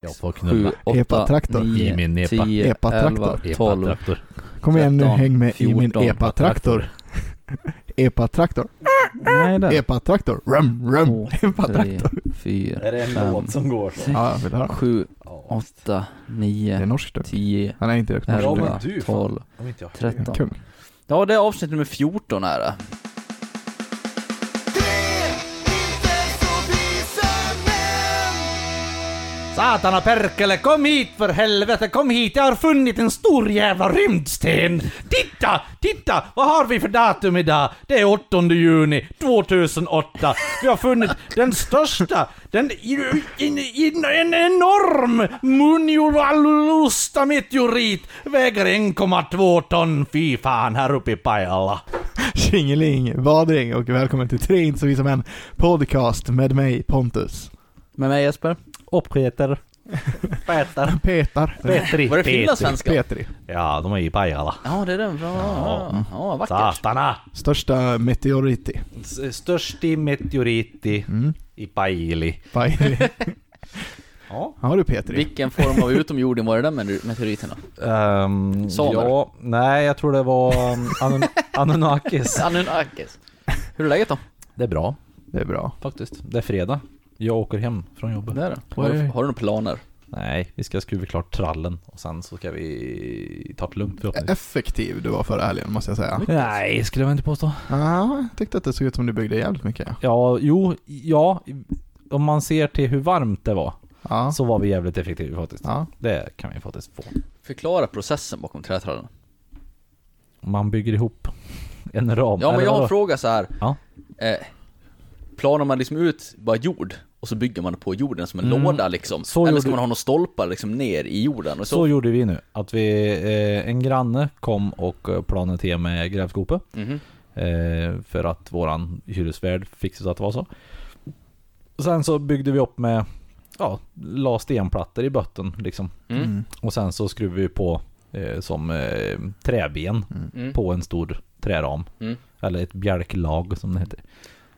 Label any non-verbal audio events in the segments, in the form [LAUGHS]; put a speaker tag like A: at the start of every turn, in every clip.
A: Jag får
B: sju,
A: knulla
B: åtta,
C: Epatraktor.
A: I
B: nio,
A: min epa.
B: tio,
C: Epatraktor.
B: elva, tolv.
A: epatraktor.
C: Kom igen nu,
B: 13,
C: häng med i min
B: 14.
C: epatraktor. Epatraktor.
B: Nej där.
C: Epatraktor. Rum, rum.
B: Två, tre,
C: [LAUGHS] Epatraktor.
B: fyra,
D: Är det en
B: fem,
D: låt som går så?
B: sex,
C: Ja, jag vill höra.
B: sju,
D: Ja.
B: åtta,
C: Det är
B: nio,
C: norskt. det.
B: tio,
C: Han är inte direkt
D: Ja,
C: norskt.
D: men
B: elva,
D: du, fan.
B: tolv,
D: Om inte jag har fel.
B: tretton.
C: Kung. [LAUGHS]
B: Ja, det är avsnitt nummer 14 är det.
E: Satana perkele, kom hit för helvete, kom hit! Jag har funnit en stor jävla rymdsten! Titta, titta! Vad har vi för datum idag? Det är 8 juni 2008. Vi har funnit den största, den i- in- in- en enorm Muniovalusta-meteorit. Väger 1,2 ton, fy fan, här uppe i Pajala.
C: Tjingeling, vadring och välkommen till Tre inte så visa män podcast med mig Pontus.
B: Med mig Jesper.
E: Och Peter. Peter.
B: [LAUGHS]
C: Petar.
E: Petri.
B: Var det finlandssvenska?
C: Petri.
E: Ja, de är i Pajala.
B: Ja, det är den. Ja, ja, ja vackert.
E: Satana!
C: Största meteoriti.
E: S- Störsti meteoriti
C: Mm.
E: i Pajili.
C: Pajli.
B: [LAUGHS]
E: Ja.
C: Har du Petri?
B: Vilken form av utomjording var det där med meteoriten då?
E: Um,
B: Samer.
E: ja, nej jag tror det var um, [LAUGHS] Anun- Anunnakis.
B: Anunnakis. Hur är läget då?
E: Det är bra
C: Det är bra.
E: faktiskt. Det är fredag. Jag åker hem från jobbet.
B: Det är det. Har, du- har du några planer?
E: Nej, vi ska skruva klart trallen och sen så ska vi ta det lugnt förhoppningsvis.
C: Effektiv du var förra helgen måste jag säga.
E: Nej, skulle jag inte påstå.
C: Ja, jag tyckte att det såg ut som du byggde jävligt mycket. ja.
E: Ja, jo, ja. Om man ser till hur varmt det var
C: Ja.
E: så var vi jävligt effektiva faktiskt.
C: Ja.
E: Det kan vi faktiskt få.
B: Förklara processen bakom trätrallen.
E: Man bygger ihop en ram.
B: Ja, men
E: eller
B: jag har en
E: vadå?
B: fråga så här.
E: Ja.
B: Eh, planar man liksom ut bara jord och så bygger man på jorden som en
E: Mm.
B: låda liksom?
E: Så
B: Eller
E: gjorde-
B: ska man ha några stolpar liksom ner i jorden? Och så?
E: Så gjorde vi nu. Att vi, eh, en granne kom och eh, planade till med grävskopa.
B: Mhm.
E: Eh, för att våran hyresvärd fick det så att det var så. Sen så byggde vi upp med, ja, la stenplattor i botten liksom.
B: Mm.
E: Och sen så skruvade vi på eh, som eh, träben
B: Mm.
E: på en stor träram.
B: Mm.
E: Eller ett bjälklag som det heter.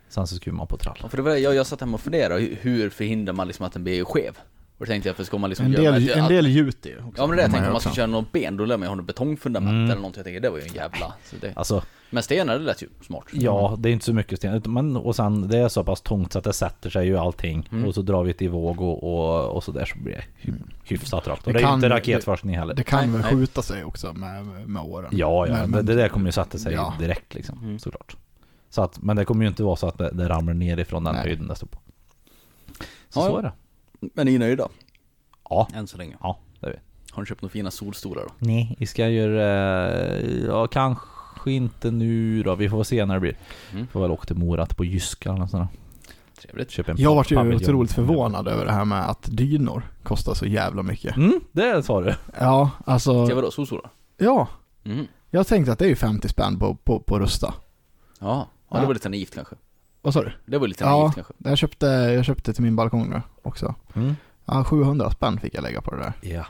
E: Sen så skruvar man på trall.
B: Ja, för det var det jag, jag satt hemma och funderade, hur- hur förhindrar man liksom att den blir skev? Och då tänkte jag, för ska man liksom
C: En
B: göra
C: del,
B: ett-
C: en
B: att-
C: del gjut ju. också.
B: Mm. Ja men det är det jag tänkte, om man
C: också.
B: ska köra något ben, då lär man ju ha något betongfundament
E: Mm.
B: eller någonting. Jag tänker, det var ju en jävla... Så det...
E: Alltså,
B: Men stenar, det lät ju smart.
E: ja, det är inte så mycket sten. utan- Men, och sen, det är så pass tungt så att det sätter sig ju allting.
C: Mm.
E: Och så drar vi det i våg och, och, och så där så blir det hy- hyfsat rakt. Och
C: Det
E: det, är ju
C: kan-
E: inte raketforskning heller.
C: Det kan
B: Nej,
C: väl
B: nej.
C: skjuta sig också med, med åren.
E: Ja, ja,
C: Men-
E: det,
C: men-
E: det där kommer ju sätta sig
C: Ja.
E: direkt liksom,
B: Mm.
E: såklart. Så att, men det kommer ju inte vara så att det, det ramlar ner ifrån den
C: Nej.
E: höjden det står på. Så,
B: Ja,
E: så
B: ja.
E: är det.
B: Men ni är nöjda?
E: Ja.
B: Än så länge.
E: Ja, det är vi.
B: Har ni köpt några fina solstolar då?
E: Nej, vi ska göra, eh, ja kanske inte nu då, vi får se när det blir.
B: Mm.
E: Får väl åka till Mora på Jyska eller nåt sånt där.
B: Trevligt.
E: Köpa en
C: Jag vart ju
E: paviljong.
C: otroligt förvånad över det här med att dynor kostar så jävla mycket.
E: Mm, det sa du.
C: Ja,
B: Ja
C: alltså.
B: vadå, solstolar?
C: Ja,
B: Mm.
C: jag tänkte att det är ju 50 spänn på, på, på Rusta.
B: Ja. ja, det var lite naivt kanske.
C: Vad sa du?
B: Det var lite
C: Ja.
B: naivt kanske.
C: Jag köpte, jag köpte till min balkong nu också.
E: Mm.
C: Ja, 700 spänn fick jag lägga på det där.
E: Ja.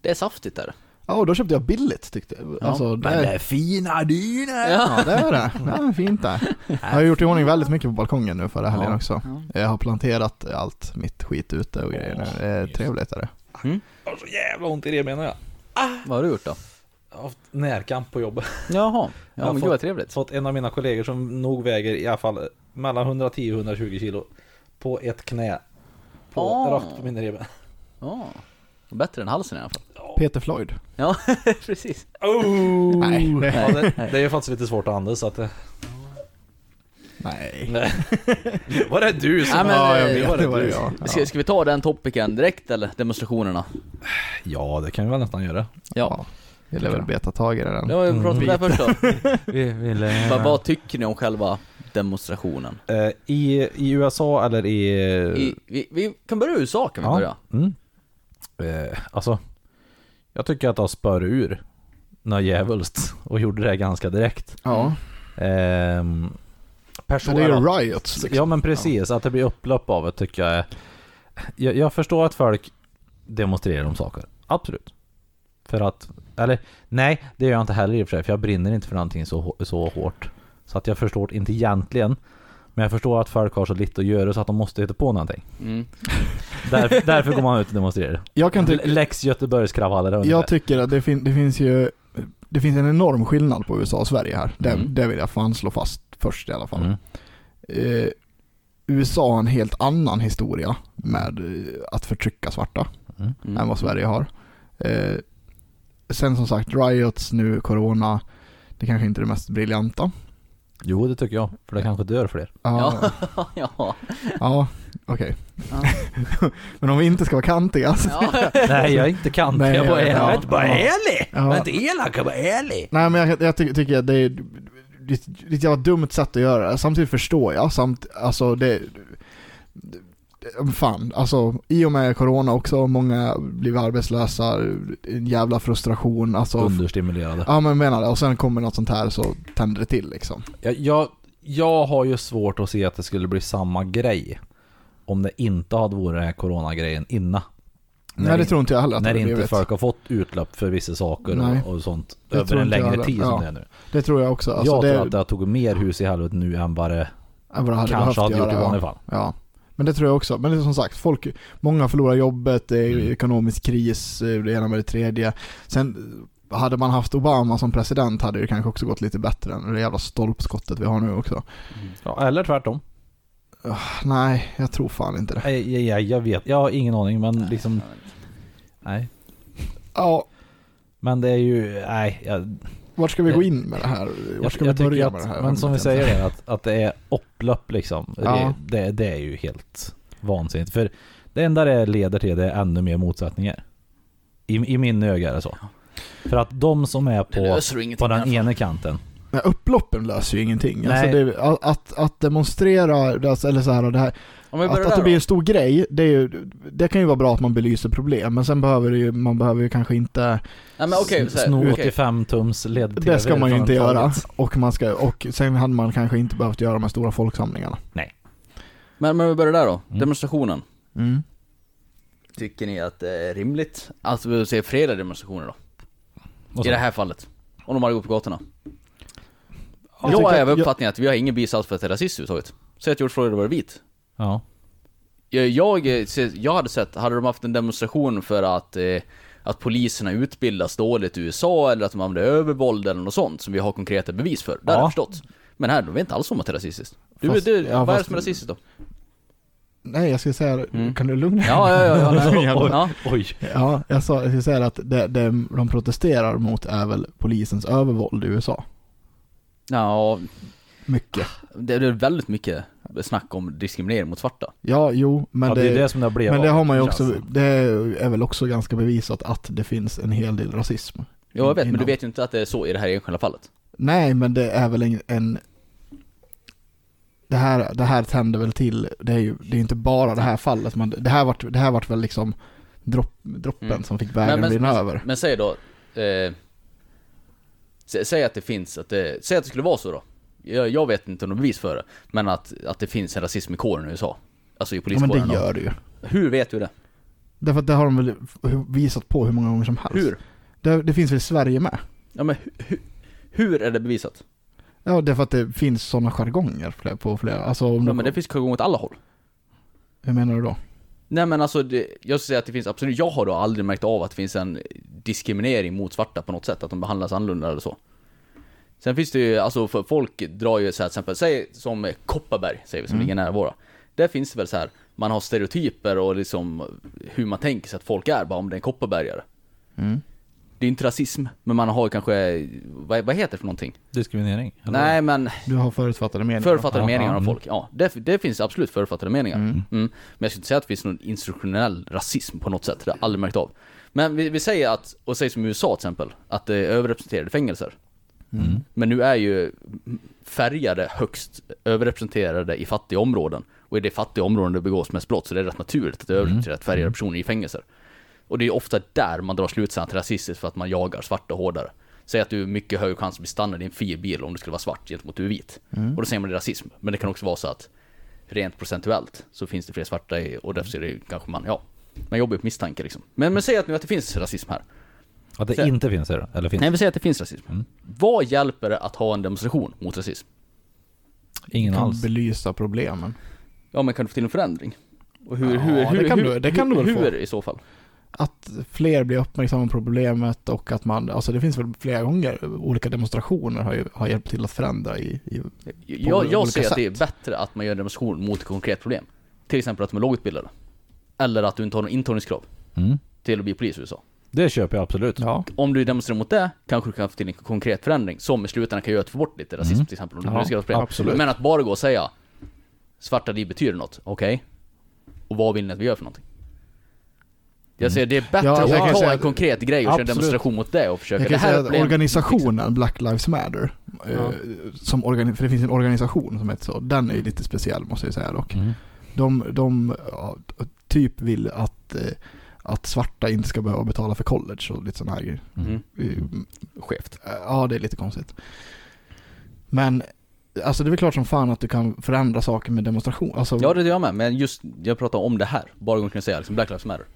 B: Det är saftigt där.
C: Ja, och då köpte jag billigt tyckte jag.
B: Ja,
C: alltså, det är fina dynor! Ja. det är det. Det är
B: [LAUGHS]
C: fint där. Jag har gjort i ordning väldigt mycket på balkongen nu förra helgen
E: Ja.
C: också.
B: Ja.
C: Jag har planterat allt mitt skit ute och grejer nu. Det är trevligt. Är det.
E: Jag har så jävla ont i det menar jag.
B: Mm. Vad har du gjort då?
E: Jag har haft närkamp på jobbet. [LAUGHS]
B: Jaha.
E: Jag
B: Ja
E: har
B: men
E: fått-
B: gud vad trevligt.
E: Fått en av mina kollegor som nog väger i alla fall mellan 110 och 120 kilo på ett knä. På,
B: Ah.
E: Rakt på mina revben.
B: Ja. Bättre än halsen i alla fall.
C: Peter Floyd.
B: Ja, [LAUGHS] precis.
C: Nej.
E: Ja, det, det är ju faktiskt lite svårt att andas så att det...
C: Nej.
E: Nej. Var det du som...
B: Nej, men,
C: ja, jag
B: eh,
C: vet, det var det jag.
B: Ska, ska vi ta den topicen direkt eller? Demonstrationerna?
E: Ja, det kan vi väl nästan göra.
B: Ja.
C: Jag ville väl beta tag i det
B: Ja,
C: den.
B: vi pratar om det här först då.
E: Vi ville...
B: Vad, vad tycker ni om själva demonstrationen?
E: Eh, I, I USA eller i...
B: I, vi, vi kan börja i USA kan vi börja.
E: Mm. Eh, alltså, jag tycker att de spör ur något djävulskt och gjorde det ganska direkt.
C: Ja.
E: Ehm,
C: Men det är ju riots. Liksom.
E: Ja men precis, att det blir upplopp av det tycker jag är... Jag, jag förstår att folk demonstrerar om saker, absolut. För att, eller nej, det gör jag inte heller i och för sig, för jag brinner inte för någonting så, hå- så hårt. Så att jag förstår inte egentligen. Men Men jag förstår att folk har så lite att göra så att de måste hitta på någonting.
B: Mm.
C: [LAUGHS]
E: Därför, därför går man ut och demonstrerar.
C: Jag kan tycka...
E: Lex Göteborgskravaller ungefär.
C: Jag tycker att det, fin det finns ju, det finns en enorm skillnad på USA och Sverige här. Det,
B: Mm.
C: det vill jag fan slå fast först i alla fall.
E: Mm.
C: Eh, USA har en helt annan historia med eh, att förtrycka svarta
E: Mm.
B: Mm.
C: än vad Sverige har. Eh, sen som sagt, riots nu, corona, det kanske inte är det mest briljanta.
E: Jo, det tycker jag. För det kanske dör fler.
C: Ja,
B: Ja, [LAUGHS] ja.
C: [LAUGHS] ja okej.
B: Ja.
C: [LAUGHS] Men om vi inte ska vara kantiga. så-
B: ja.
E: Nej, jag är inte kan.
C: Nej,
E: jag bara är
C: ja.
E: jag är inte bara
C: Ja.
E: ärlig.
C: Ja.
E: Jag är inte elak, jag bara är ärlig.
C: Nej men jag, jag ty tycker att det är det är ett jävla dumt sätt att göra det. Samtidigt förstår jag, samt, alltså det... det- Fan, alltså i och med corona också, många blir arbetslösa, en jävla frustration, alltså...
E: Understimulerade.
C: Ja men menar det, och sen kommer något sånt här så tänder det till liksom.
E: Jag, jag, jag har ju svårt att se att det skulle bli samma grej om det inte hade varit den här coronagrejen innan.
C: Nej, det tror inte jag heller att
E: När
C: det
E: inte
C: blivit.
E: folk har fått utlopp för vissa saker
C: Nej.
E: och, och sånt
C: Det
E: över
C: tror
E: en
C: inte jag
E: längre
C: heller.
E: tid som
C: Ja.
E: det är nu.
C: Det tror jag också. Alltså,
E: jag
C: det,
E: tror att det har tagit mer hus i helvete nu än vad det
C: än vad det hade behövt
E: kanske hade gjort i
C: göra,
E: vanliga fall.
C: ja. ja. Men det tror jag också. Men det är som sagt, folk, många förlorar jobbet, det är
E: Mm.
C: ekonomisk kris, eh, det ena med det tredje. Sen eh, hade man haft Obama som president hade det kanske också gått lite bättre än det jävla stolpskottet vi har nu också. Öh,
E: Ja, eller tvärtom.
C: Nej, jag tror fan inte det.
E: Jag, jag, jag vet, jag har ingen aning men liksom, nej.
C: Ja,
E: Men det är ju, nej. Jag,
C: vart ska vi
E: Jag-
C: gå in med det här? Vart ska
E: jag
C: vi
E: tycker
C: börja
E: att,
C: med det här?
E: Men som vi
C: Jag vet inte.
E: säger, det, att, att det är upplopp liksom.
C: Ja.
E: Det, det, det är ju helt vansinnigt. För det enda det leder till det är ännu mer motsättningar. I, i min öga är det så. För att de som är
B: Det
E: på,
B: löser du ingenting
E: på den
B: här för.
E: ena kanten,
C: Nej, upploppen löser ju ingenting.
E: Nej.
C: Alltså det, är- att, att demonstrera, alltså, eller så här, det här
B: Om vi börjar
C: Att,
B: där
C: att det
B: då.
C: blir en stor grej, det, är ju, det kan ju vara bra att man belyser problem, men sen behöver det ju, man behöver ju kanske inte,
B: Nej men okej, så här,
E: sno
B: okej.
E: 85-tums LED-TV.
C: det ska man ju
E: från
C: inte
E: taget.
C: göra. Och, man ska, och sen hade man kanske inte behövt göra de här stora folksamlingarna.
B: Men, men om vi börjar där då,
E: Mm.
B: demonstrationen. Tycker ni att det är rimligt? Alltså vi säger fredliga demonstrationer då,
E: Och så.
B: i det här fallet. Om de hade gått på gatorna.
C: Jag
B: jag
C: tycker
B: är
C: att-
B: av uppfattningen att vi har ingen bisats för att det är rasism överhuvudtaget. Säg att George Floyd hade varit vit.
E: Ja.
B: Jag, jag, eh, jag hade sett, hade de haft en demonstration för att, eh, att poliserna utbildas dåligt i USA eller att de använder övervåld eller något sånt som vi har konkreta bevis för. Det har
E: Ja.
B: jag förstått. Men här, de vet inte alls om att det är rasistiskt. Du,
C: Fast-
B: du,
C: ja,
B: vad är det
C: fast-
B: som är rasistiskt då?
C: Nej, jag ska säga,
B: Mm.
C: kan du lugna
E: [LAUGHS]
C: dig?
B: Ja, ja, ja. ja,
C: [LAUGHS]
B: ja, ja, ja.
E: Oj.
C: Ja, jag, sa, jag ska säga att det, det de protesterar mot är väl polisens övervåld i USA.
B: ja
C: Mycket.
B: det det är väldigt mycket snack om diskriminering mot svarta.
C: Ja, jo, men
E: ja, det, är ju det som det har blivit
C: men
E: av, alltså,
C: det har man ju
E: känns
C: också,
E: det.
C: det är väl också ganska bevisat att det finns en hel del rasism.
B: Ja, jag vet, men du
C: Innan.
B: vet ju inte att det är så i det här enskilda fallet.
C: Nej, men det är väl en... en det, här, det här tänder väl till, det är ju det är inte bara det här fallet, men det här vart, det här vart väl liksom dropp, droppen
B: Mm.
C: som fick bägaren
B: men,
C: rinna
B: men,
C: över.
B: men säg då... Eh, sä, säg att det finns, att det, säg att det skulle vara så då. Jag, jag vet inte något bevis för det, men att, att det finns en rasism i kåren i USA. Alltså i
C: Ja, men
B: poliskåren
C: det
B: då.
C: gör det ju.
B: Hur vet du det?
C: Därför att det har de väl visat på hur många gånger som helst.
B: Hur?
C: Det, det finns väl i Sverige med?
B: Ja men hu, hu, hur är det bevisat?
C: Ja, därför att det finns sådana jargonger fler- på flera, alltså om
B: Ja,
C: du,
B: men det finns jargong åt alla håll.
C: hur menar du då?
B: Nej men alltså, det, jag skulle säga att det finns absolut, jag har då aldrig märkt av att det finns en diskriminering mot svarta på något sätt, att de behandlas annorlunda eller så. Sen finns det ju, alltså för folk drar ju så här, till exempel, säg som Kopparberg, säger vi, som ligger nära våra. Där finns det väl så här, man har stereotyper och liksom hur man tänker sig att folk är, bara om det är en kopparbergare.
C: Mm.
B: Det är inte rasism, men man har ju kanske, vad, vad heter det för någonting?
E: Diskriminering? eller?
B: Nej men,
C: Du har förutfattade meningar?
B: Förutfattade
E: Ja,
B: meningar
E: ja,
B: om
E: mm.
B: folk, ja. Det, det finns absolut förutfattade meningar. Mm. Men jag skulle inte säga att det finns någon instruktionell rasism på något sätt, det har jag aldrig märkt av. Men vi, vi säger att, och säger som i USA till exempel, att det är överrepresenterade fängelser.
E: Mm.
B: Men nu är ju färgade högst överrepresenterade i fattiga områden. Och i det fattiga områden det begås mest brott, så det är rätt naturligt
E: Mm.
B: att det är överrepresenterat färgade personer i fängelser. Och det är ofta där man drar slutsatsen att det är rasistiskt för att man jagar svarta hårdare. Säg att du är mycket högre chans att bli stannad i en fin bil om du skulle vara svart gentemot du är vit.
C: Mm.
B: Och då säger man det är rasism. Men det kan också vara så att rent procentuellt så finns det fler svarta i, och därför är det ju kanske man, ja, man jobbar ju på misstanke liksom. Men, men säg att nu att det finns rasism här.
E: Att det
B: Så-
E: inte finns det då? Eller finns
C: Mm.
B: Nej, vi säger att det finns rasism. Vad hjälper det att ha en demonstration mot rasism?
E: Ingen
C: kan
E: alls.
C: belysa problemen.
B: Ja men kan du få till en förändring? Och hur,
C: Ja,
B: hur, hur,
C: det kan
B: hur,
C: du- det kan du väl
B: hur,
C: få.
B: hur i så fall?
C: Att fler blir uppmärksamma på problemet och att man, alltså det finns väl flera gånger, olika demonstrationer har, ju, har hjälpt till att förändra i, i
B: Jag, jag
C: olika
B: ser att det är
C: sätt.
B: bättre att man gör en demonstration mot ett konkret problem. Till exempel att de är lågutbildade. Eller att du inte har någon intagningskrav
E: Mm.
B: till att bli polis i USA.
E: Det köper jag absolut.
C: ja.
B: Om du demonstrerar mot det, kanske du kan få till en konkret förändring som i slutändan kan göra att du får bort lite rasism
E: Mm.
B: till exempel. Om det
C: Ja,
B: blir ett stort problem.
C: absolut.
B: Men att bara gå och säga Svarta liv betyder något, okej? Och vad vill ni att vi gör för någonting? Jag säger det är bättre
C: Mm. Ja, jag kan
B: att ta
C: säga
B: en
C: att-
B: konkret grej och köra en
C: Absolut.
B: demonstration mot det och försöka.
C: Jag
B: Det
C: kan
B: här
C: säga
B: är
C: att
B: problem-
C: organisationen Black Lives Matter, eh,
B: Ja.
C: som organi- för det finns en organisation som heter så, den är ju lite speciell måste jag säga dock.
E: Mm.
C: De, de ja, typ vill att, eh, att svarta inte ska behöva betala för college och lite sådana här grejer.
B: Mm.
C: Eh,
B: Skevt.
C: Ja, det är lite konstigt. Men, alltså det är väl klart som fan att du kan förändra saker med demonstration. Alltså,
B: Ja det gör jag med, men just, jag pratar om det här. Bara gången kunna säga liksom Black Lives Matter.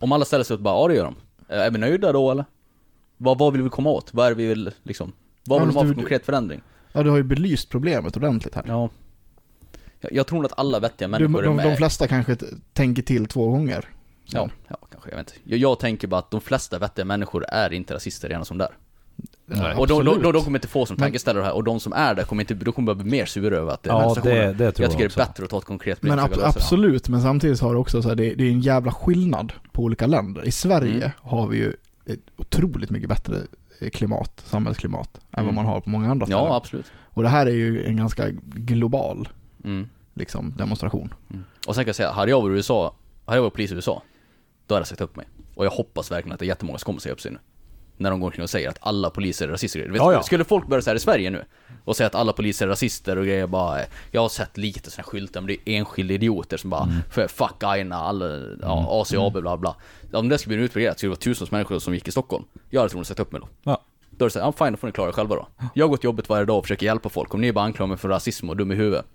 B: Om alla ställer sig upp och bara, ja det gör de. Eh, Är vi nöjda då eller? Vad, vad vill vi komma åt? Vad är det vi vill liksom? Vad
C: Ja,
B: vill de ha
C: du-
B: för konkret förändring?
C: ja, du har ju belyst problemet ordentligt här.
B: Ja. Jag, jag tror nog att alla vettiga
C: du,
B: människor
C: de,
B: är
C: de
B: med.
C: flesta kanske t- tänker till två gånger.
B: Ja, ja, kanske, jag vet inte. Jag, jag tänker bara att de flesta vettiga människor är inte rasister redan som där.
E: Nej.
B: och de, de,
C: absolut.
B: de, de kommer inte få som
C: Men-
B: tankeställare här, och de som är där kommer inte, de kommer bara bli mer sura över att det är
E: Ja,
B: demonstrationer.
E: det, det tror
B: Jag
E: jag
B: tycker det
E: också.
B: är bättre att ta ett konkret
C: Men
B: och
C: ab-
B: lösa det.
C: absolut, men samtidigt har du också så här, det, det är en jävla skillnad på olika länder. I Sverige
B: Mm.
C: har vi ju ett otroligt mycket bättre eh, klimat, samhällsklimat, än vad
B: Mm.
C: man har på många andra ställen.
B: Ja, absolut.
C: Och det här är ju en ganska global
B: Mm.
C: liksom, demonstration.
B: Och sen kan jag säga, hade jag varit i USA, hade jag varit polis i USA, då hade jag sagt upp mig. Och jag hoppas verkligen att det är jättemånga som kommer säga upp sig nu. När de går omkring och säger att alla poliser är rasister. Du Vet,
E: Ja, ja.
B: Skulle folk börja säga i Sverige nu och säga att alla poliser är rasister och grejer bara, eh, jag har sett lite sådana skyltar, men det är enskilda idioter som bara,
E: Mm.
B: för fuck aina, alla, ja, ACAB, bla bla. Om det skulle bli utvärderat skulle det vara tusentals människor som gick i Stockholm. Jag hade troligen sett upp mig då.
E: Ja.
B: Då är det såhär, ja fine, då får ni klara er själva då. Jag går till jobbet varje dag och försöker hjälpa folk. Om ni bara anklagar mig för rasism och dum i huvudet.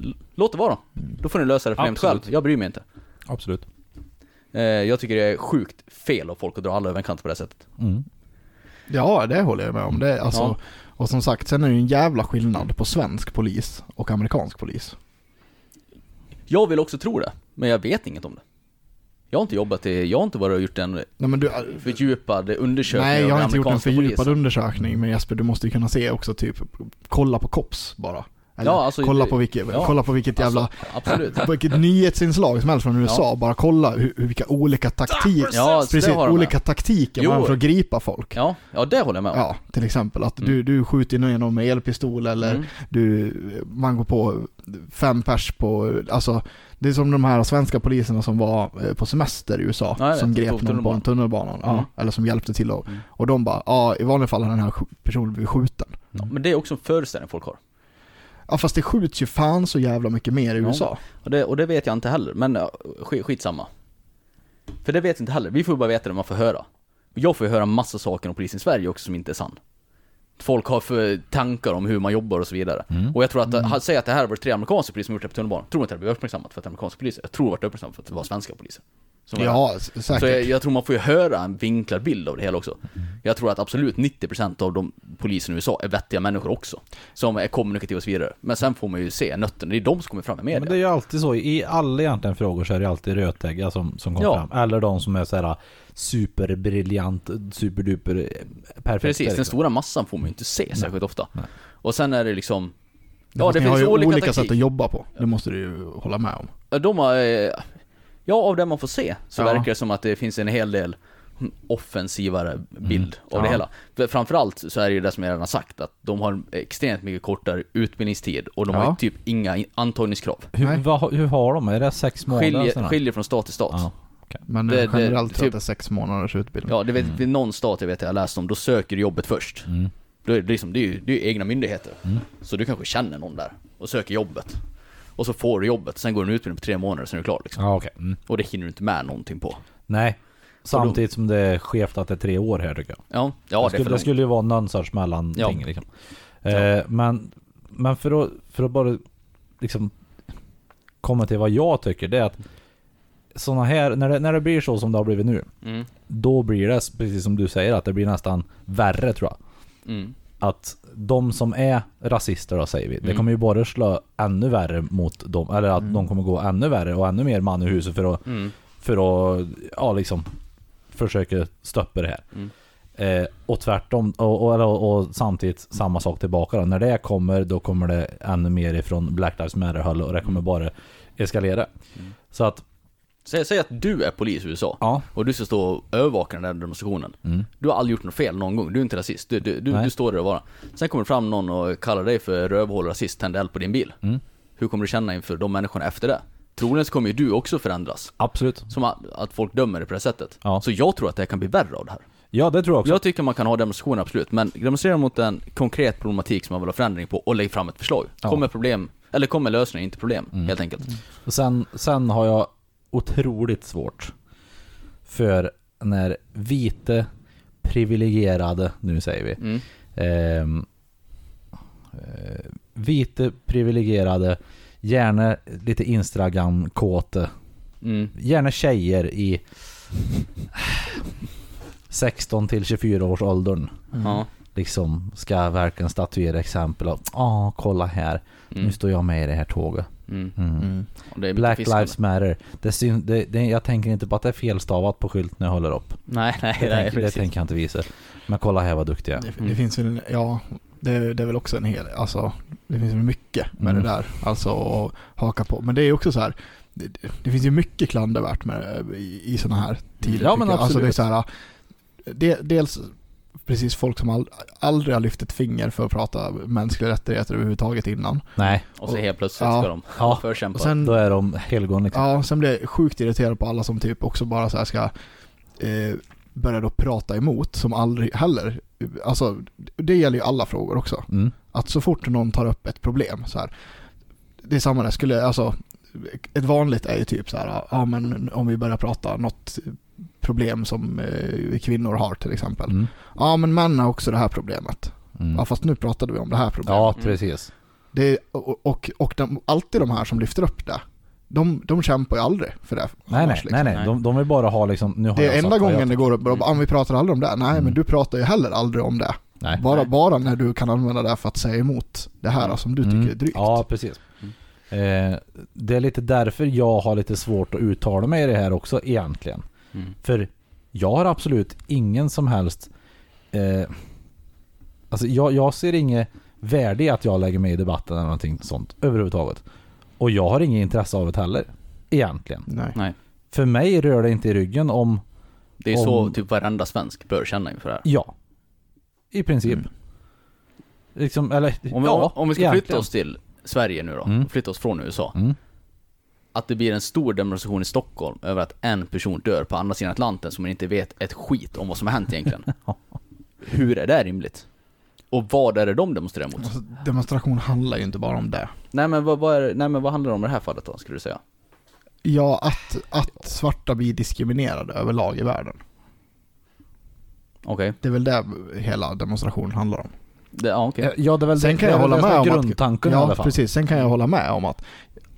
B: l- Låt det vara då. Då får ni lösa det problemet själv.
E: Absolut.
B: Jag bryr mig inte.
E: Absolut.
B: Eh, jag tycker det är sjukt fel av folk att dra alla över en kant på det här sättet.
E: Mm.
C: Ja, det håller jag med om. Det, är alltså,
B: Mm. Ja.
C: Och som sagt, sen är det ju en jävla skillnad på svensk polis och amerikansk polis.
B: Jag vill också tro det, men jag vet inget om det. Jag har inte jobbat i, jag har inte varit och gjort en
C: Nej, men du, äh,
B: fördjupad undersökning
C: nej
B: av
C: jag har
B: den
C: inte gjort en
B: amerikanska
C: fördjupad
B: polisen.
C: undersökning, men Jesper, du måste ju kunna se också typ, kolla på COPS bara. Eller,
B: Ja, alltså,
C: kolla,
B: det-
C: på vilket,
B: ja.
C: kolla på vilket jävla
B: Alltså, absolut.
C: Vilket nyhetsinslag som helst från USA, bara kolla hur, hur, vilka olika taktiker,
B: Ja, det
C: precis,
B: har de med.
C: olika taktiker man
B: Jo.
C: har för att gripa folk. Ja.
B: Ja, ja det håller jag med om.
C: till exempel att
B: Mm.
C: du, du skjuter ner någon med elpistol eller
B: Mm.
C: du, man går på fem pers på, alltså det är som de här svenska poliserna som var eh, på semester i USA
B: Ja, jag
C: som
B: vet,
C: grep
B: på
C: någon på
B: tunnelbanan.
C: en tunnelbanan,
B: Mm.
C: ja, eller som hjälpte till och,
B: Mm.
C: och de bara, ja i vanliga fall har den här sk- personen blivit skjuten.
B: Ja, Men det är också en föreställning folk har.
C: Ja fast det skjuts ju fan så jävla mycket mer i
B: Ja.
C: USA.
B: Och det, och det vet jag inte heller, men ja, sk- skitsamma. För det vet jag inte heller, vi får ju bara veta det man får höra. Jag får ju höra massa saker om polisen i Sverige också som inte är sann. Folk har för tankar om hur man jobbar och så vidare. Och jag tror att, mm. säg att det här var tre amerikanska poliser som gjort det på tunnelbanan. Tror inte att det blev uppmärksammat för att det är amerikanska poliser. Jag tror att det blev uppmärksammat för att det var svenska poliser. Som var där.
C: Ja, s- säkert.
B: Så jag, jag tror man får ju höra en vinklad bild av det hela också. Jag tror att absolut 90% av de poliserna i USA är vettiga människor också. Som är kommunikativa och så vidare. Men sen får man ju se nötterna, det är de som kommer fram i media.
E: Men det är ju alltid så, i alla egentligen frågor så är det alltid rötägga som, som kommer
B: Ja.
E: fram. Eller de som är så här superbriljant, superduper eh, perfekta.
B: Precis, den
E: liksom.
B: stora massan får man ju inte se särskilt ofta.
E: Nej.
B: Och sen är det liksom... Ja,
C: Fast
B: det
C: ni har
B: finns
C: ju
B: olika,
C: olika,
B: taktik.
C: sätt att jobba på, det måste du ju hålla med om.
B: De har... eh, Ja, av det man får se så
C: Ja.
B: verkar det som att det finns en hel del offensivare bild
C: Mm.
B: av det
E: Ja.
B: hela. För Framförallt så är det ju det som jag redan har sagt, att de har extremt mycket kortare utbildningstid och de har
C: Ja.
B: ju typ inga in- antagningskrav.
E: Hur,
C: Nej.
E: vad, hur har de? Är det sex månader?
B: Skiljer,
E: sådär?
B: skiljer från stat till stat.
E: Ja.
B: Ja,
C: Men
B: Det-
C: eh,
B: det-
C: generellt tror jag
B: typ-
C: att det är sex månaders utbildning.
B: det vet, vid någon stat jag vet jag läste om, då söker du jobbet först.
E: Mm.
B: Då är det, liksom, det, är ju, det är ju egna myndigheter. Så du kanske känner någon där och söker jobbet. Och så får du jobbet, sen går du en utbildning på tre månader, sen är du klar liksom.
E: Ja, okej. Mm.
B: Och det hinner du inte med någonting på.
E: Nej. Samtidigt som det är skevt att det är tre år här tycker jag.
B: Ja, ja
E: det,
B: det är
E: skulle,
B: för
E: det
B: långt.
E: skulle ju vara någon sorts mellanting
B: Ja.
E: liksom. eh, Men, men för, att, för att bara liksom komma till vad jag tycker, det är att såna här, när det, när det blir så som det har blivit nu,
B: Mm.
E: då blir det precis som du säger att det blir nästan värre tror jag.
B: Mm.
E: att de som är rasister då säger vi, det
B: Mm.
E: kommer ju bara slå ännu värre mot dem, eller att de kommer gå ännu värre och ännu mer man i huset för att,
B: Mm.
E: för att ja liksom, försöka stoppa det här.
B: Mm.
E: Eh, och tvärtom, och, och, och, och samtidigt samma sak tillbaka då. När det kommer, då kommer det ännu mer ifrån Black Lives Matter-håll och det
B: Mm.
E: kommer bara eskalera. Så att,
B: Säg, säg att du är polis i USA
E: ja. Mm.
B: och du ska stå och övervaka den där demonstrationen. Du har aldrig gjort något fel någon gång, du är inte rasist. Du, du, du,
E: Nej.
B: du står där och bara. Sen kommer det fram någon och kallar dig för rövhål, rasist, tänder eld på din bil.
E: Mm.
B: Hur kommer du känna inför de människorna efter det? Troligen så kommer ju du också förändras.
E: Absolut.
B: Som att, att folk dömer dig på det här sättet.
E: Ja.
B: Så jag tror att det här kan bli värre av det här.
E: Ja, det tror jag också.
B: Jag tycker man kan ha demonstrationer, absolut. Men demonstrera mot en konkret problematik som man vill ha förändring på och lägg fram ett förslag.
E: Ja. Mm.
B: Kom med problem, eller kom med lösningar, inte problem, helt enkelt.
E: Och sen, sen har jag otroligt svårt för när vita, privilegierade, nu säger vi,
B: Mm.
E: ehm, eh, vita, privilegierade, gärna lite Instagram-kåte,
B: Mm.
E: gärna tjejer i 16 till 24 års åldern
B: Ja.
E: liksom ska verkligen statuera exempel av Åh, kolla här, nu
B: Mm.
E: står jag med i det här tåget.
B: Mm.
E: Mm.
B: Och Det är mycket
E: Black
B: fiskande.
E: Lives Matter. Det syn, det, det, jag tänker inte på att det är felstavat på skylten jag håller upp.
B: Nej, nej,
E: Det,
B: nej,
E: tänker, det
B: precis.
E: tänker jag inte visa. Men kolla här vad duktig jag är.
C: Det, det finns väl, en- ja, det, det är väl också en hel, alltså det finns väl mycket med
E: Mm.
C: det där, alltså att haka på. Men det är också så här, det, det finns ju mycket klandervärt med, i, i sådana här tider.
E: Ja,
C: tycker
E: men
C: jag. Alltså det är
E: absolut.
C: så här, det, dels precis folk som all, aldrig har lyft ett finger för att prata mänskliga rättigheter överhuvudtaget innan.
E: Nej,
B: Och så
C: Och-
B: helt plötsligt
C: ja.
B: ska de
E: Ja.
B: förkämpa.
C: Och sen,
E: då är de helgon liksom.
C: Ja, sen blir jag sjukt irriterad på alla som typ också bara så här ska eh, börja då prata emot, som aldrig heller, alltså det gäller ju alla frågor också.
E: Mm.
C: Att så fort någon tar upp ett problem så här, det är samma där, skulle, alltså ett vanligt är ju typ så här, ja men om vi börjar prata något problem som eh, kvinnor har till exempel.
E: Mm.
C: Ja men män har också det här problemet.
E: Mm.
C: Ja fast nu pratade vi om det här problemet.
E: Ja,
B: Mm.
E: precis.
C: Det är, och och, och de, alltid de här som lyfter upp det, de, de kämpar ju aldrig för det.
E: Nej, nej,
C: annars,
E: nej,
C: liksom.
E: nej. De, de vill bara ha liksom, nu har
C: Det
E: jag
C: är
E: sagt
C: enda
E: vad jag
C: gången det
E: tycker.
C: går upp och bara, ah, men vi pratar aldrig om det. Nej,
E: Mm.
C: men du pratar ju heller aldrig om det.
E: Nej.
C: Bara,
B: Nej.
C: bara när du kan använda det för att säga emot det här som du tycker
E: Mm.
C: är drygt. Mm.
E: Ja, precis. Eh, det är lite därför jag har lite svårt att uttala mig i det här också egentligen.
B: Mm.
E: För jag har absolut ingen som helst... Eh, alltså jag, jag ser inget värde i att jag lägger mig i debatten eller någonting sånt överhuvudtaget. Och jag har inget intresse av det heller. Egentligen.
C: Nej.
B: Nej.
E: För mig rör det inte i ryggen om...
B: Det är så
E: Om-
B: typ varenda svensk bör känna inför det här.
E: Ja. I princip. Liksom, eller...
B: Mm. Om vi,
E: ja,
B: om vi ska flytta
E: egentligen.
B: oss till Sverige nu då,
E: Mm.
B: flytta oss från USA.
E: Mm.
B: Att det blir en stor demonstration i Stockholm över att en person dör på andra sidan Atlanten som man inte vet ett skit om vad som har hänt [LAUGHS] egentligen. Hur är det rimligt? Och vad är det de demonstrerar mot?
C: Alltså, demonstration handlar ju inte bara om det.
B: Nej men vad, vad, är, nej, men vad handlar det om i det här fallet då, skulle du säga?
C: Ja, att, att svarta blir diskriminerade överlag i världen.
B: Okej.
C: Det är väl det hela demonstrationen handlar om.
B: Det- Ja, okej.
E: Eh, Ja, det är väl
C: Sen
E: det,
C: kan
E: det
C: jag
E: är väl
C: hålla
E: det som
C: med
E: är
C: om att-
E: grundtanken i
C: Ja,
E: alla fall.
C: precis. Sen kan jag hålla med om att,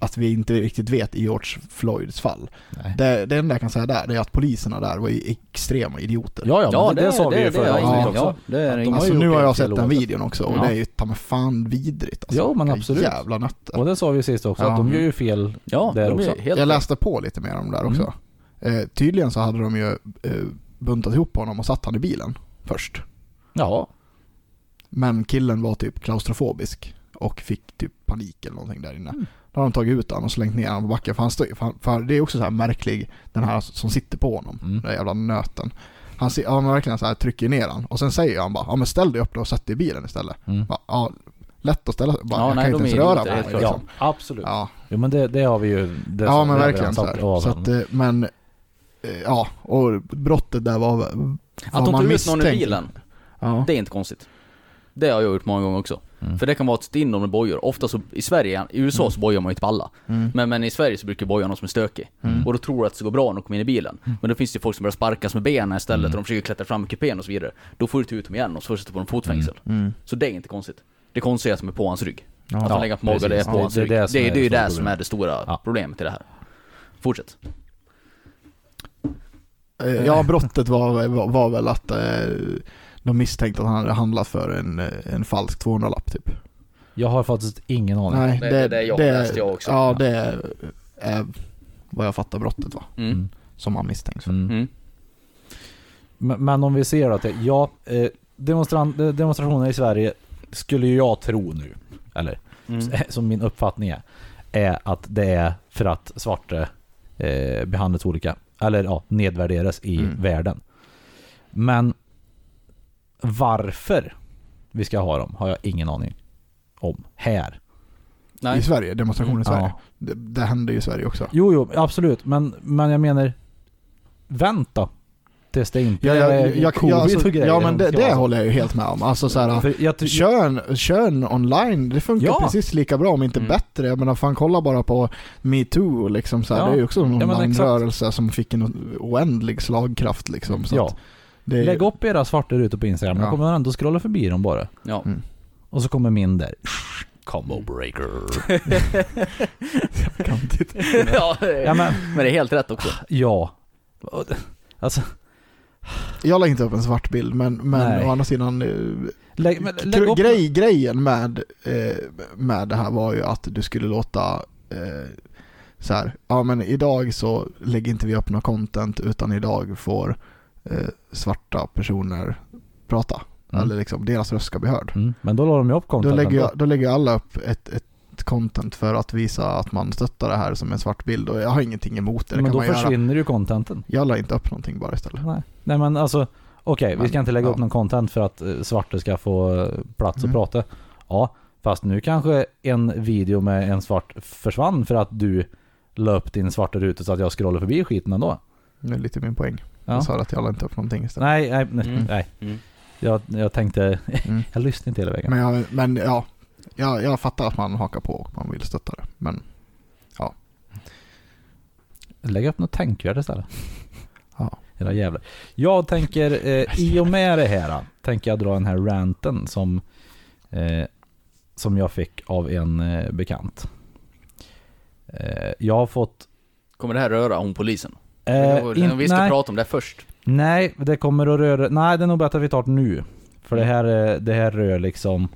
C: att vi inte riktigt vet i George Floyds fall.
E: Nej.
C: Det, det enda jag kan säga där, det är att poliserna där var ju extrema idioter.
E: Ja, ja,
B: Ja,
E: men det, det sa vi ju förra
B: det-
E: avsnittet
B: ja,
E: också.
B: ja, det är
E: Att
B: inget-
E: har
C: alltså
E: ju
C: nu
E: gjort
C: har jag
E: det
C: sett
E: till
C: den
E: låten.
C: videon också och
B: Ja.
C: det är ju ta mig fan vidrigt alltså.
E: Ja, men
C: Vilka
E: absolut.
C: Jävla nötter.
E: Och det sa vi sist också,
C: Ja.
E: att de gör ju fel
B: Ja,
E: där
B: de är
E: också.
B: helt
C: Jag läste på lite mer om det där också.
E: Mm.
C: Eh, tydligen så hade de ju eh, buntat ihop honom och satt han i bilen först.
E: Ja,
C: Men killen var typ klaustrofobisk och fick typ panik eller någonting där
B: Mm.
C: inne. Då har de tagit ut honom och slängt ner honom på backen. För, han stod, för, han- för det är också så här märklig, den här som sitter på honom,
E: Mm.
C: den där jävla nöten. Han ser, ja, men verkligen så här, trycker ner honom och sen säger han bara ja, men ställ dig upp då och sätt dig i bilen istället.
E: Mm.
C: Bara, ja, lätt att ställa sig, bara,
B: Ja,
C: jag
B: nej,
C: kan
B: de
C: inte
B: är
C: ens röra
B: idioter,
C: på
B: helt
C: mig.
B: klart.
E: Ja,
C: Liksom.
E: absolut.
C: Ja.
E: Jo men det, det har vi ju... Det
C: Ja men
E: det har vi
C: verkligen
E: redan
C: så
E: sagt
C: här.
E: av
C: Så
E: honom.
C: att, eh, men, eh, ja, och brottet där var... var
B: Att de
C: man
B: tog ut någon ur
C: misstänkt.
B: bilen,
C: Ja.
B: det är inte konstigt. Det har jag gjort många gånger också.
E: Mm.
B: För det kan vara ett stinn om de bojar. Ofta så, i Sverige, i USA så bojar man ju inte på alla.
C: Mm.
B: Men, men i Sverige så brukar ju boja någon som är stökig. Mm. Och då tror du att det ska gå bra när de kommer in i bilen.
E: Mm.
B: Men då finns det ju folk som börjar sparkas med benen istället och de försöker klättra fram i kupén och så vidare. Då får du ta ut dem igen och så sätter på dem fotfängsel.
E: Mm.
C: Mm.
B: Så det är inte konstigt. Det konstiga är att de är på hans rygg. Att
E: Ja,
B: han lägger på magen, det är
E: precis.
B: på
E: Ja,
B: hans
E: det är
B: rygg.
E: det
B: Det,
E: som är
B: det, är
E: det
B: ju
E: stora
B: det som är det stora
E: Ja.
B: problemet i det här. Fortsätt.
C: Eh, Ja, brottet var, var, var väl att eh, de misstänkte att han hade handlat för en, eh, en falsk 200-lapp typ.
E: Jag har faktiskt ingen aning.
C: Nej,
B: det- det är jag läste jag också.
C: Ja, det är, är vad jag fattar brottet va?
B: Mm.
C: Som han misstänks för.
E: Mm.
B: Mm.
E: Men, men om vi ser att det, ja, eh, demonstran- eh, demonstrationer i Sverige skulle ju jag tro nu, eller
B: Mm.
E: [LAUGHS] som min uppfattning är, är att det är för att svarta eh, behandlas olika, eller ja, nedvärderas i
C: Mm.
E: världen. Men varför vi ska ha dem har jag ingen aning om här.
B: Nej.
E: Mm.
C: I Sverige, demonstrationer i Sverige.
E: Ja.
C: Det, det händer ju i Sverige också.
E: Jo, jo, absolut, men, men jag menar, vänta tills det inte
C: Ja,
E: är
C: jag, jag,
E: covid
C: jag, alltså,
E: och grejer.
C: ja men
E: som
C: det,
E: ska
C: det
E: vara så.
C: håller jag ju helt med om. Alltså så här,
E: För jag, ty-
C: Kör en, kör en online, det funkar
E: Ja.
C: precis lika bra om inte
B: Mm.
C: bättre. Jag menar fan kolla bara på metoo liksom så här.
E: Ja.
C: Det är ju också en
E: Ja, men
C: online-rörelse som fick en oändlig slagkraft liksom. Så
E: ja.
C: att det är,
E: Lägg upp era svarta rutor på Instagram, jag
C: Ja.
E: kommer ändå scrolla förbi dem bara. [LAUGHS]
B: Ja.
C: Mm.
E: Och så kommer min där. Combo breaker.
B: [LAUGHS]
C: kantigt.
B: ja, det är-
E: ja men,
B: men det är helt rätt också.
E: ja. Alltså,
C: Jag lägger inte upp en svart bild men, men
E: Nej.
C: å andra sidan, eh,
E: lägg, men, lägg
C: gre-
E: upp...
C: grej, grejen med, eh, med det här var ju att du skulle låta eh, så här, ja men idag så lägger inte vi upp något content utan idag får eh, svarta personer prata.
E: Mm.
C: Eller liksom, deras röst ska bli hörd.
E: Mm, men då la de ju upp
C: Då
E: content
C: lägger,
E: ändå.
C: jag, då lägger alla upp ett, ett content för att visa att man stöttar det här som en svart bild och jag har ingenting emot det, det
E: Men
C: kan
E: då
C: man göra.
E: försvinner ju contenten.
C: Jag la inte upp någonting bara istället.
E: Nej, Nej men alltså, okej vi
C: Men,
E: ska inte lägga
C: ja.
E: upp någon content för att eh, svarta ska få eh, plats
C: Mm.
E: att prata. Ja, fast nu kanske en video med en svart försvann för att du la upp din svarta ruta så att jag scrollade förbi skiten ändå.
C: Det är lite min poäng.
E: Ja.
C: Jag sa att jag la inte upp någonting istället.
E: Nej, nej, nej.
B: Mm.
E: nej.
B: Mm.
E: Jag, jag tänkte, [LAUGHS]
C: Mm.
E: jag lyssnade inte hela vägen.
C: Men, jag, men ja, jag, jag fattar att man hakar på och man vill stötta det. Men
E: Lägg upp något tänkvärt istället.
C: Ja.
E: Era jävlar. Jag tänker, eh, i och med det här, då, tänker jag dra den här ranten som, eh, som jag fick av en eh, bekant. Eh, jag har fått...
B: Kommer det här röra hon polisen?
E: Eh,
B: in,
E: in,
B: vi ska
E: nej,
B: prata om det först.
E: nej, det kommer att röra... Nej, det är nog bättre att vi tar det nu. För det här, eh, det här rör liksom eh,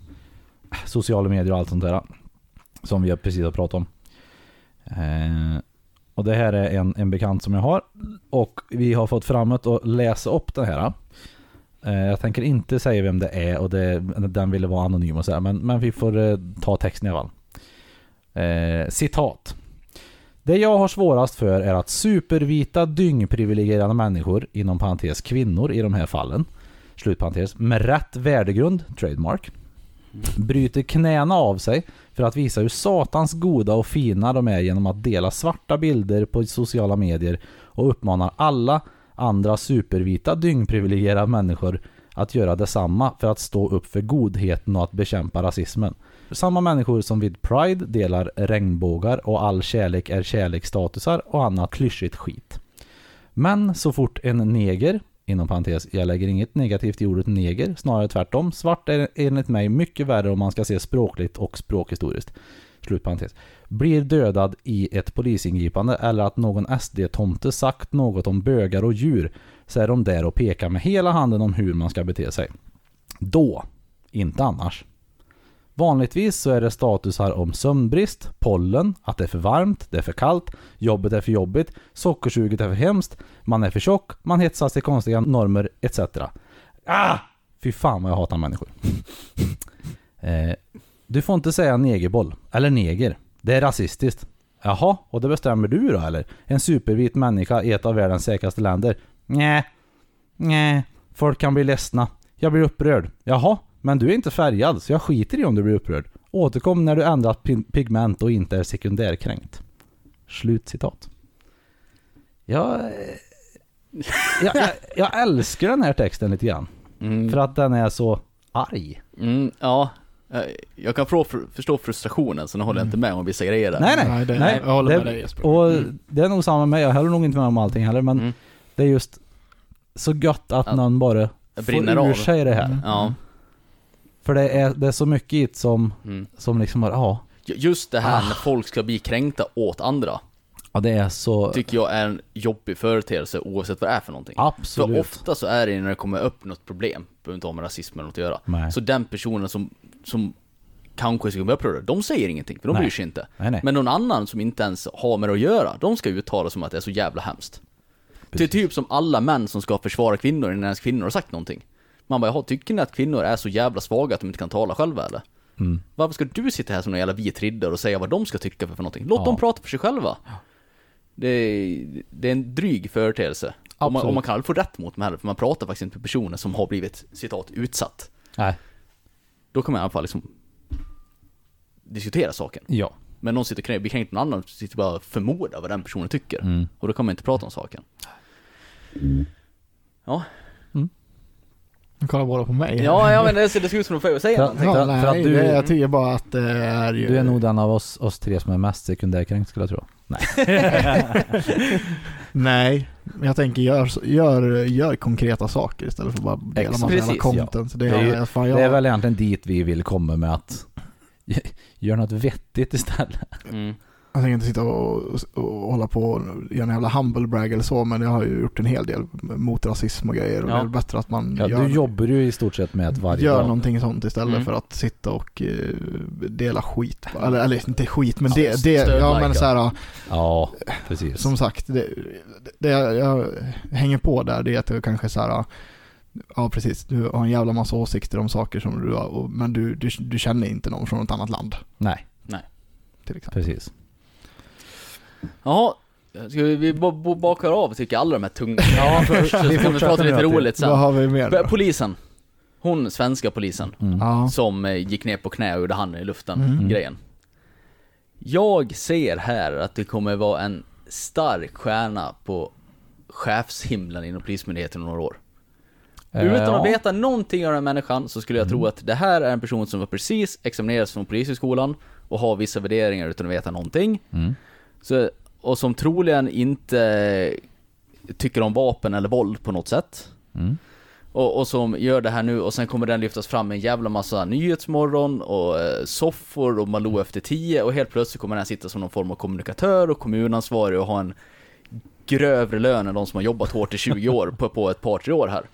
E: sociala medier och allt sånt där. Som vi precis har pratat om. Eh, och det här är en, en bekant som jag har. Och vi har fått framåt att läsa upp det här. Eh, jag tänker inte säga vem det är och det, den ville vara anonym och sådär. Men, men vi får eh, ta texten i alla fall. Eh, citat. Det jag har svårast för är att supervita dyngprivilegierade människor, inom parentes kvinnor i de här fallen, slutparentes, med rätt värdegrund, trademark, bryter knäna av sig för att visa hur satans goda och fina de är genom att dela svarta bilder på sociala medier och uppmanar alla andra supervita dyngprivilegierade människor att göra detsamma för att stå upp för godheten och att bekämpa rasismen. Samma människor som vid Pride delar regnbågar och all kärlek är kärleksstatusar och annat klyschigt skit. Men så fort en neger, inom parentes, jag lägger inget negativt i ordet neger, snarare tvärtom. Svart är enligt mig mycket värre om man ska se språkligt och språkhistoriskt. Slut parentes. Blir dödad i ett polisingripande eller att någon SD-tomte sagt något om bögar och djur så är de där och pekar med hela handen om hur man ska bete sig. Då, inte annars. Vanligtvis så är det statusar om sömnbrist, pollen, att det är för varmt, det är för kallt, jobbet är för jobbigt, sockersuget är för hemskt, man är för tjock, man hetsas till konstiga normer etc. Ah! Fy fan vad jag hatar människor. [LAUGHS] eh, du får inte säga negerboll, eller neger. Det är rasistiskt. Jaha, och det bestämmer du då eller? En supervit människa i ett av världens säkraste länder? Nä. Nä. Folk kan bli ledsna. Jag blir upprörd. Jaha, men du är inte färgad så jag skiter i om du blir upprörd. Återkom när du ändrat pin- pigment och inte är sekundärkränkt. Slut citat. Jag, eh, jag, jag, jag älskar den här texten lite grann. För att den är så arg.
B: Mm, ja, Eh, jag kan fro- förstå frustrationen, sen håller jag inte med om vissa grejer där.
E: Mm. Nej nej.
C: det,
E: nej
C: jag håller med
E: det,
C: dig Jesper. Mm.
E: Och det är nog samma med mig, jag håller nog inte med om allting heller men
B: Mm.
E: det är just så gött att
B: Ja.
E: någon bara
B: Jag
E: får
B: brinner
E: ur
B: av.
E: sig det här.
C: Mm.
B: Ja.
E: För det är, det är så mycket i det som,
B: Mm.
E: som liksom bara, ja.
B: Ju- Just det här när folk ska bli kränkta åt andra.
E: Ja, det är så...
B: Tycker jag är en jobbig företeelse oavsett vad det är för någonting. För
E: Absolut.
B: ofta så är det när det kommer upp något problem, behöver inte ha med rasism eller något att göra.
E: Nej.
B: Så den personen som, som kanske skulle bli upprörd, de säger ingenting, för de
E: Nej.
B: bryr sig inte.
E: Nej, nej.
B: Men någon annan som inte ens har med det att göra, de ska uttala sig om att det är så jävla hemskt. Det är typ som alla män som ska försvara kvinnor innan ens kvinnor har sagt någonting. Man bara, jaha, tycker ni att kvinnor är så jävla svaga att de inte kan tala själva eller?
E: Mm.
B: Varför ska du sitta här som någon jävla vit riddare och säga vad de ska tycka för, för någonting? Låt
E: Ja.
B: dem prata för sig själva. Det är, det är en dryg företeelse. Om man,
E: Absolut.
B: om man kan aldrig få rätt mot dem heller, för man pratar faktiskt inte med personer som har blivit citat utsatt.
E: Nej.
B: Då kan man i alla fall liksom diskutera saken.
E: Ja.
B: Men någon sitter och kränker, vi kränker någon annan, sitter bara och förmodar vad den personen tycker.
E: Mm.
B: Och då kan man inte prata om saken. Ja,
C: Nu kollar båda på mig.
B: ja, ja men det, det ser ut som att säga
E: Ja.
B: någonting.
C: Ja,
E: För-
C: nej,
E: för att du-
C: det, jag tycker bara att det är ju...
E: Du är nog den av oss, oss tre som är mest sekundärkränkt skulle jag tro. Nej.
C: Nej, men jag tänker gör, gör, gör konkreta saker istället för att bara dela
E: Exakt.
C: massa jävla
B: Precis,
C: content. Så Det,
E: Det är ju-
C: är, fan, jag,
E: Det är väl egentligen dit vi vill komma med att [LAUGHS] göra något vettigt istället.
B: Mm.
C: jag tänker inte sitta och, och hålla på och göra en jävla humble brag eller så, men jag har ju gjort en hel del mot rasism och grejer. Och
B: Ja.
C: det är väl bättre att man
E: Ja,
C: gör,
E: du jobbar ju i stort sett med ett varje
C: gör
E: dag.
C: någonting sånt istället
B: Mm.
C: för att sitta och eh, dela skit. Eller, eller inte skit, men det...
B: Stöd-
C: det ja,
B: stödlajka.
C: men så här,
E: Ja, precis.
C: Som sagt, det, det jag, jag hänger på där det är att jag kanske så här, ja precis, du har en jävla massa åsikter om saker som du har, och- men du, du, du känner inte någon från något annat land
E: Nej,
C: till exempel.
E: precis.
B: Jaha, ska vi, vi bo- bo- bakar av tycker jag, alla de här tunga ja, först, så
E: vi
B: kan vi
E: fortsätter
B: prata
E: nu,
B: lite
E: Martin.
B: roligt
C: Vad
B: sen.
C: har vi mer då?
B: Polisen. Hon, svenska polisen,
E: Mm.
C: Ja.
B: som eh, gick ner på knä och gjorde handen i luften,
C: Mm.
B: grejen. Jag ser här att det kommer vara en stark stjärna på chefshimlen inom polismyndigheten om några år. Utan att
E: Eh,
B: veta någonting om den här människan så skulle jag tro att det här är en person som var precis examinerades från polishögskolan och har vissa värderingar utan att veta någonting.
E: Mm.
B: Så, och som troligen inte tycker om vapen eller våld på något sätt.
E: Mm.
B: Och, och som gör det här nu och sen kommer den lyftas fram med en jävla massa nyhetsmorgon och eh, soffor och Malou efter tio och helt plötsligt kommer den sitta som någon form av kommunikatör och kommunansvarig och ha en grövre lön än de som har jobbat hårt i 20 år på, på ett par tre år här.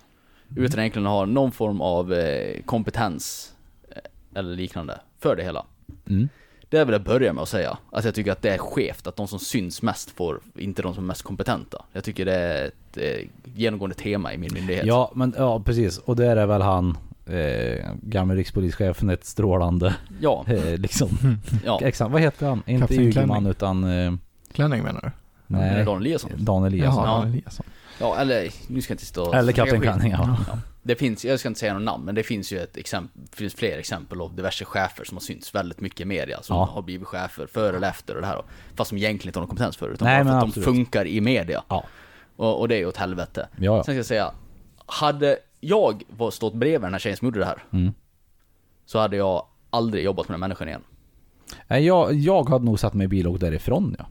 B: Utan egentligen ha någon form av eh, kompetens eh, eller liknande för det hela.
E: Mm.
B: Det vill jag börja med att säga. Att jag tycker att det är skevt att de som syns mest får, inte de som är mest kompetenta. Jag tycker det är ett eh, genomgående tema i min myndighet.
E: Ja, men ja, precis. Och där är väl han, eh, gamle rikspolischefen, ett strålande, [LAUGHS]
B: Ja,
E: eh, liksom. [LAUGHS]
B: ja.
E: Exakt, vad heter han? Inte
C: Kapten
E: Ygeman
C: Klänning.
E: utan, eh,
C: Klänning menar du?
E: nej,
B: Dan Eliasson.
E: Dan Eliasson.
C: Jaha,
B: Ja.
C: Eliasson.
B: Ja, eller nu ska jag inte stå och
E: Eller
B: snacka
E: Kapten
B: skit.
E: Klänning, ja.
B: Det finns, jag ska inte säga något namn, men det finns ju ett exempel, det finns fler exempel av diverse chefer som har synts väldigt mycket i media, som
E: Ja.
B: har blivit chefer före eller efter och det här då. Fast som egentligen inte har någon kompetens för det, utan
E: Nej,
B: bara för
E: men
B: att
E: absolut.
B: de funkar i media.
E: Ja.
B: Och, och det är ju åt helvete.
E: Ja, ja.
B: Sen ska jag säga, hade jag var stått bredvid den här tjejen som gjorde det här,
E: Mm.
B: så hade jag aldrig jobbat med den här människan igen.
E: Nej, jag, jag hade nog satt mig i bil och åkt därifrån ja.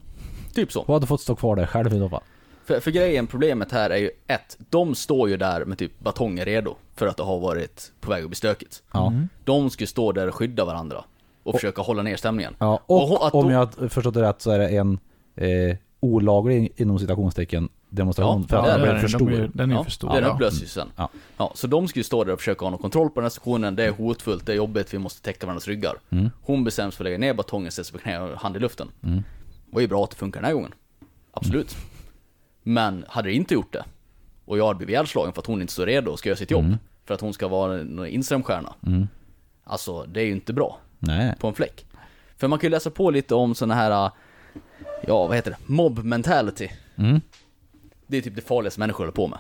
B: Typ så.
E: Och hade fått stå kvar där själv i så fall.
B: För, för grejen, problemet här är ju ett, de står ju där med typ batonger redo för att det har varit på väg att bli stökigt.
E: Ja.
B: De ska ju stå där och skydda varandra och försöka hålla ner stämningen.
E: Ja, och,
B: Och att
E: om
B: då-
E: jag har förstått det rätt så är det en eh, olaglig inom citationstecken demonstration
B: Ja,
E: för att
B: det
E: den
B: är
E: blev
C: den,
E: för
C: de är ju-
E: stor.
C: den är ju
B: ja,
C: för stor.
B: Den
C: ja.
B: upplöses ju sen.
E: Ja.
B: Ja. så de ska ju stå där och försöka ha någon kontroll på den här situationen, det är hotfullt, det är jobbigt, vi måste täcka varandras ryggar. Hon bestäms för att lägga ner batongen, sätter sig på knä och hand i luften. Mm. Det var ju bra att det funkar den här gången. Absolut. Men hade det inte gjort det, och jag hade blivit ihjälslagen för att hon inte står redo och ska göra sitt jobb, för att hon ska vara en Instagramstjärna. Alltså, det är ju inte bra
E: Nej.
B: på en fläck. För man kan ju läsa på lite om såna här, äh, ja vad heter det, mob mentality.
E: Mm.
B: Det är typ det farligaste människor håller på med.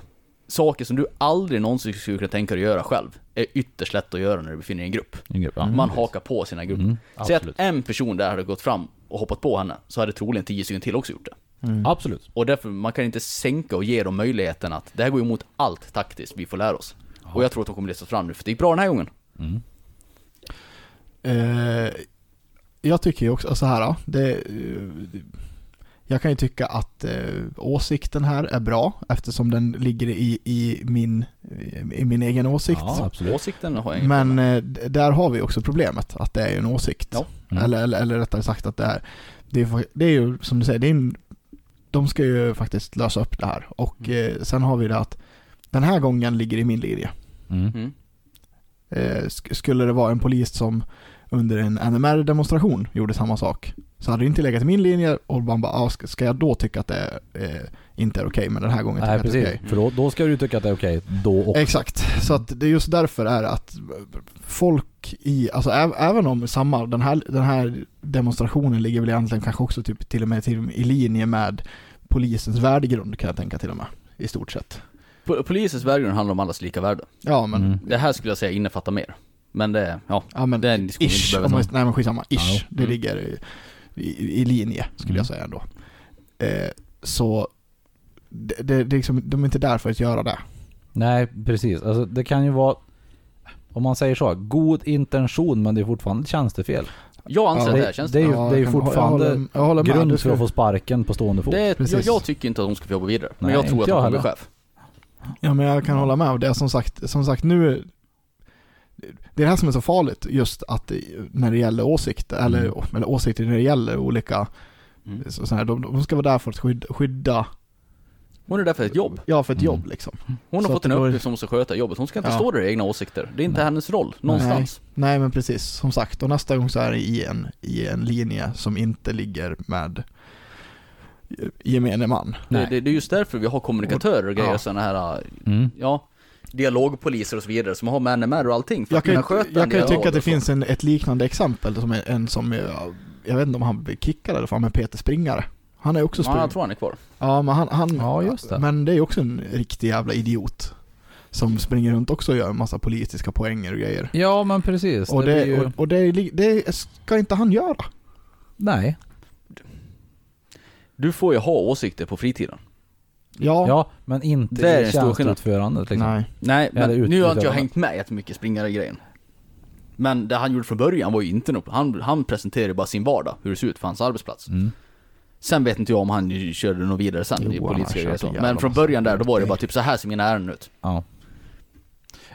B: Saker som du aldrig någonsin skulle kunna tänka dig att göra själv, är ytterst lätt att göra när du befinner dig i en grupp.
E: En grupp, ja.
B: Man Mm. hakar på sina grupper. Säg att
E: Mm, absolut.
B: en person där hade gått fram och hoppat på henne, så hade troligen tio stycken till också gjort det.
C: Mm.
E: Absolut.
B: Och därför, man kan inte sänka och ge dem möjligheten att det här går ju emot allt taktiskt vi får lära oss. Och jag tror att de kommer lyftas fram nu, för det gick bra den här gången.
E: Mm.
C: Eh, jag tycker ju också så här, ja, det, eh, jag kan ju tycka att eh, åsikten här är bra eftersom den ligger i, i, min, i min egen åsikt.
E: Ja, absolut.
B: Åsikten har jag ingen
C: Men eh, d- där har vi också problemet, att det är ju en åsikt.
B: Ja.
E: Mm.
C: Eller, eller, eller rättare sagt att det är, det är, ju- det är ju som du säger, det är en de ska ju faktiskt lösa upp det här. Och eh, sen har vi det att den här gången ligger i min linje.
E: Mm.
B: Mm.
C: Eh, sk- skulle det vara en polis som under en NMR-demonstration gjorde samma sak så hade det inte legat i min linje och man bara, ah, ska- ska jag då tycka att det eh, inte är okej, men den här gången tycker
E: Nej
C: jag att det är
E: precis,
C: okej.
E: för då, då ska du tycka att det är okej då och.
C: Exakt, så att det är just därför är att folk i, alltså ä- även om samma, den här, den här demonstrationen ligger väl egentligen kanske också typ till och med till, i linje med polisens värdegrund kan jag tänka till och med, i stort sett.
B: Po- Polisens värdegrund handlar om allas lika värde.
C: Ja men,
E: Mm.
B: Det här skulle jag säga innefattar mer. Men det, ja,
C: ja men,
B: det är en diskussion vi
C: ish,
B: inte
C: om man,
B: behöver ta.
C: nej men skitsamma, ish,
E: Ja.
C: det
B: Mm.
C: ligger i, i, i linje skulle
E: Mm.
C: jag säga ändå. Eh, så, det, det, det är liksom, de är inte där för att göra det.
E: Nej precis, alltså det kan ju vara om man säger så, god intention men det är fortfarande ett tjänstefel.
B: Jag anser
C: Ja,
B: att det
E: det,
B: här känns
E: det är ju,
C: Ja,
E: det är ju
C: jag kan- jag
E: fortfarande
C: håller, jag håller med. Du
E: grund för
C: skulle-
E: att få sparken på stående fot.
B: Det är,
C: Precis.
B: jag, jag tycker inte att de ska få jobba vidare. Men
E: Nej,
B: jag tror
E: inte
B: att
E: jag
B: de kommer bli
E: heller.
B: chef.
C: Ja men jag kan hålla med och det är som sagt, som sagt nu det är det här som är så farligt just att det- när det gäller åsikter, eller,
E: Mm.
C: eller åsikter när det gäller olika
B: Mm.
C: så, så här, de, de ska vara där för att skydda, skydda
B: Hon är där för ett jobb.
C: ja för ett
E: Mm.
C: jobb liksom.
B: Hon har
C: Så
B: fått
C: att
B: en
C: det var-
B: uppgift som hon ska sköta jobbet. Hon ska inte
C: Ja.
B: stå där i egna åsikter. Det är inte
E: Nej.
B: hennes roll, någonstans.
C: Nej men precis, som sagt, och nästa gång så är det i en, i en linje som inte ligger med gemene man.
B: Det,
E: Nej.
B: det, det är just därför vi har kommunikatörer och grejer,
C: Ja.
B: sådana här,
E: Mm.
B: ja, dialogpoliser och så vidare som har med NMR och allting för
C: Jag
B: att
C: kan,
B: kunna
C: ju-
B: sköta en
C: jag kan ju
B: dialog
C: tycka att det
B: och så.
C: finns en, ett liknande exempel som är en som, är- jag vet inte om han blev kickad eller fan, men Peter Springare. Han är också
B: Ja,
C: sprung,
B: jag tror han är kvar.
C: Ja, men han, han
E: Ja, just det.
C: Men det är ju också en riktig jävla idiot. Som springer runt också och gör en massa politiska poänger och grejer.
E: Ja men precis.
C: och
E: det
C: det,
E: blir ju...
C: och, och det, är li- det ska inte han göra.
E: Nej.
B: Du får ju ha åsikter på fritiden.
C: Ja,
E: Ja, men inte
B: Det är en
E: i
B: stor skillnad.
E: tjänsteutförandet liksom.
C: nej.
B: Nej, men
E: Eller ut-
B: nu har inte jag
E: utövarna.
B: hängt med jättemycket i springare-grejen. Men det han gjorde från början var ju inte något, han, han presenterade bara sin vardag, hur det ser ut för hans arbetsplats.
E: Mm.
B: Sen vet inte jag om han ju körde något vidare sen
C: Jo,
B: i
C: han
B: politiska
C: körde
B: grejer och så. Men
C: jävla
B: från
C: massa
B: början där, då var det
C: grejer.
B: bara typ så här ser mina ärenden ut.
E: Ja.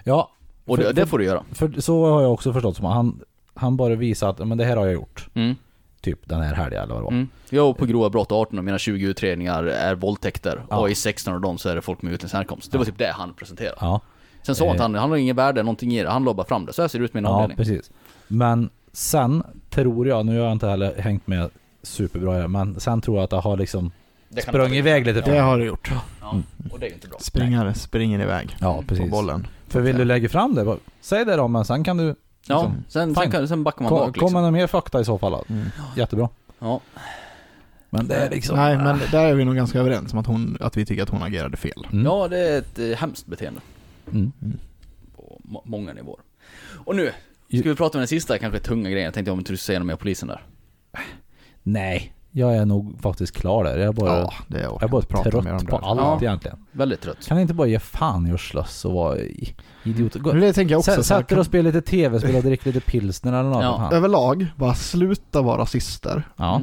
E: Ja,
B: Och det,
E: För-
B: det
E: för-
B: får du göra.
E: för så har jag också förstått som att han, han bara visar att ja, men det här har jag gjort.
B: Mm.
E: Typ den här helgen eller vad det var.
B: Mm. Jag var på grova brott 18 av mina 20 utredningar är våldtäkter
E: Ja.
B: och i 16 av dem så är det folk med utländsk härkomst. Det var typ det han presenterade.
E: Ja,
B: Sen sa han att han, han har ingen värde, någonting i det. Han la bara fram det. Så här ser det ut med min
E: ja
B: avdelning.
E: precis. Men sen tror jag, nu har jag inte heller hängt med superbra i det, men sen tror jag att det har liksom
B: Det kan
E: sprungit
B: inte-
E: iväg lite.
C: Det
E: Ja,
C: har du gjort.
B: Ja, och det är ju inte bra.
C: Springare springer iväg
E: ja
C: på
E: precis.
C: bollen.
E: Mm. För vill du lägga fram det, bara, säg det då men sen kan du,
B: Ja,
E: Liksom.
B: sen, sen,
E: Fine.
B: kan, sen backar man
E: ko-
B: bak
E: komma
B: liksom.
E: med mer fakta i så fall. då.
C: Mm.
E: Jättebra.
B: Ja.
E: Men det är liksom...
C: Nej, men där är vi nog ganska överens om att, hon, att vi tycker att hon agerade fel.
E: Mm.
B: ja, det är ett eh, hemskt beteende
E: Mm.
B: på må- många nivåer. Och nu, ska vi prata om den sista kanske tunga grejen? Jag tänkte om du skulle säga något mer om polisen där.
E: Nej, jag är nog faktiskt klar där. Jag är bara,
C: Ja, det är
E: eh, jag är bara trött
C: mer om det
E: på
C: här.
E: allt
B: Ja.
E: egentligen.
B: Väldigt trött.
E: Kan jag inte bara ge fan i att slåss och vara i- idiot? Gå,
C: Men det tänker jag också.
E: sä-
C: så här,
E: sätt er och spela lite tv-spel och drick lite pilsner eller något.
B: Ja.
E: för fan.
C: Överlag, bara sluta vara rasister.
E: Ja.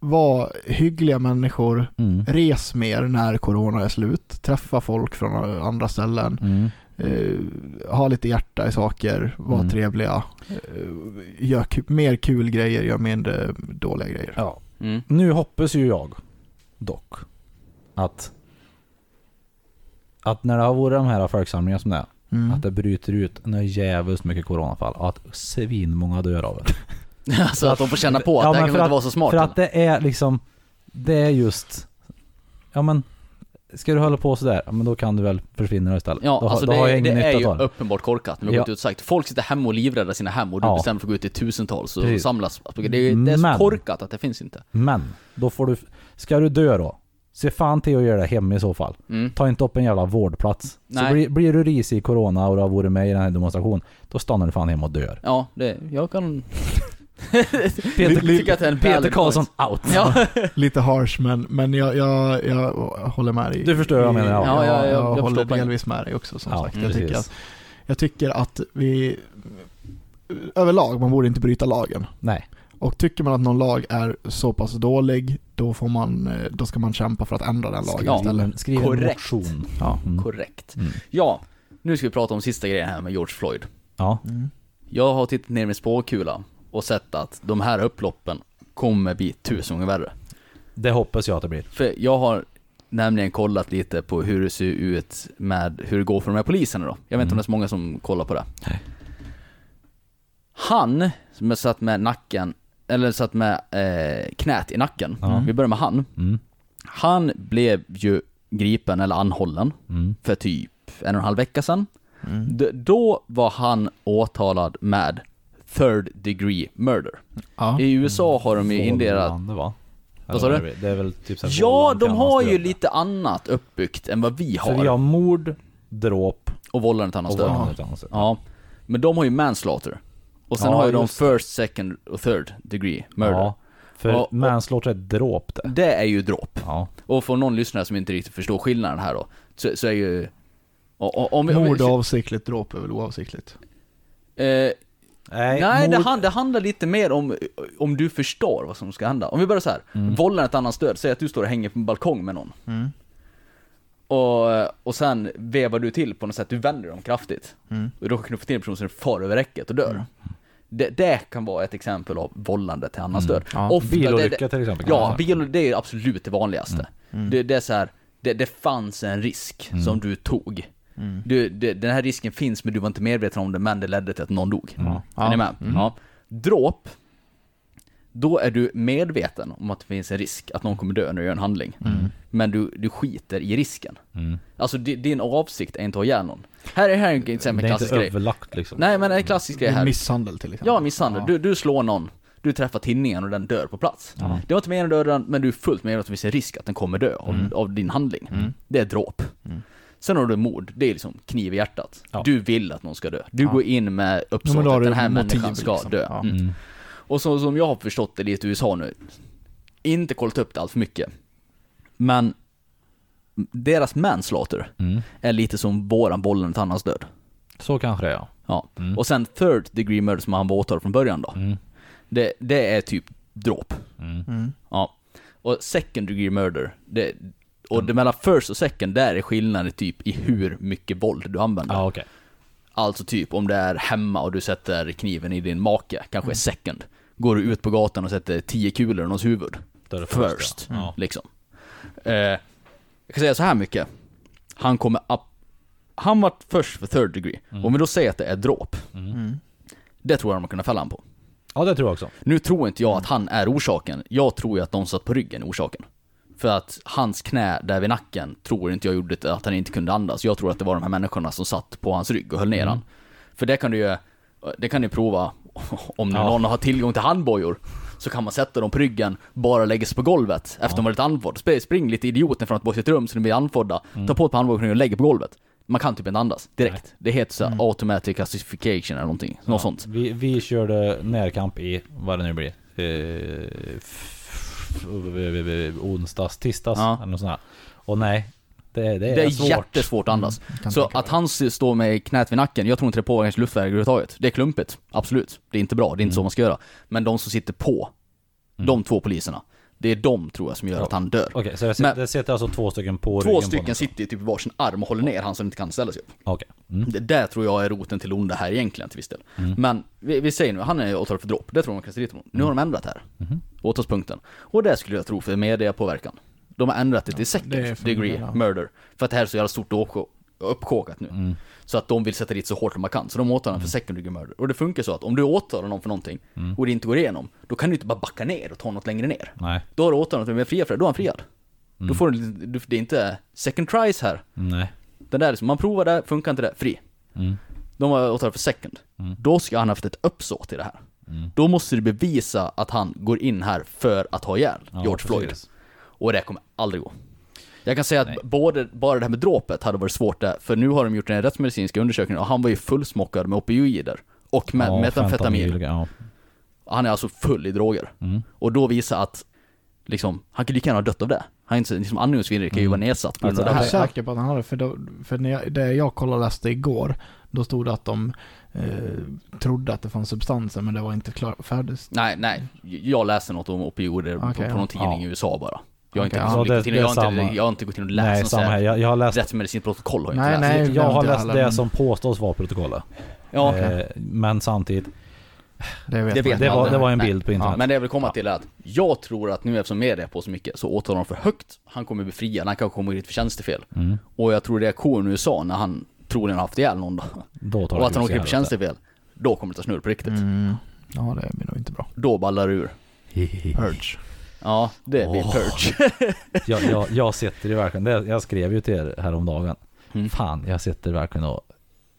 C: Var hyggliga människor.
E: Mm.
C: Res mer när corona är slut. Träffa folk från andra ställen.
E: Mm.
C: Eh, ha lite hjärta i saker, var
E: Mm.
C: trevliga, eh, gör ku- mer kul grejer, gör mindre dåliga grejer.
E: ja.
B: Mm.
E: Nu hoppas ju jag dock att att när det har varit de här folksamlingarna som det är,
C: Mm.
E: att det bryter ut något jävligt mycket coronafall och att svinmånga dör av det.
B: [LAUGHS] alltså att de får känna på att
E: Ja,
B: det här
E: men
B: kanske
E: för
B: inte var så smart.
E: För att det är liksom, det är just, ja men, ska du hålla på sådär, ja men då kan du väl försvinna istället.
B: Ja,
E: då, har-
B: alltså
E: då
B: det,
E: har
B: är-
E: jag ingen
B: det är ju
E: nytta av det.
B: uppenbart korkat. Nu har
E: Ja.
B: gått ut och sagt. Folk sitter hemma och livräddar sina hem och du
E: Ja.
B: bestämmer för att gå ut i tusentals och
E: Precis.
B: samlas. Alltså, Det är, det är så
E: Men-
B: korkat att det finns inte.
E: Men, då får du, ska du dö då, se fan till att göra det hemma i så fall.
B: Mm.
E: Ta inte upp en jävla vårdplats.
B: Nej.
E: Så blir, blir du risig i corona och du har varit med i den här demonstrationen, då stannar du fan hemma och dör.
B: Ja, det, jag kan...
E: Peter-
B: [LAUGHS] tycker att det är en
E: Peter
B: valid
E: Karlsson
B: point.
E: out!
B: Ja,
E: [LAUGHS]
C: Lite harsh men, men jag, jag, jag håller med dig.
E: Du förstår vad jag menar, ja.
B: Ja,
C: Ja,
B: ja,
C: jag,
B: jag- jag förstår
C: håller
B: poängen.
C: delvis med dig också som
E: Ja,
C: sagt.
E: mm,
C: Jag tycker,
E: precis.
C: att, jag tycker att vi överlag, man borde inte bryta lagen.
E: Nej.
C: Och tycker man att någon lag är så pass dålig, då, får man, eh, då ska man kämpa för att ändra den lagen
B: Ja.
E: Skriv,
C: istället.
E: en- skriv en
B: Korrekt.
E: motion.
C: Ja.
E: Mm.
B: korrekt.
E: Mm.
B: Ja, nu ska vi prata om sista grejen här med George Floyd.
E: Ja.
C: Mm.
B: Jag har tittat ner i min spåkula och sett att de här upploppen kommer bli tusen gånger värre.
E: Det hoppas jag att det blir.
B: För jag har nämligen kollat lite på hur det ser ut med hur det går för de här poliserna då. Jag vet inte om det är så många som kollar på det.
E: Nej.
B: Han som är satt med nacken, eller satt med eh, knät i nacken. Vi börjar med han.
E: Mm.
B: Han blev ju gripen eller anhållen
E: Mm.
B: för typ en och en halv vecka sedan. D- då var han åtalad med third degree murder.
C: Ja.
B: I USA har de ju indelat
E: Vållande, va?
B: Vad sa
E: Eller
B: du?
E: är det? Det är väl typ så här
B: Ja,
E: vållande
B: de
E: kan
B: har
E: man
B: ju
E: stöta.
B: lite annat uppbyggt än vad vi har.
E: För vi har mord, dråp
B: Och vållande till annans
E: och
B: död.
E: vållande till annans död.
B: Ja. Men de har ju manslaughter. Och sen
E: Ja,
B: har ju de
E: just
B: first, second och third degree murder.
E: Ja, för
B: Och- och-
E: manslaughter är dråp det.
B: Det är ju dråp.
E: Ja.
B: Och för någon lyssnare som inte riktigt förstår skillnaden här då, så, så är ju... och- och- Om, vi- om, vi-
C: Mord avsiktligt, dråp är väl oavsiktligt?
B: eh,
E: Nej,
B: Nej, det,
E: mord-
B: hand, det handlar lite mer om, om du förstår vad som ska hända. Om vi börjar så här. vållar ett annans död, säg att du står och hänger på en balkong med någon.
C: Mm.
B: Och, och sen vevar du till på något sätt, du vänder dem kraftigt.
C: Mm.
B: Och då kan du få till en person som far över räcket och dör. Det, det kan vara ett exempel av vållande till annans död.
C: Ja.
B: Ofta- det-
E: Bilolycka
B: det-
E: till exempel. kan man
B: Ja,
E: säga.
B: bil, det är absolut det vanligaste.
C: Mm.
B: Det, det är så här, det, det fanns en risk som du tog.
C: Mm.
B: Du, det, den här risken finns men du var inte medveten om det, men det ledde till att någon dog. Är ni med?
E: Mm.
B: Ja. Dråp, då är du medveten om att det finns en risk att någon kommer dö när du gör en handling. Men du, du skiter i risken.
E: Mm.
B: Alltså di- din avsikt är inte att ha ihjäl någon. Här är, här är en exempel,
E: Det är
B: klassisk
E: inte
B: grej.
E: överlagt liksom.
B: Nej men en klassisk grej här.
C: Misshandel till exempel.
B: Ja, misshandel. Du, du slår någon, du träffar tinningen och den dör på plats. Det var inte meningen att döda den, men du är fullt medveten om att det finns en risk att den kommer dö av,
C: Mm.
B: av din handling. Det är dråp. Sen har du mord, det är liksom kniv i hjärtat.
E: Ja.
B: Du vill att någon ska dö. Du går in med
C: Ja,
B: uppsåt
C: men då har
B: att
C: du
B: den här
C: motiv,
B: människan ska
C: liksom.
B: dö.
C: Ja.
B: Mm. Och så, som jag har förstått det lite i USA nu, inte kollat upp det allt för mycket, men deras manslaughter
E: Mm.
B: är lite som våran bollen till annans död.
C: Mm.
E: Så kanske det är, ja.
B: Ja. Och sen third degree murder som han var åtalad från början då.
E: Mm.
B: Det, det är typ dråp.
C: Mm.
B: Ja. Och second degree murder, det, och det mellan first och second, där är skillnaden typ i hur mycket våld du använder.
E: Ja, okej.
B: Alltså typ om det är hemma och du sätter kniven i din make, kanske är second. Går du ut på gatan och sätter tio kulor i någons huvud,
E: Då är det
B: first.
E: ja. Ja.
B: Liksom. Eh, jag kan säga så här mycket. Han kommer upp... Han var först för third degree. Om vi då säger att det är dråp. Det tror jag de kunna fälla han på.
E: Ja, det tror jag också.
B: Nu tror inte jag att han är orsaken. Jag tror ju att de satt på ryggen är orsaken. För att hans knä där vid nacken tror inte jag gjorde det, att han inte kunde andas. Jag tror att det var de här människorna som satt på hans rygg och höll ner han. För det kan du ju, det kan ni prova [LAUGHS] om
E: Ja.
B: någon har tillgång till handbojor. Så kan man sätta dem på ryggen, bara lägga sig på golvet efter att de varit andfådd. Sp- Spring lite idioten från att bo i sitt rum så de blir andfådda. Ta på ett par handbojor och lägg på golvet. Man kan typ inte andas direkt. Det heter så här automatic classification eller någonting. Något sånt.
E: Vi, vi körde närkamp i, vad det nu blir, eh, f- f- onsdags, tisdags
B: Ja.
E: eller något sånt här. Och nej, det, det är,
B: Det är
E: svårt. Mm,
B: jättesvårt att andas.
C: kan
B: så
C: tänka
B: att han s- står med knät vid nacken, jag tror inte det påverkar hans luftvägar överhuvudtaget. Det är klumpigt, absolut. Det är inte bra, det är
E: Mm.
B: inte så man ska göra. Men de som sitter på, de två poliserna, det är de tror jag som gör att han dör.
E: Okej, så det, sit-
B: Men-
E: det sitter alltså två stycken på ryggen
B: Två
E: på
B: stycken
E: honom.
B: sitter ju typ i varsin arm och håller ner han som inte kan ställa sig upp.
E: Okej. Mm.
B: Det där tror jag är roten till onda här egentligen till viss del.
C: Mm.
B: Men vi, vi säger nu, han är åtalad för dråp, det tror man kan se dit honom.
C: Mm.
B: Nu har de ändrat här.
C: Mm-hmm.
B: Åtalspunkten. Och det skulle jag tro för mediapåverkan. De har ändrat det till second
C: det är för
B: degree
C: mig, ja.
B: murder. För att det här är så jävla stort och uppkå- uppkåkat nu.
C: Mm.
B: Så att de vill sätta dit så hårt de kan. Så de åtalar honom för second degree murder. Och det funkar så att om du åtalar någon för någonting
C: Mm.
B: och det inte går igenom, då kan du inte bara backa ner och ta något längre ner.
E: Nej,
B: Då har du åtalat honom, men fria för det, då är han friad.
C: Mm.
B: Då får du, du, det är inte second tries här.
E: nej. Mm.
B: Den där, liksom, man provar det, funkar inte det, fri. De var åtalade för second. Då ska han ha haft ett uppsåt i det här.
E: Mm.
B: Då måste du bevisa att han går in här för att ha ihjäl
E: Ja,
B: George
E: precis.
B: Floyd. Och det kommer aldrig gå. Jag kan säga att både, bara det här med dråpet hade varit svårt där, för nu har de gjort en rättsmedicinsk undersökning och han var ju fullsmockad med opioider och med
E: Ja,
B: metamfetamin.
E: fentanyl, Ja. Mm.
B: Han är alltså full i droger. Och då visar att, liksom, han kunde lika gärna ha dött av det. Han är inte, liksom, andningsvirre kan ju vara nedsatt på grund
E: Alltså,
B: av det
C: Jag är
B: här.
E: Alltså,
C: säker på att han hade, för, då, för när jag, det jag kollade och läste igår, då stod det att de eh, trodde att det fanns substanser men det var inte klar, färdigt.
B: Nej, nej. Jag läser något om opioider på-
C: Okej,
B: på
C: ja.
B: någon tidning
E: Ja.
B: i USA bara. Jag har inte
C: Okej,
B: gått
E: ja.
B: in och
E: Det-
B: läst
E: det är
B: jag, har
E: samma.
B: inte- jag har inte gått in och
E: Nej,
B: läst
E: samma här.
B: något
E: Jag, jag har läst,
B: rättsmedicinskt protokoll har jag
C: Nej,
B: inte läst.
C: nej.
E: jag har
C: inte
E: läst
C: heller,
E: det
C: men-
E: som påstås vara protokollet.
B: Ja,
E: Eh, men samtidigt,
C: Det vet
B: Det
C: man
B: vet
C: inte.
E: Det var,
B: aldrig.
E: det var en
B: Nej.
E: bild på
B: Ja,
E: internet.
B: men det jag vill komma till är att jag tror att nu eftersom media är på så mycket så åtalar de för högt. Han kommer bli friad, han kanske kommer hit för tjänstefel.
E: Mm.
B: Och jag tror reaktionen i USA när han troligen har haft ihjäl någon då,
E: Då tar det
B: och
E: grus
B: att han
E: i
B: åker på
E: [LAUGHS]
B: typ.
E: helvete.
B: tjänstefel, då kommer det ta snurr på riktigt.
C: Mm. Ja, det blir nog inte bra.
B: Då ballar det ur.
C: Purge.
B: Ja, det blir
E: Åh. [LAUGHS]
B: purge.
E: jag, jag, jag sitter ju verkligen, det, jag skrev ju till er häromdagen.
B: Mm.
E: Fan, jag sitter verkligen och,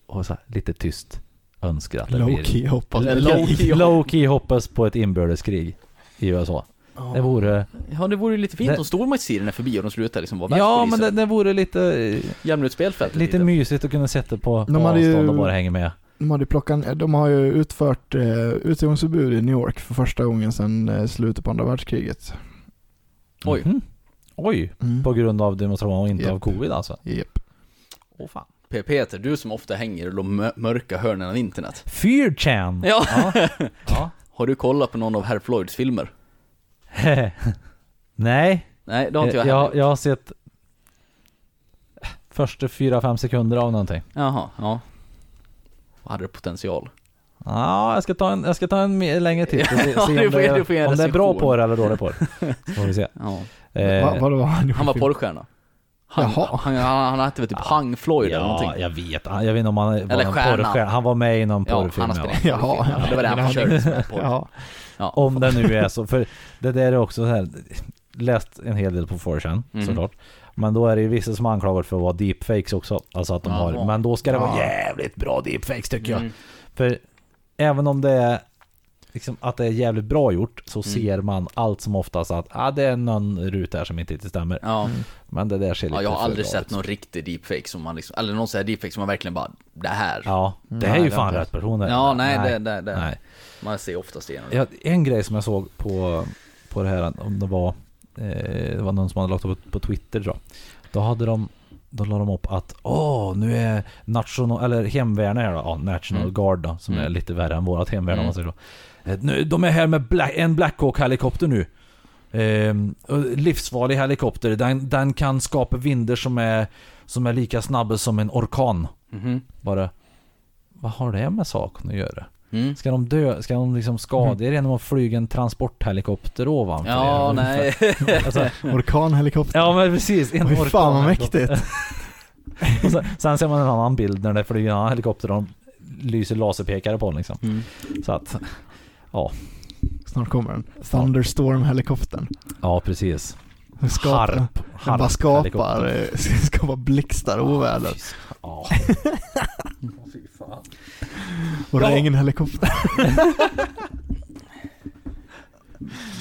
E: och så här, lite tyst önskar att det blir...
C: Low-key hoppas
B: Eller
E: Low key,
C: [LAUGHS]
B: Low-key.
E: low key hoppas på ett inbördeskrig i USA. Det vore...
B: Ja, det vore ju lite fint
E: Det-
B: om stormaktstiden är förbi och de slutar liksom vara
E: Ja, men
B: världspoliser.
E: det, det vore lite,
B: Jämna ut spelfältet
E: lite
B: lite.
E: mysigt att kunna sätta på, på
C: De hade
E: avstånd
C: ju-
E: och bara hänga med.
C: De, hade plockat, ner- de har ju utfört eh, utegångsförbud i New York för första gången sedan eh, slutet på andra världskriget.
B: Oj.
E: Mhm. Oj,
C: Mm.
E: på grund av demonstration och inte
C: Japp.
E: av covid alltså.
C: Japp.
E: Åh fan.
B: P- Peter, du som ofta hänger i de mö- mörka hörnen av internet.
E: Fyrchan!
B: Ja.
E: Ja.
B: Har du kollat på någon av herr Floyds filmer?
E: [LAUGHS] Nej,
B: Nej, det har
E: Eh,
B: inte jag
E: jag,
B: heller.
E: jag, jag har sett första fyra fem sekunder av någonting.
B: Jaha, ja. Och hade det potential.
E: Ja, jag ska ta en, jag ska ta en mer- längre titt
B: [LAUGHS]
E: och se,
B: Ja,
E: se
B: du
E: om,
B: får-
E: det, är-
B: du får ge en
E: om det är bra
B: recension.
E: på det eller dåligt
B: [LAUGHS]
E: på det. Så får vi se.
B: Ja.
E: Eh,
C: Va, vad det var han
B: Han var porrstjärna. Han,
C: Jaha.
B: han, han, han hette väl typ Hang Floyd eller
E: ja,
B: någonting.
E: jag vet. Han- Jag vet inte om han var
B: Eller
E: någon
B: stjärna.
E: porrstjärna. Han var med i någon
B: Ja, han
E: porrfilm.
B: har
E: ja.
B: spelat
C: Jaha.
B: ja, Det var det han försökte som porr.
C: Ja.
B: Ja.
E: Om det nu är så. För det där är också så här. Läst en hel del på 4chan
B: Mm.
E: såklart. Men då är det ju vissa som anklagar för att vara deepfakes också. Alltså att de
B: Jaha.
E: har. Men då ska det vara
C: Ja.
E: jävligt bra deepfakes tycker jag.
B: Mm.
E: För även om det är liksom, att det är jävligt bra gjort så
B: Mm.
E: ser man allt som oftast att ah, det är någon ruta här som inte riktigt stämmer.
B: Ja.
E: Men det där ser lite
B: ja, jag har
E: för
B: aldrig
E: bra
B: sett
E: ut.
B: någon riktig deepfake som man liksom, eller någon sån här deepfake som man verkligen bara, det här. Ja,
E: Ja, det är ju
C: Nej,
E: fan
C: det-
E: rätt personer.
B: nej, det, det, det.
E: nej.
B: Man ser oftast igenom det.
E: Ja, en grej som jag såg på, på det här, om det var, eh, det var någon som hade lagt upp på Twitter tror jag. Då hade de, då la de upp att åh, nu är national, eller hemvärnet här då, ja, National
B: Mm.
E: Guard då, som
B: Mm.
E: är lite värre än vårat hemvärn
B: Mm.
E: om man säger så. Eh, nu, de är här med Black, en Black Hawk-helikopter nu. Ehm, och livsfarlig helikopter, den, den kan skapa vindar som är, som är lika snabba som en orkan.
B: Mhm.
E: Bara, vad har det med saken att göra?
B: Mm.
E: Ska de dö? Ska de liksom skada
C: Mm.
E: er genom att flyga en transporthelikopter ovanför
B: Ja,
E: er?
B: nej.
E: [LAUGHS] Alltså,
C: Orkanhelikopter.
E: ja men precis. En
C: Oj,
E: orkan.
C: fan vad mäktigt.
E: Och sen, sen ser man en annan bild när det flyger en annan helikopter och de lyser laserpekare på den liksom.
B: Mm.
E: Så att,
C: Snart kommer den. Thunderstorm-helikoptern.
E: ja precis.
C: Den skapar-
E: Harp.
C: Den bara skapar,
E: helikopter.
C: eh, skapar [LAUGHS] blixtar och oväder.
E: Ja.
C: Och
B: Ja.
C: regnhelikopter.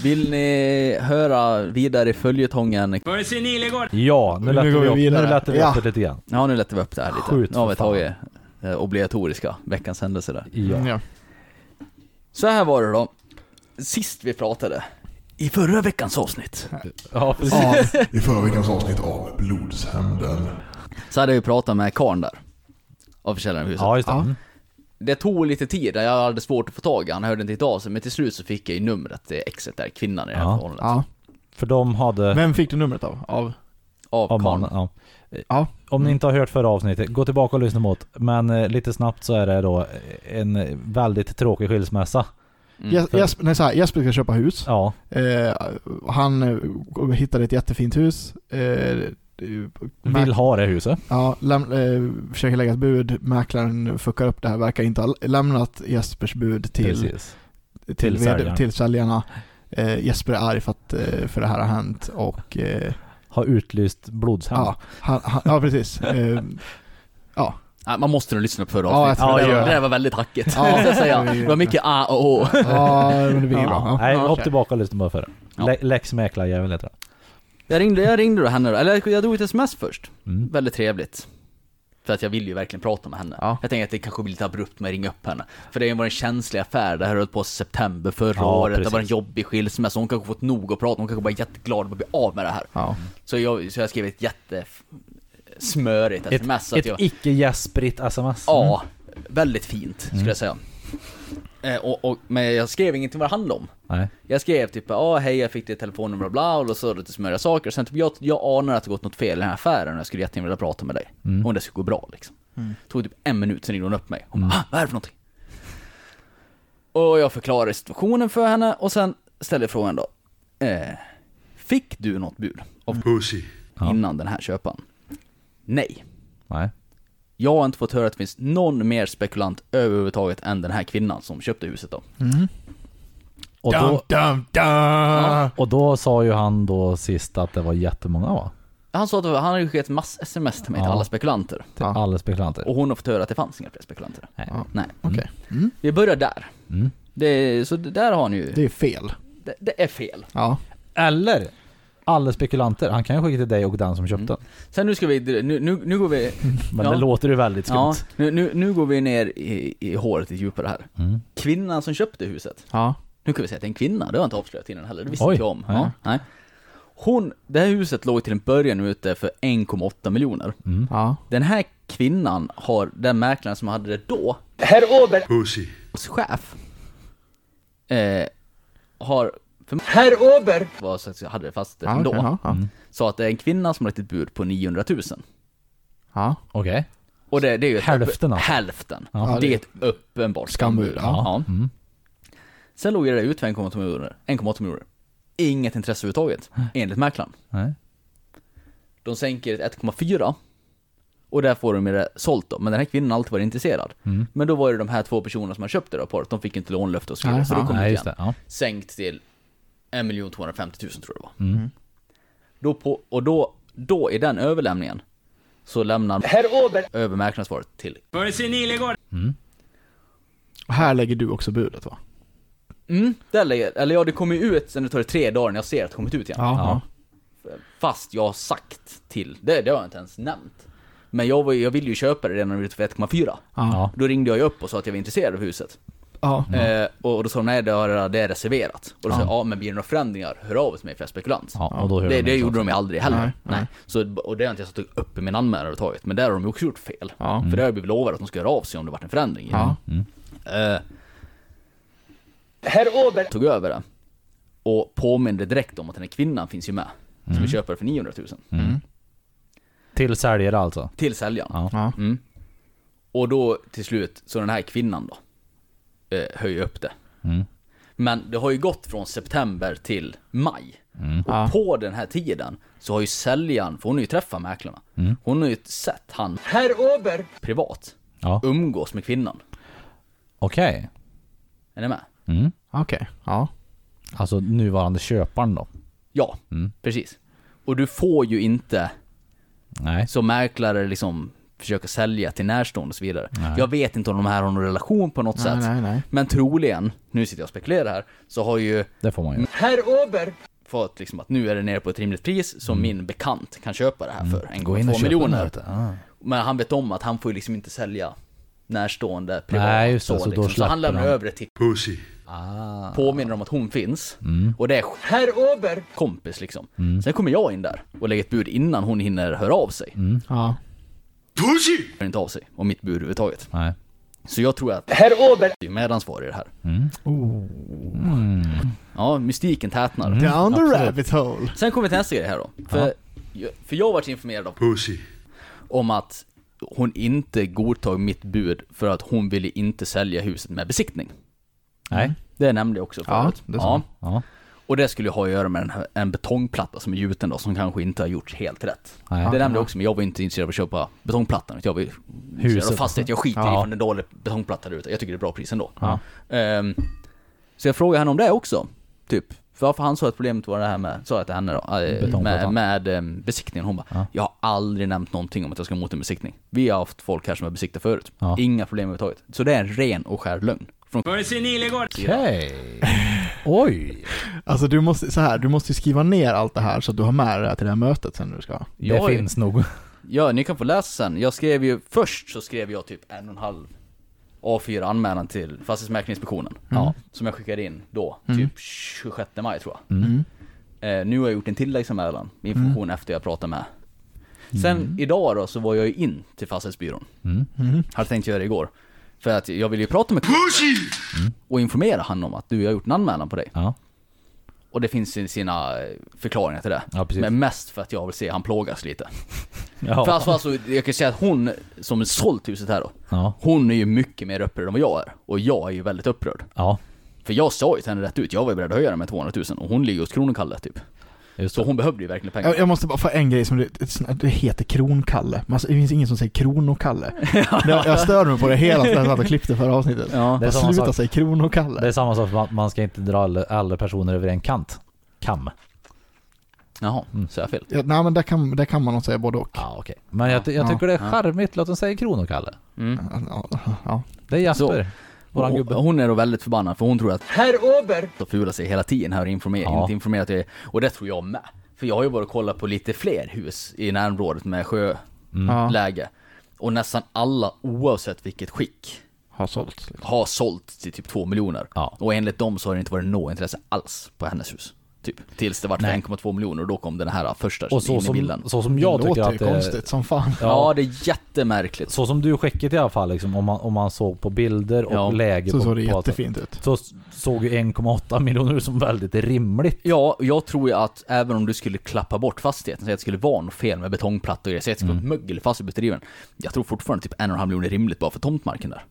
B: Vill ni höra vidare i följetongen?
E: ja, nu
C: Nu
E: lättar
C: går
E: vi
C: vi
E: upp, nu
C: vidare.
E: lättar vi
C: Ja.
E: upp det lite grann.
B: Ja, nu lättar vi upp det här lite.
E: Skjut
B: nu har vi
E: för
B: tagit eh, obligatoriska veckans händelse där.
E: Ja.
C: Ja.
B: Så här var det då. Sist vi pratade. I förra veckans avsnitt.
E: ja, precis.
C: Ja.
D: I förra veckans avsnitt av Blodshämnden.
B: Så hade jag ju pratat med karln där. Av försäljaren i huset.
E: Ja, just det.
C: Ja.
E: Mm.
B: Det tog lite tid, jag hade svårt att få tag i han hörde inte riktigt av sig. Men till slut så fick jag ju numret till exet där, kvinnan i det
E: [LAUGHS]
B: här
E: Ja.
B: förhållandet.
C: ja.
E: För de hade...
C: Vem fick du numret av? Av?
B: Av,
E: Av
B: karln.
E: mannen, ja. Eh,
C: Ja. Mm.
E: Om ni inte har hört förra avsnittet, gå tillbaka och lyssna mot. Men eh, lite snabbt så är det då en väldigt tråkig skilsmässa.
B: Mm.
C: Jes- Jesper, nej, så här, Jesper ska köpa hus.
E: Ja,
C: Eh, han eh, hittade ett jättefint hus. Eh, det-
E: vill ha det huset.
C: Ja, läm- eh, försöker lägga ett bud. Mäklaren fuckar upp det här, verkar inte ha lämnat Jespers bud till,
E: Precis.
C: till,
E: till
C: vd-
E: säljaren.
C: till säljarna. Eh, Jesper är arg för att eh, för det här har hänt och eh,
E: Har utlyst blodshämnd.
C: ja, han, han, ja, [LAUGHS] precis. Eh,
B: Nej, man måste nog lyssna på förra
C: Ja,
B: avsnittet.
C: jag tror det
B: det,
C: var-
B: där var väldigt hackigt.
C: Ja.
B: måste jag säga. Det var mycket ah och oh.
C: ja, men det blir bra. Ja.
E: Nej, hopp
C: okej.
E: tillbaka och lyssna på förra.
B: Ja.
E: Le- Lex Mäklarjävel heter det.
B: Jag ringde, jag ringde då henne då, eller jag drog ett sms först.
E: Mm.
B: Väldigt trevligt. För att jag vill ju verkligen prata med henne.
C: Ja.
B: Jag tänker att det kanske blir lite abrupt med att ringa upp henne. För det var en känslig affär, det här höll på i september förra
E: Ja,
B: året, det
E: precis.
B: var en jobbig skilsmässa, hon kanske fått nog att prata, hon kanske bara är jätteglad att bli av med det här.
C: Ja.
B: Så jag, så jag skrev ett jättesmörigt sms. så att
E: Ett, Mm. ett
B: jag,
E: icke-gäsprigt sms.
B: Ja, väldigt fint skulle
E: Mm.
B: jag säga. Eh, och, och, men jag skrev ingenting vad det handlade om.
E: Nej.
B: Jag skrev typ ja hej jag fick ditt telefonnummer och bla och så lite smöriga saker. Sen typ jag, jag anar att det gått något fel i den här affären och jag skulle jättegärna vilja prata med dig. Om det skulle gå bra liksom. Tog typ en minut, sen ringde hon upp mig. Hon bara, "Ah, vad är det för någonting? Och jag förklarar situationen för henne och sen ställer jag frågan då. Eh, fick du något bud av
D: Pussy.
B: innan den här köpan? Nej.
E: Nej.
B: Jag har inte fått höra att det finns någon mer spekulant överhuvudtaget än den här kvinnan som köpte huset då.
C: Mm.
E: Och
C: Dum,
E: då,
C: dum, dum.
E: och då sa ju han då sist att det var jättemånga va?
B: Han sa att han hade skickat mass sms till mig till
E: Ja.
B: alla spekulanter.
E: Till
C: Ja.
E: alla spekulanter.
B: Och hon har fått höra att det fanns inga fler spekulanter.
E: Nej.
B: Nej.
C: Okej.
B: Vi börjar där.
E: Mm.
B: Det, så det där har ni ju.
C: Det är fel.
B: Det, det är fel.
C: Ja.
E: Eller alla spekulanter. Han kan ju skicka till dig och den som köpte den.
B: Sen nu ska vi, nu, nu, nu går vi...
E: Men
B: Ja.
E: det låter ju väldigt
B: Ja,
E: skumt.
B: nu, nu, nu går vi ner i, i håret lite djupare här.
E: Mm.
B: Kvinnan som köpte huset,
C: Ja.
B: nu kan vi säga att det är en kvinna, det har jag inte avslöjat innan heller, det visste
E: Oj.
B: inte jag om. Ja,
E: Nej.
B: nej. Hon, det här huset låg till en början ute för 1,8 miljoner.
E: mm,
C: Ja.
B: Den här kvinnan har, den mäklaren som hade det då,
D: Pussy.
B: chef, eh, har... För,
F: Herr Ober!
B: vad så att jag hade det fast
C: Ja,
B: ändå.
C: okej, ja, Mm. ja.
E: mm.
B: Sa att det är en kvinna som har lagt ett bud på 900 000.
C: Ja.
E: Okej.
B: Och det, det är ju ett
E: Hälften,
B: öppen,
E: alltså.
B: Hälften.
C: Ja,
B: det
C: det-
B: är ett uppenbart
C: Skambud,
B: Ja.
E: Mm.
B: Sen låg det där ut för 1,8 miljoner. 1,8 miljoner. Inget intresse överhuvudtaget, enligt mäklaren.
E: Nej.
B: De sänker ett 1,4 och där får de ju det sålt då. Men den här kvinnan har alltid varit intresserad.
E: Mm.
B: Men då var det de här två personerna som har köpt det då, paret. De fick inte lånlöfte och så vidare.
C: Nej,
B: Så då
C: ja,
B: kom det
E: Nej,
B: ut
E: just
B: igen.
E: det. Ja.
B: Sänkt till 1 250 000 tror jag det var.
E: Mm.
B: Då på, och då, då i den överlämningen så lämnar
F: Herr Ober!
B: övermäklaren svaret till
E: Mm.
C: Och Här lägger du också budet va?
B: Mm, där lägger, eller ja det kommer ju ut, sen det tar det tre dagar när jag ser att det kommit ut igen.
E: Ja.
B: Fast jag har sagt till, det, det har jag inte ens nämnt. Men jag, var, ju- jag ville ju köpa det redan när det typ var ute för 1,4.
C: Ja.
B: Då ringde jag ju upp och sa att jag var intresserad av huset.
C: Ja.
B: Eh, och, och då sa de nej, det, har, det är reserverat. Och då sa jag, ja men blir det några förändringar, hör av er till mig för jag är spekulant.
E: ja. Och då hör
B: Det,
E: de
B: det
E: inte
B: gjorde
E: oss.
B: de ju aldrig heller. Nej,
C: Nej, nej.
B: Så, och det har inte jag satt upp i min anmälan överhuvudtaget. Men där har de ju också gjort fel.
C: Ja.
B: För det har jag blivit lovad att de ska höra av sig om det varit en förändring. i
C: Ja.
E: Mm.
B: det. Eh, tog över det och påminde direkt om att den här kvinnan finns ju med. Som
E: Mm.
B: vi köper för 900 000.
E: Till säljare alltså.
B: Till säljaren.
E: Ja.
C: Ja.
B: Mm. Och då till slut, så den här kvinnan då, eh, höjer upp det.
E: Mm.
B: Men det har ju gått från september till maj.
E: Mm.
B: Och
C: Ja.
B: på den här tiden så har ju säljaren, för hon har ju träffat mäklarna,
E: Mm.
B: hon har ju sett han
F: Herr Ober!
B: privat
E: Ja.
B: umgås med kvinnan.
E: Okej. Mm.
B: Är ni med?
C: Okej. Ja.
E: Alltså nuvarande köparen då.
B: Ja,
E: Mm.
B: precis. Och du får ju inte
E: Nej.
B: som mäklare liksom försöka sälja till närstående och så vidare. Jag vet inte om de här har någon relation på något sätt.
C: nej, nej.
B: Men troligen, nu sitter jag och spekulerar här, så har ju
E: Det får man ju.
F: Herr Ober!
B: fått liksom att nu är det nere på ett rimligt pris som min bekant kan köpa det här för. En
E: Mm. Gå in och
B: gång två
E: köp den här,
B: miljoner.
E: vet du. Ah.
B: Men han vet om att han får ju liksom inte sälja närstående privat.
E: Nej, just det, så då
B: liksom. så
E: släpper
B: han lämnar
E: han. Ah.
B: över det till
D: Pussy.
B: påminner om att hon finns.
E: Mm.
B: Och det är
F: Herr Ober!
B: kompis liksom. Sen kommer jag in där och lägger ett bud innan hon hinner höra av sig. Mm.
C: Ja.
D: Pussy!
B: Hör inte av sig om mitt bud överhuvudtaget.
E: Nej.
B: Så jag tror att
F: Herr Ober!
B: jag är medansvarig i det här.
E: Mm. Oh.
B: Ja, mystiken tätnar.
E: Mm.
C: Down the rabbit hole.
B: Sen kommer vi till nästa grej här då. För, för jag varit informerad av
D: Pussy.
B: om att hon inte godtog mitt bud för att hon ville inte sälja huset med besiktning.
E: Nej.
B: Det nämnde jag också
C: Ja,
B: förut.
C: det sa
E: Ja.
B: Och det skulle ju ha att göra med en, en betongplatta som är gjuten då, som kanske inte har gjorts helt rätt.
E: Nej.
B: Det nämnde jag också, men jag var inte intresserad av att köpa betongplattan. utan Jag var ju intresserad av
E: Huset.
B: fastighet, jag skiter i
E: Ja.
B: från en dålig betongplatta där ute. Jag tycker det är bra pris ändå.
E: Ja.
B: Ehm, så jag frågade henne om det också, typ. För Varför han sa att problemet var det här med, sa jag till henne då, eh, med,
E: Betongplattan.
B: med ehm, besiktningen. Hon bara, jag har aldrig nämnt någonting om att jag ska mot en besiktning. Vi har haft folk här som har besiktat förut.
E: Ja.
B: Inga problem överhuvudtaget. Så det är en ren och skär lögn. Från
E: Okej.
B: [LAUGHS]
E: Oj.
C: Alltså du måste, så här, du måste skriva ner allt det här så att du har med det här till det här mötet sen när du ska.
E: Det
B: Jag är-
E: finns nog.
B: Ja, ni kan få läsa sen. Jag skrev ju, först så skrev jag typ en och en halv A4 anmälan till Fastighetsmäklarinspektionen.
E: Mm.
B: Ja, som jag skickade in då, typ 26 maj tror jag.
E: Mm.
B: Eh, nu har jag gjort en tilläggsanmälan med information efter jag pratade med.
E: Mm.
B: Sen idag då så var jag ju in till Fastighetsbyrån. Hade tänkt göra det igår. För att jag ville ju prata med
D: Pussy!
E: Mm.
B: och informera han om att du, jag har gjort en anmälan på dig.
E: Ja.
B: Och det finns ju sina eh, förklaringar till det.
E: Ja, precis.
B: Men mest för att jag vill se han plågas lite.
E: Ja.
B: För alltså, alltså, jag kan säga att hon som sålt huset här då.
E: Ja.
B: Hon är ju mycket mer upprörd än vad jag är. Och jag är ju väldigt upprörd.
E: ja.
B: För jag sa ju till henne rätt ut, jag var ju beredd att höja den med 200 000 och hon ligger hos Kronkalle typ.
E: Just
B: Så hon behövde ju verkligen pengar.
C: Jag, jag måste bara få en grej som det, ett sånt- det heter Kronkalle. Men Alltså, det finns ingen som
B: [LAUGHS]
C: säger Kronokalle. Jag, jag stör mig på det hela tiden jag satt och klippte förra avsnittet.
B: Ja.
E: Det är
C: Bara
E: samma
C: sluta
E: sak.
C: säga Kronokalle.
E: Det är samma sak som att man ska inte dra alla, alla personer över en kant. Kam.
B: Jaha,
E: Mm.
B: så jag fel?
C: Ja, nej men där kan, där kan man nog säga både och.
E: Ja, Ah, okej. Men jag, ty- jag
C: Ja,
E: tycker det är
B: ja.
E: charmigt, låt dem säga Kronokalle.
B: Mm.
C: Ja, ja.
E: Det är Jesper, våran
B: Hon,
E: gubbe.
B: hon är då väldigt förbannad för hon tror att
F: herr Ober,
B: de fular sig hela tiden här och informer,
E: Ja.
B: inte informerar till Och det tror jag med. För jag har ju varit och kollat på lite fler hus i närområdet med Mm.
C: Ja.
B: sjöläge. Och nästan alla, oavsett vilket skick,
C: Har sålt.
B: har sålt till typ 2 miljoner.
E: Ja.
B: Och enligt dem så har det inte varit något intresse alls på hennes hus. Typ. Tills det vart för
E: Nej.
B: 1,2 miljoner och då kom den här ah, första
E: Och så
B: in i
E: som,
B: bilden.
E: så som
C: Jag
E: jag
C: det
E: tycker
C: låter
E: att
C: ju
E: det är,
C: konstigt som fan.
B: Ja.
E: ja,
B: det är jättemärkligt.
E: Så som du skickade i alla fall, liksom, om, man, om man såg på bilder och
B: Ja,
E: läge
C: Så
E: på,
C: såg det
E: på
C: jättefint ut.
E: så såg ju 1,8 miljoner ut som väldigt rimligt.
B: Ja, jag tror ju att även om du skulle klappa bort fastigheten, säg att det skulle vara något fel med betongplattor och grejer, säg att det skulle vara
E: Mm.
B: ett mögel fast i bedriven. Jag tror fortfarande typ en och en halv miljon är rimligt bara för tomtmarken där.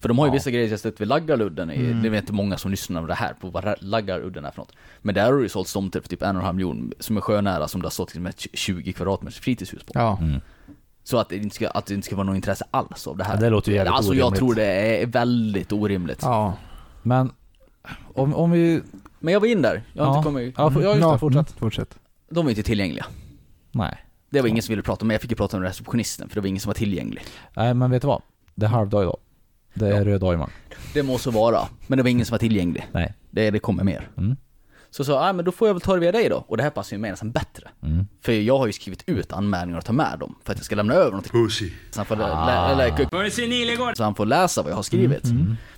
B: För de har ju vissa grejer, jag sett vid Laggarludden, i,
E: Mm.
B: det vet inte många som lyssnar på det här, på vad Laggarludden är för något. Men där har det ju sålts tomter för typ en och en halv miljon som är sjönära som det har stått liksom ett 20 kvadratmeters fritidshus på.
C: Ja.
B: Så att det, inte ska, att det inte ska vara något intresse alls av det här.
E: Ja, det låter ju jävligt
B: Alltså jag
E: orimligt.
B: tror det är väldigt orimligt.
C: Ja.
E: Men om, om vi...
B: Men jag var in där, jag har
E: ja,
B: inte kommit
E: Ja, för- ja just det,
C: Ja,
E: fortsätt.
C: mm, Fortsätt.
B: De var ju inte tillgängliga.
E: Nej.
B: Det var ingen som ville prata med mig, jag fick ju prata med receptionisten för det var ingen som var tillgänglig.
E: Nej, men vet du vad? Det är halvdag idag. Det är röd dag imorgon.
B: Det må så vara, men det var ingen som var tillgänglig.
E: Nej.
B: Det, det kommer mer.
E: Mm.
B: Så sa jag, "Ah, men då får jag väl ta det via dig då. Och det här passar ju mig nästan bättre.
E: Mm.
B: För jag har ju skrivit ut anmälningar och ta med dem. För att jag ska lämna över någonting.
D: pussy,
B: Så han får, lä- lä- lä- så han får läsa vad jag har skrivit.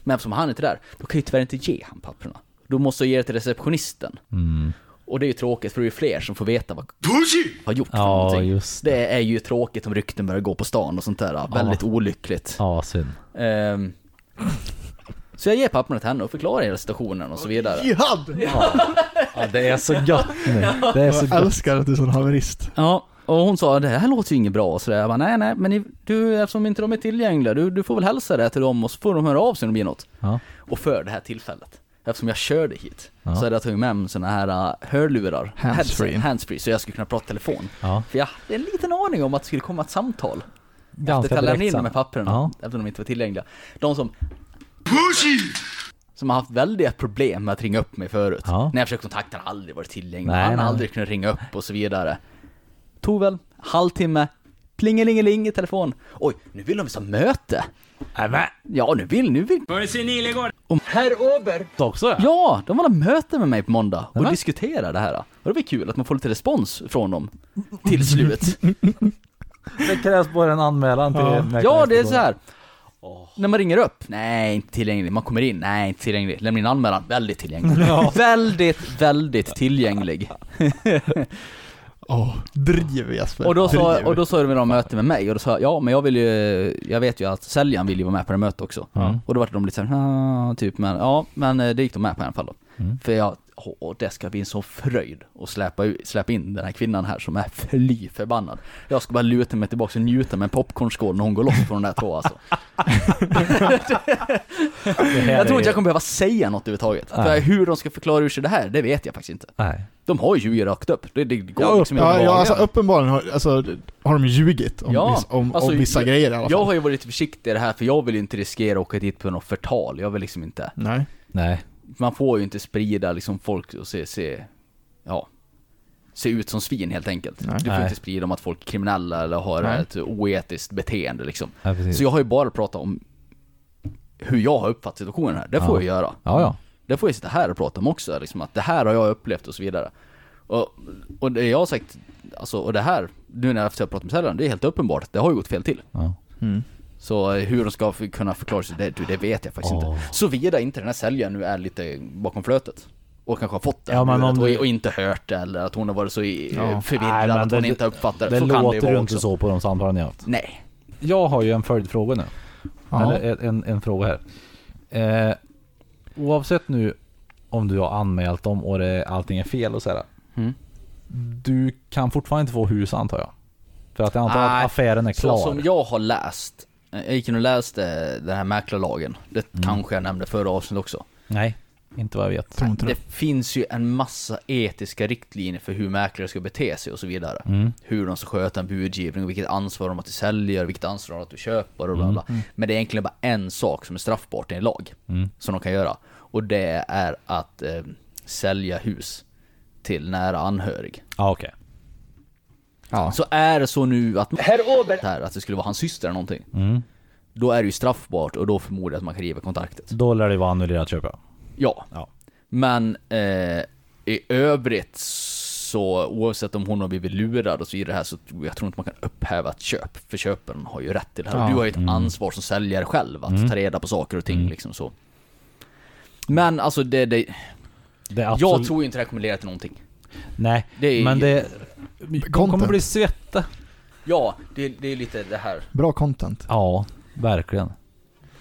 B: Men eftersom han inte är där, då kan jag ju tyvärr inte ge han papperna. Då måste jag ge det till receptionisten.
E: Mm.
B: Och det är ju tråkigt för det är ju fler som får veta vad
D: pussy.
B: har gjort för
E: Ja,
B: någonting.
E: just
B: det. är ju tråkigt om rykten börjar gå på stan och sånt där. Väldigt olyckligt.
E: Ja, synd.
B: Ehm, så jag ger papperna till henne och förklarar hela situationen och så vidare.
C: Jihad!
E: Ja, det är så gött nu. Det är så
C: Jag
E: gött.
C: älskar att du är sån haverist.
B: Ja, och hon sa det här låter ju inget bra och sådär. Jag bara, nej nej, men ni, du, eftersom inte de är tillgängliga, du, du får väl hälsa det till dem och så får de höra av sig om det blir något.
E: Ja.
B: Och för det här tillfället, eftersom jag körde hit, så hade jag tagit med mig sådana här äh, hörlurar,
C: Handsfree.
B: headset- handsfree, så jag skulle kunna prata telefon.
E: Ja.
B: För jag hade en liten aning om att det skulle komma ett samtal. Efter
E: Ganska
B: att jag lämnade
E: direkt
B: in de här
E: sen.
B: papperna,
E: Ja.
B: eftersom de inte var tillgängliga. De som som har haft väldiga problem med att ringa upp mig förut.
E: Ja.
B: När jag försökt kontakta honom, aldrig varit tillgänglig.
E: Nej,
B: han har
E: nej.
B: aldrig kunnat ringa upp och så vidare. Tog väl halvtimme, plingelingeling i telefon. Oj, nu vill de visst ha möte.
E: Nämen!
B: Ja, nu vill, nu vill.
F: herr Ober,
E: Också ja.
B: Ja, de vill ha möte med mig på måndag och
E: Nämen.
B: diskutera det här. Och det blir kul att man får lite respons från dem till
E: [LAUGHS]
B: slut.
E: Det krävs bara en anmälan till
B: ja, det är så här. När man ringer upp, nej inte tillgänglig. Man kommer in, nej inte tillgänglig. Lämnar in anmälan, väldigt tillgänglig. väldigt, väldigt tillgänglig.
C: Åh, driv Jesper.
B: Och då, sa,
C: Driv.
B: och då sa de att de möte med mig och då sa jag, ja men jag vill ju, jag vet ju att säljaren vill ju vara med på det mötet också. Och då var de lite såhär, "Ah", typ men, ja men eh, det gick de med på i alla fall då. För jag, åh det ska bli en sån fröjd att släpa, ut- släpa in den här kvinnan här som är fly förbannad. Jag ska bara luta mig tillbaka och njuta med en popcornskål när hon går loss från de där två alltså. Jag tror inte jag kommer behöva säga något överhuvudtaget. För
E: Nej.
B: hur de ska förklara ur sig det här, det vet jag faktiskt inte.
E: Nej.
B: De har ju ljugit rakt upp, det, det går
E: Ja,
B: liksom
C: Ja,
B: att
C: ja
B: vara-
C: alltså uppenbarligen har, alltså, har de ljugit om,
B: Ja,
C: vissa, om,
B: alltså,
C: om vissa
B: jag-
C: grejer i alla fall.
B: Jag har ju varit lite försiktig i det här för jag vill ju inte riskera att åka dit på något förtal. Jag vill liksom inte.
C: Nej.
E: Nej.
B: Man får ju inte sprida liksom folk och se, se ja, se ut som svin helt enkelt.
C: Nej.
B: Du får
E: Nej.
B: inte sprida om att folk är kriminella eller har
C: Nej.
B: ett oetiskt beteende liksom.
E: Ja, precis.
B: Så jag har ju bara pratat om hur jag har uppfattat situationen här. Det får jag göra.
E: Ja, ja.
B: Det får jag sitta här och prata om också, liksom att det här har jag upplevt och så vidare. Och, och det jag har sagt, alltså, och det här, nu när jag har pratat med säljaren, det är helt uppenbart att det har ju gått fel till.
E: Ja.
B: Så eh, hur de ska f- kunna förklara sig, det, du, det vet jag faktiskt
E: Åh.
B: inte. Såvida inte den här säljaren nu är lite bakom flötet. Och kanske har fått det
E: Ja, men om
B: och,
E: du-
B: och inte hört det, eller att hon har varit så i-
C: Ja.
B: förvirrad
E: Nej, men
B: att hon
E: det-
B: inte uppfattar det.
E: Det
B: så kan det ju
E: låter
B: vara
E: ju inte
B: också.
E: så på de samtalen jag haft.
B: Nej.
E: Jag har ju en följdfråga nu.
C: Ja.
E: Eller en, en, en fråga här. Eh, oavsett nu om du har anmält dem och det, allting är fel och sådär.
B: Mm.
E: Du kan fortfarande inte få hus antar jag. För att jag antar
B: Nej,
E: att affären är klar.
B: Så som jag har läst, eh, jag gick in och läste den här mäklarlagen, det
E: Mm.
B: kanske jag nämnde förra avsnittet också.
E: Nej, inte vad jag vet.
C: Tror inte
B: Äh, Det
C: det.
B: finns ju en massa etiska riktlinjer för hur mäklare ska bete sig och så vidare.
C: Mm.
E: Mm,
B: Hur de ska sköta en budgivning, och vilket ansvar de har att du säljer, vilket ansvar de har att du köper och
C: Mm,
B: bla bla. Men det är egentligen bara en sak som är straffbart i en lag.
E: mm.
B: Som de kan göra. Och det är att eh, sälja hus till nära anhörig.
E: Ja okej.
C: Ja.
B: Så är det så nu att
F: Herr Ober!
B: här, att det skulle vara hans syster eller någonting.
E: Mm.
B: Då är det ju straffbart och då förmodar jag att man kan riva kontraktet.
E: Då lär det vara annullerat köper jag.
B: Ja.
E: Ja.
B: Men eh, i övrigt så oavsett om hon har blivit lurad och så i det här så tror jag tror inte man kan upphäva ett köp. För köparen har ju rätt till det här. Och Du har ju ett
E: Mm.
B: ansvar som säljare själv att ta reda på saker och ting liksom så. Men alltså det, det
E: Det är
B: jag
E: absolut...
B: tror ju inte det här kommer leda till någonting.
E: Nej,
B: Det är-
E: men det... De kommer
C: Content.
E: bli svette.
B: Ja, det, det är lite det här.
C: Bra content.
E: Ja, verkligen.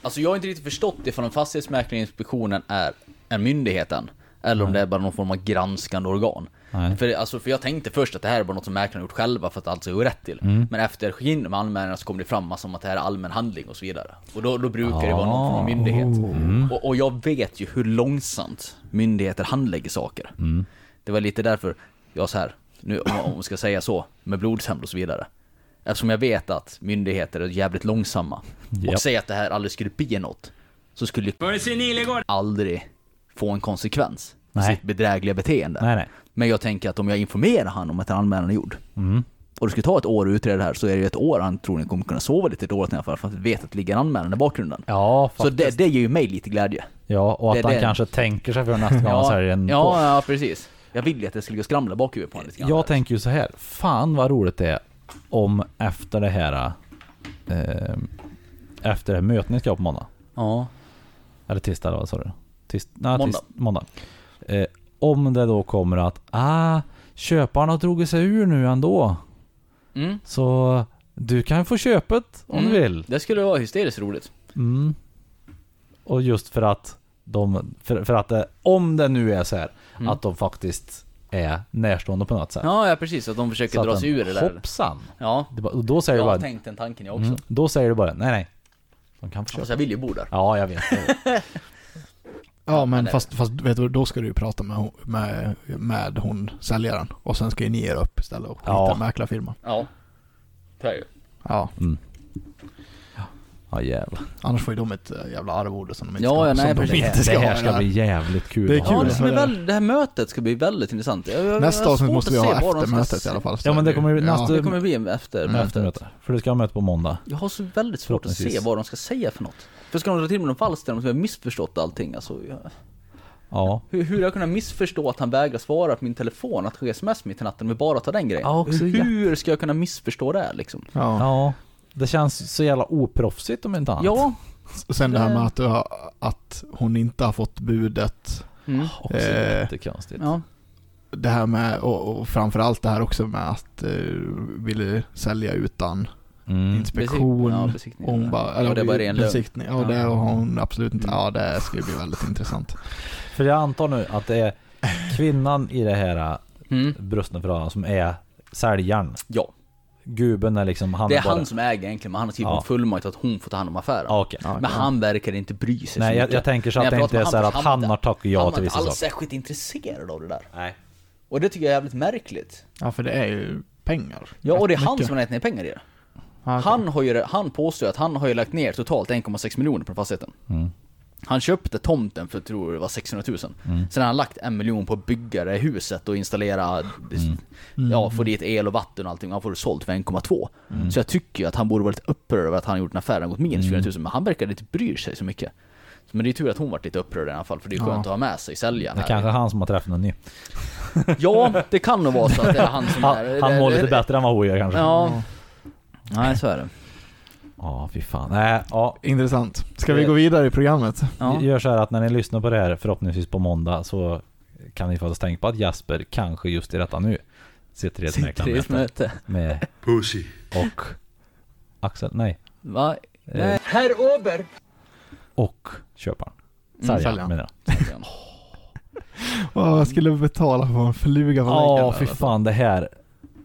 B: Alltså jag har inte riktigt förstått ifall om Fastighetsmäklarinspektionen är en myndighet än. Eller om det är bara någon form av granskande organ.
E: Nej.
B: För, alltså, för jag tänkte först att det här är bara något som mäklarna gjort själva för att allt ska gå rätt till.
E: Mm.
B: Men efter jag skickade in de anmälningarna så kom det fram massa om att det här är allmän handling och så vidare. Och då, då brukar det vara någon
E: Ah.
B: form av myndighet.
E: Mm.
B: Och, och jag vet ju hur långsamt myndigheter handlägger saker.
E: Mm.
B: Det var lite därför jag så här, nu om om man ska säga så, med blodshämnd och så vidare. Eftersom jag vet att myndigheter är jävligt långsamma.
E: Japp.
B: Och säga att det här aldrig skulle bli något. Så skulle ju aldrig få en konsekvens. för
E: Nej.
B: Sitt bedrägliga beteende.
E: Nej, nej.
B: Men jag tänker att om jag informerar han om att en anmälan är gjord
E: Mm.
B: och det skulle ta ett år att utreda det här så är det ju ett år han troligen kommer kunna sova lite dåligt i alla fall för att vet att det ligger en anmälan i bakgrunden.
E: Ja,
B: så
E: faktiskt.
B: det, det ger ju mig lite glädje.
E: Ja, och att
B: det-
E: han
B: det-
E: kanske tänker sig för nästa gång han säljer en
B: ja, ja, precis. Jag ville ju att det skulle gå och skramla i bakhuvudet på honom lite grann.
E: Jag
B: där.
E: tänker ju så här. Fan vad roligt det är om efter det här... Eh, efter det här mötet ni ska ha på måndag.
B: Ja.
E: Eller tisdag då, sa du? Tis, nej,
B: Måndag.
E: måndag. Tis, måndag. Eh, om det då kommer att, ah, köparen har dragit sig ur nu ändå.
B: Mm.
E: Så du kan få köpet om
B: Mm.
E: du vill.
B: Det skulle vara hysteriskt roligt.
E: Mm. Och just för att de, för, för att det, om det nu är så här, att de faktiskt är närstående på något sätt.
B: Mm. Ja, ja precis. Att de försöker
E: så
B: dra
E: att
B: sig
E: den-
B: ur det där.
E: Hoppsan!
B: Ja.
E: Det, bara- och då säger
B: Jag
E: du
B: har
E: bara,
B: tänkt den tanken jag också.
E: mm, då säger du bara, nej nej. De kan få köpa.
B: Fast jag vill ju bo där.
E: Ja, jag vet. jag vet.
C: Ja, men
B: det-
C: fast, fast vet du, då ska du ju prata med, hon- med, med hon säljaren. Och sen ska ju ni er upp istället och hitta
E: Ja.
C: en mäklarfirma.
B: Ja. Det är ju.
C: Ja,
E: Ja
B: [LAUGHS]
E: jävlar.
C: annars får ju de ett äh, jävla arvode som de inte
B: Ja,
C: ska,
B: ja, nej,
C: som
B: precis.
C: de
E: Det,
C: inte ska
E: det här
C: ha.
E: ska bli jävligt kul.
C: Det är
E: att
C: kul.
E: ha
B: Ja,
C: Kul.
B: det, som är väl, det här mötet ska bli väldigt intressant. Jag- jag- jag
C: Nästa
B: har
C: avsnitt
B: svårt
C: måste
B: att
C: vi
B: se
C: ha
B: var de
C: efter
B: ska
C: mötet
B: se.
C: i alla fall.
E: Ja men det kommer ju nästa
B: Det kommer bli en efter
E: mm.
B: mötet.
E: eh, eftermöte. För du ska ha möte på måndag.
B: Jag har så väldigt svårt att se
E: Förhoppningsvis.
B: vad de ska säga för något. För ska de dra till med någon falsk där de har missförstått allting? Alltså, jag,
E: Ja.
B: hur, hur har jag kunnat missförstå att han vägrar svara på min telefon, att skicka sms mitt i natten, med bara ta den grejen?
E: Ja, också
B: hur ska jag kunna missförstå det här, liksom?
C: Ja.
E: Ja. Det känns så jävla oproffsigt om inte annat.
B: Ja,
C: Och Sen det här med att, du har, att hon inte har fått budet.
B: mm.
E: Också
C: Eh.
E: jättekonstigt.
B: ja.
C: Det här med, och, och framförallt det här också med att uh, ville sälja utan
E: Mm.
C: inspektion.
B: Ja, besiktning.
C: och hon bara, eller
B: Ja, det är bara ren lögn.
C: besiktning. Ja,
B: Ja.
C: det har hon absolut inte.
B: Mm.
C: Ja, det ska ju bli väldigt intressant.
E: För jag antar nu att det är kvinnan i det här
B: Mm.
E: brustna förhållandet som är säljaren.
B: ja,
E: Gubben är liksom han
B: det är
E: bara-
B: han som äger egentligen, men han har skrivit
E: Ja.
B: en fullmakt att hon får ta hand om affären.
E: Ja, Okej.
C: Ja,
B: Men han verkar inte bry sig
E: Nej
B: så
E: jag,
B: mycket.
E: jag tänker så att det
B: När jag
E: inte är
B: pratar
E: så
B: med
E: här
B: han
E: att
B: först,
E: han har tackat ja
B: han var
E: till
B: inte
E: vissa
B: alls
E: saker.
B: särskilt intresserad av det där.
E: Nej.
B: Och det tycker jag är jävligt märkligt.
C: Ja, för det är ju pengar.
B: Ja, och det är han
C: Mycket.
B: som har lagt ner pengar i det.
C: Ja, okej.
B: Han, har ju, han påstår att han har ju lagt ner totalt 1,6 miljoner på fastigheten. Han köpte tomten för, tror det var 600 000. Sen har han lagt en miljon på att bygga det huset och installera, ja, få dit el och vatten och allting. Han får det sålt för 1,2. Så jag tycker ju att han borde vara lite upprörd över att han har gjort en affär, han har gått minus 400 000, men han verkar inte bry sig så mycket. Men det är tur att hon varit lite upprörd i alla fall, för det är skönt att ha med sig säljaren.
E: Det
B: här.
E: kanske är han som har träffat någon ny.
B: Ja, det kan nog vara så att det är
E: [LAUGHS]
B: han som
E: Han,
B: är...
E: han mår lite bättre än vad hon gör kanske. Ja,
B: Ja. Nej, så är det.
E: fy fan. Nej, ja.
C: Intressant. Ska vi gå vidare i programmet?
B: Ja.
E: Gör så här att när ni lyssnar på det här förhoppningsvis på måndag så kan ni faktiskt tänka på att Jasper kanske just i detta nu sitter i ett
B: Sitter i ett
E: mäklarmöte
B: möte.
E: med
D: pussy.
E: och Axel, nej, Eh,
B: Va? Nej.
F: Herr Ober!
E: och köparen.
B: Mm,
E: Säljaren
C: säljaren.
E: menar jag.
C: Åh, jag skulle betala för en fluga på väggen.
E: Ja, fy fan det här.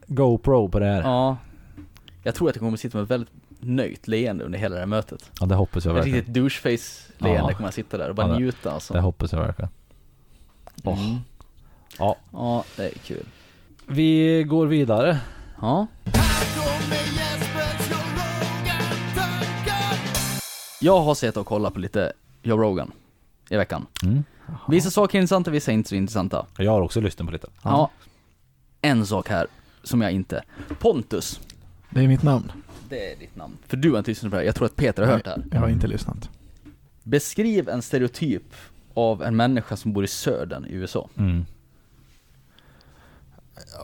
E: GoPro på det här. Ja,
B: Ja. Jag tror att jag kommer sitta med ett väldigt nöjt leende under hela det här mötet.
E: det hoppas jag
B: Ett
E: verkligen.
B: riktigt doucheface-leende
E: Ja.
B: kommer jag sitta där och
E: Ja,
B: bara
E: det-
B: njuta alltså.
E: Det hoppas jag verkligen.
B: Mm.
E: Ja.
B: Ja, det är kul.
E: Vi går vidare.
B: Ja. Jag har sett och kollat på lite Joe Rogan i veckan.
E: Mm.
B: Vissa saker är intressanta, vissa är inte så intressanta.
E: Jag har också lyssnat på lite.
B: Ja. En sak här som jag inte... Pontus.
C: Det är mitt namn.
B: Det är ditt namn. För du har inte lyssnat på det här. Jag tror att Peter har hört det här.
C: Jag har inte lyssnat.
B: Beskriv en stereotyp av en människa som bor i södern i USA.
E: Mm.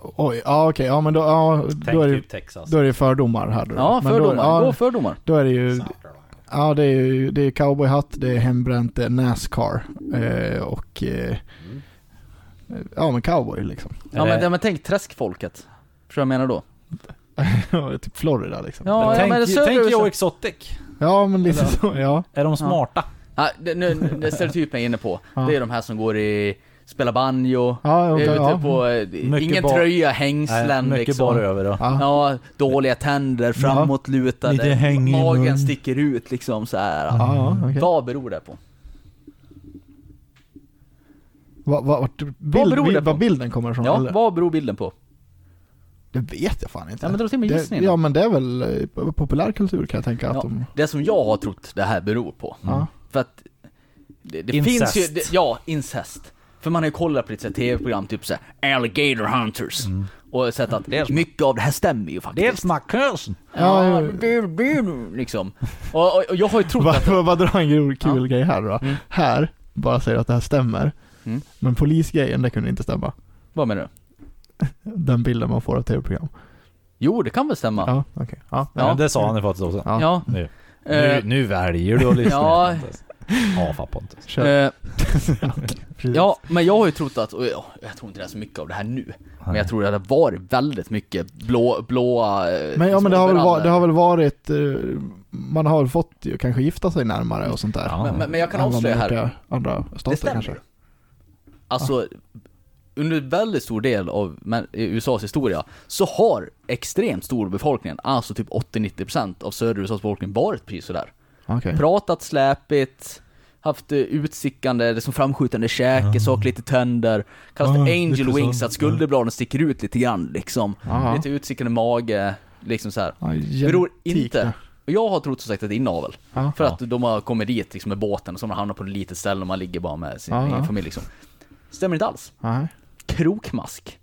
C: Oj, ja okej, ja men då, ja, då, är det,
B: typ
E: Texas.
C: då är det fördomar här då.
B: Ja,
C: Men
B: fördomar.
C: Då, ja,
B: Gå fördomar.
C: Då är det ju... Ja, det är ju det är cowboyhatt, det är hembränt, det är Nascar eh, och... Eh,
B: Mm.
C: ja, men cowboy liksom.
B: Ja
E: Är
B: men,
E: det-
B: ja men tänk träskfolket. Förstår du vad jag menar då?
C: typ Florida liksom. Ja,
B: Ja, ja men det är
E: tänk
B: södra
E: tänk Joe
B: USA.
E: Exotic.
C: men lite
E: Eller-
C: så, ja.
E: Är de smarta?
B: Ja, det, nu, det stereotypen jag är inne på,
C: Ja.
B: det är de här som går i, spelar banjo,
C: Ja,
B: är
C: okay,
B: ute
C: ja.
B: på, eh,
E: Mycket
B: ingen
E: bar-
B: tröja,
E: Nej,
B: hängslen
E: mycket
B: liksom.
E: bara över då.
C: Ja.
B: Ja, dåliga tänder, framåtlutade,
E: Lite häng i mun.
B: magen sticker ut liksom så här.
C: Ja, ja, okej.
B: Vad beror det på?
C: Vad va, vart bild,
B: beror det
C: bild,
B: på?
C: vad bilden kommer ifrån?
B: Ja,
C: eller?
B: vad beror bilden på?
C: Det vet jag fan inte.
B: Ja men dra till med
C: det,
B: gissningen.
C: ja, men det är väl eh, populärkultur kan jag tänka
B: Ja, Mm.
C: att de...
B: Det som jag har trott det här beror på,
C: Ja.
B: för att det, det
E: Incest.
B: finns ju, det, ja, incest. För man har ju kollat på lite så här tv-program, typ såhär Alligator Hunters.
C: Mm.
B: Och sett att mycket av det här stämmer ju faktiskt.
E: McCurson.
C: Ja,
B: Ja,
C: jo.
B: det blir liksom. Och, och, och jag har ju trott att...
C: Bara, bara dra en kul, kul grej här då.
B: Mm.
C: Här, bara säger att det här stämmer.
B: Mm.
C: Men polisgrejen, det kunde inte stämma.
B: Vad menar du?
C: Den bilden man får av tv-program.
B: Jo, det kan väl stämma. Ja.
C: Ja, okej. Ja.
E: Ja, men det sa han ju faktiskt också.
C: Ja.
B: ja.
E: Nu. Nu,
B: Eh,
E: nu väljer du att lyssna.
B: Ja.
E: Pontus. Ja, fan Pontus.
C: Kör. [LAUGHS]
B: eh,
C: Precis.
B: ja, men jag har ju trott att, och jag, jag tror inte det är så mycket av det här nu, men jag tror det hade varit väldigt mycket blå, blåa... eh,
C: Men, ja,
B: liksom
C: men det, har väl
B: overaller.
C: varit, det har väl varit, eh, man har väl fått ju kanske gifta sig närmare och sånt där.
E: Ja.
B: men, men, men jag kan
C: Än vad
B: avslöja
C: man
B: här,
C: gjort i Andra
B: Det
C: stater
B: stämmer
C: kanske.
B: ju. Alltså, under väldigt stor del av men- i USAs historia så har extremt stor befolkningen, alltså typ 80-90% av södra USAs befolkning varit precis sådär.
C: Okej.
B: Pratat släpigt, haft eh, utsickande, liksom framskjutande käke,
C: Ah.
B: saker lite tänder. Kallas
C: Ja,
B: för
C: lite
B: angel
C: så.
B: wings, att skulderbladen sticker ut lite grann liksom.
C: Ja.
B: Lite utsickande mage, liksom så här.
C: Ja,
B: Beror
C: genetik,
B: inte.
C: ja.
B: Och jag har trott som sagt att det är inavel.
C: Ja.
B: För att de har kommit dit liksom med båten och så har man hamnat på ett litet ställe och man ligger bara med sin
C: Ja,
B: egen
C: ja.
B: familj liksom. Stämmer inte alls.
C: Nej.
B: Krokmask.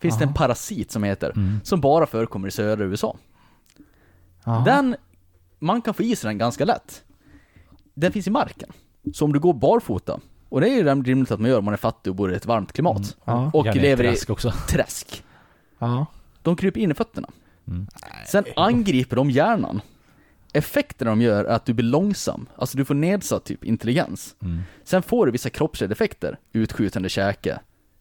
B: Finns det en parasit som heter,
E: Mm.
B: som bara förekommer i södra USA.
C: Ja.
B: Den, man kan få i sig den ganska lätt. Den finns i marken. Så om du går barfota, och det är ju rimligt att man gör om man är fattig och bor i ett varmt klimat.
C: Ja.
B: Och
E: Gärna
B: lever
E: träsk också.
B: i träsk.
C: Ja.
B: De kryper in i fötterna. Sen angriper de hjärnan. Effekterna de gör är att du blir långsam, alltså du får nedsatt typ intelligens.
E: Mm.
B: Sen får du vissa kroppsdefekter, utskjutande käke,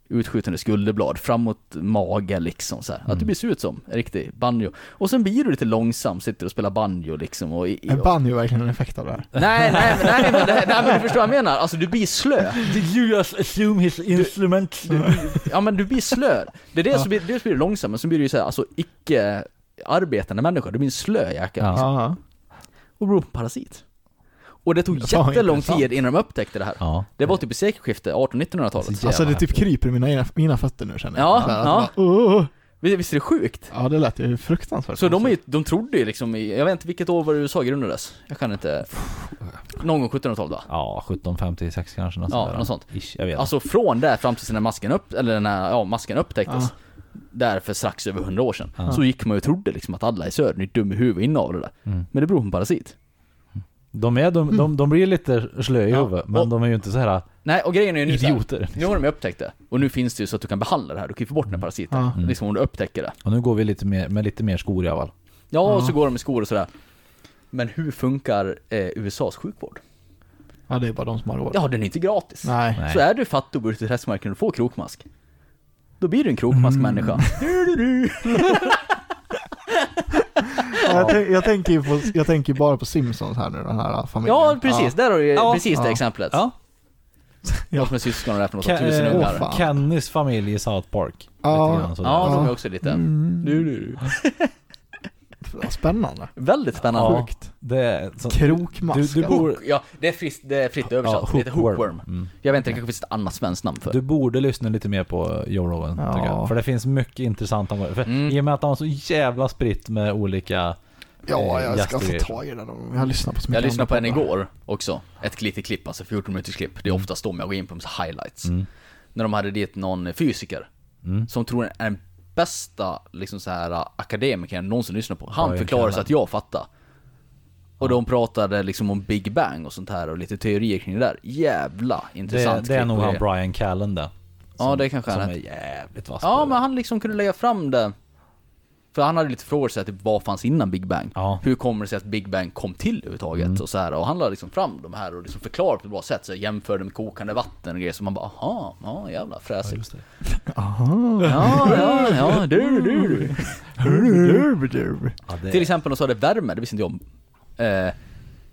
B: utskjutande skulderblad, framåt mage liksom så här. Att
C: Mm.
B: du blir ser ut som en riktig banjo. Och sen blir du lite långsam, sitter och spelar banjo liksom och... i- i-
C: Är banjo verkligen en effekt av det här?
B: Nej, nej, men, nej, men, nej, men du förstår vad jag menar. Alltså du blir slö.
E: Did you just assume his instrument?
B: Ja men du blir slö. Det är det som blir, dels blir du långsam, men så blir du ju såhär, alltså icke arbetande människa. Du blir en slö jäkel.
E: Ja.
C: Ja.
B: och beror på en parasit. Och det tog
C: Fan,
B: jättelång
C: intressant.
B: tid innan de upptäckte det här.
E: Ja.
B: Det var typ i sekelskiftet, 1800-1900-talet.
C: Alltså det typ kryper i mina, ena- mina fötter nu känner jag.
B: Ja,
C: Så här,
B: ja.
C: att bara, "Åh."
B: Vi- Visst är det sjukt?
C: ja, det lät ju fruktansvärt.
B: Så de, är, ju- de trodde ju liksom, i- jag vet inte vilket år var det USA grundades? Jag kan inte... Någon gång 1700-talet va?
E: Ja, 1756 kanske. Något
B: Ja,
E: sånt där.
B: något sånt.
E: Ish, jag vet
B: Alltså från där fram tills den här masken, upp, eller den här, ja, masken upptäcktes. Där för strax över 100 år sedan. Så gick man ju och trodde liksom att alla i södern är dum i huvudet inne av det där. Men det beror på en parasit.
E: inte. Mm. De, är, de, de, de blir lite slö i huvudet, men
B: Och-
E: de är ju inte så här
B: Nej, och grejen är ju nu så här,
E: idioter.
B: Nu har de ju upptäckt det. Och nu finns det ju så att du kan behandla det här. Du kan ju få bort den här parasiten. Liksom om du upptäcker det.
E: Mm. Och nu går vi lite mer, med lite mer skor i alla fall.
B: Ja, och så går de i skor och sådär. Men hur funkar eh, USAs sjukvård?
C: Ja, det är bara de som har råd.
B: Ja, den är inte gratis.
C: Nej.
E: Nej.
B: Så är du fattig och bor ute i träskmarken och får krokmask, då blir du en krokmaskmänniska.
C: Ja, jag, tänk, jag, tänker ju på, jag tänker ju bara på Simpsons här nu, den här familjen.
B: Ja, precis. Där har du ju
E: Ja.
B: precis det
C: Ja.
B: exemplet.
E: Ja.
B: Något med syskon och där för något,
E: Ke-
B: tusen
E: eh,
B: ungar.
C: åh, fan.
E: Kennys familj i South Park.
C: Ja. Mm.
E: Lite grann sådär.
B: Ja, de är också lite... Du, du, du.
C: [LAUGHS] Spännande.
B: Väldigt spännande.
E: Ja, det är, så, du,
C: Krokmaskar.
E: du, bor,
B: Ja, det är fritt, det är fritt översatt.
E: Ja,
B: det heter
E: hookworm. Mm.
B: hookworm. Jag vet inte, det kanske finns ett annat svenskt namn för
E: du borde lyssna lite mer på Joe Rogan,
C: Ja.
E: tycker jag. För det finns mycket intressant om det. För
B: Mm.
E: I och med att han har så jävla spritt med olika... eh,
C: Ja, jag ska
E: gäster.
C: få tag i den. om- Jag har lyssnat på så mycket
B: Jag lyssnade på
C: andra
B: en
C: poddar.
B: igår också. Ett litet klipp, alltså 14 minuters klipp.
E: Mm.
B: Det är oftast de jag går in på, så highlights. När de hade dit någon fysiker.
E: Mm.
B: Som tror är den bästa liksom så här, akademikern jag någonsin lyssnat på. Han
E: Oj,
B: förklarar så
E: jävlar.
B: att jag fattar. Och de pratade liksom om Big Bang och sånt här och lite teorier kring det där. Jävla
E: Det,
B: intressant
E: det är
B: klipp
E: nog
B: och
E: han
B: det-
E: Brian Callen det.
B: Ja, det kanske
E: Som
B: han
E: är
B: är.
E: jävligt vass på
B: Ja,
E: det.
B: men han liksom kunde lägga fram det. För han hade lite frågor så här, typ, vad fanns innan Big Bang?
E: Ja. Mm.
B: Hur kommer det sig att Big Bang kom till överhuvudtaget? Och så här, och han lade liksom fram de här och liksom förklarade på ett bra sätt. Så här, jämförde med kokande vatten och grejer. Så man bara, aha, ja jävla fräsigt. [LAUGHS] Ja, ja, ja, du, du, du.
C: Mm.
E: Ja, det-
B: Till exempel de sa det värme, det visste inte jag om. Eh,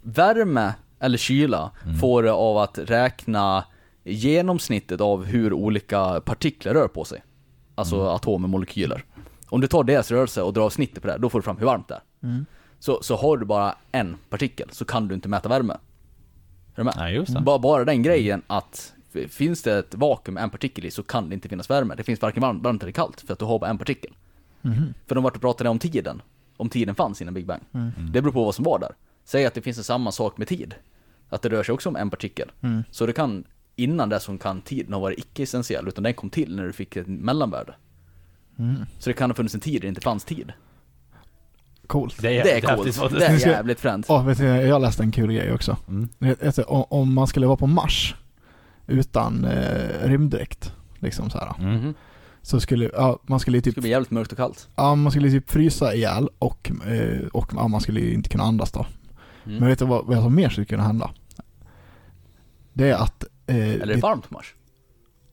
B: värme eller kyla får det av att räkna genomsnittet av hur olika partiklar rör på sig. Alltså atomer, molekyler. Om du tar deras rörelse och drar snittet på det, här, då får du fram hur varmt det är. Så, så har du bara en partikel så kan du inte mäta värme. Är du med?
E: Nej, just det.
B: Bara, bara den grejen att f- finns det ett vakuum med en partikel i så kan det inte finnas värme. Det finns varken varmt, varmt eller kallt för att du har bara en partikel.
E: Mhm.
B: För de vart och pratade om tiden. Om tiden fanns innan Big Bang.
E: Mm.
B: Det beror på vad som var där. Säg att det finns en samma sak med tid. Att det rör sig också om en partikel.
E: Mm.
B: Så det kan, innan det som kan tiden ha varit icke-essentiell, utan den kom till när du fick ett mellanvärde.
E: Mm.
B: Så det kan ha funnits en tid där det inte fanns tid.
C: Coolt.
E: Det är,
B: Det är
E: häftigt
B: coolt.
E: faktiskt.
B: Det [LAUGHS] är jävligt fränt.
C: Ja, vet ni, jag läste en kul grej också.
E: Mm,
C: Det heter, o- Om man skulle vara på Mars utan eh, rymddräkt, liksom så här.
E: mm.
B: Mhm.
C: Så skulle, ja, man skulle ju
B: Det
C: typ,
B: ska bli jävligt mörkt och kallt.
C: ja, man skulle typ frysa ihjäl och, eh, och ja, man skulle ju inte kunna andas då.
B: Mm.
C: Men vet du vad, vad som mer skulle kunna hända? Det är att... Eh,
B: Eller är det
C: ditt-
B: varmt på Mars?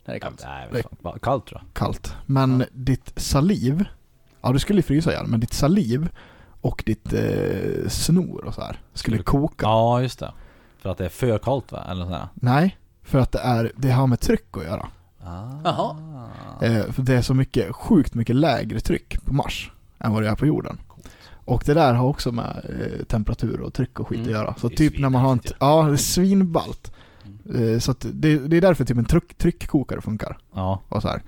B: Nej, det är kallt.
E: Nej, vad fan. Vad Kallt tror jag.
C: kallt. Men ditt saliv, ja du skulle ju frysa ihjäl, men ditt saliv och ditt eh, snor och så här skulle koka.
E: Ja, just det. För att det är för kallt va? Eller sådär.
C: Nej, för att det, är, det har med tryck att göra.
E: Ah.
B: Jaha.
C: Eh, för det är så mycket, sjukt mycket lägre tryck på Mars än vad det är på jorden. Och det där har också med eh, temperatur och tryck och skit
B: Mm.
C: att göra. Så
B: Det är
C: typ när man har en,
B: svinhäftigt Mm.
C: ja det är svinballt. Eh, så att det, det är därför typ en tryck, tryckkokare funkar.
E: Ja.
C: och så här.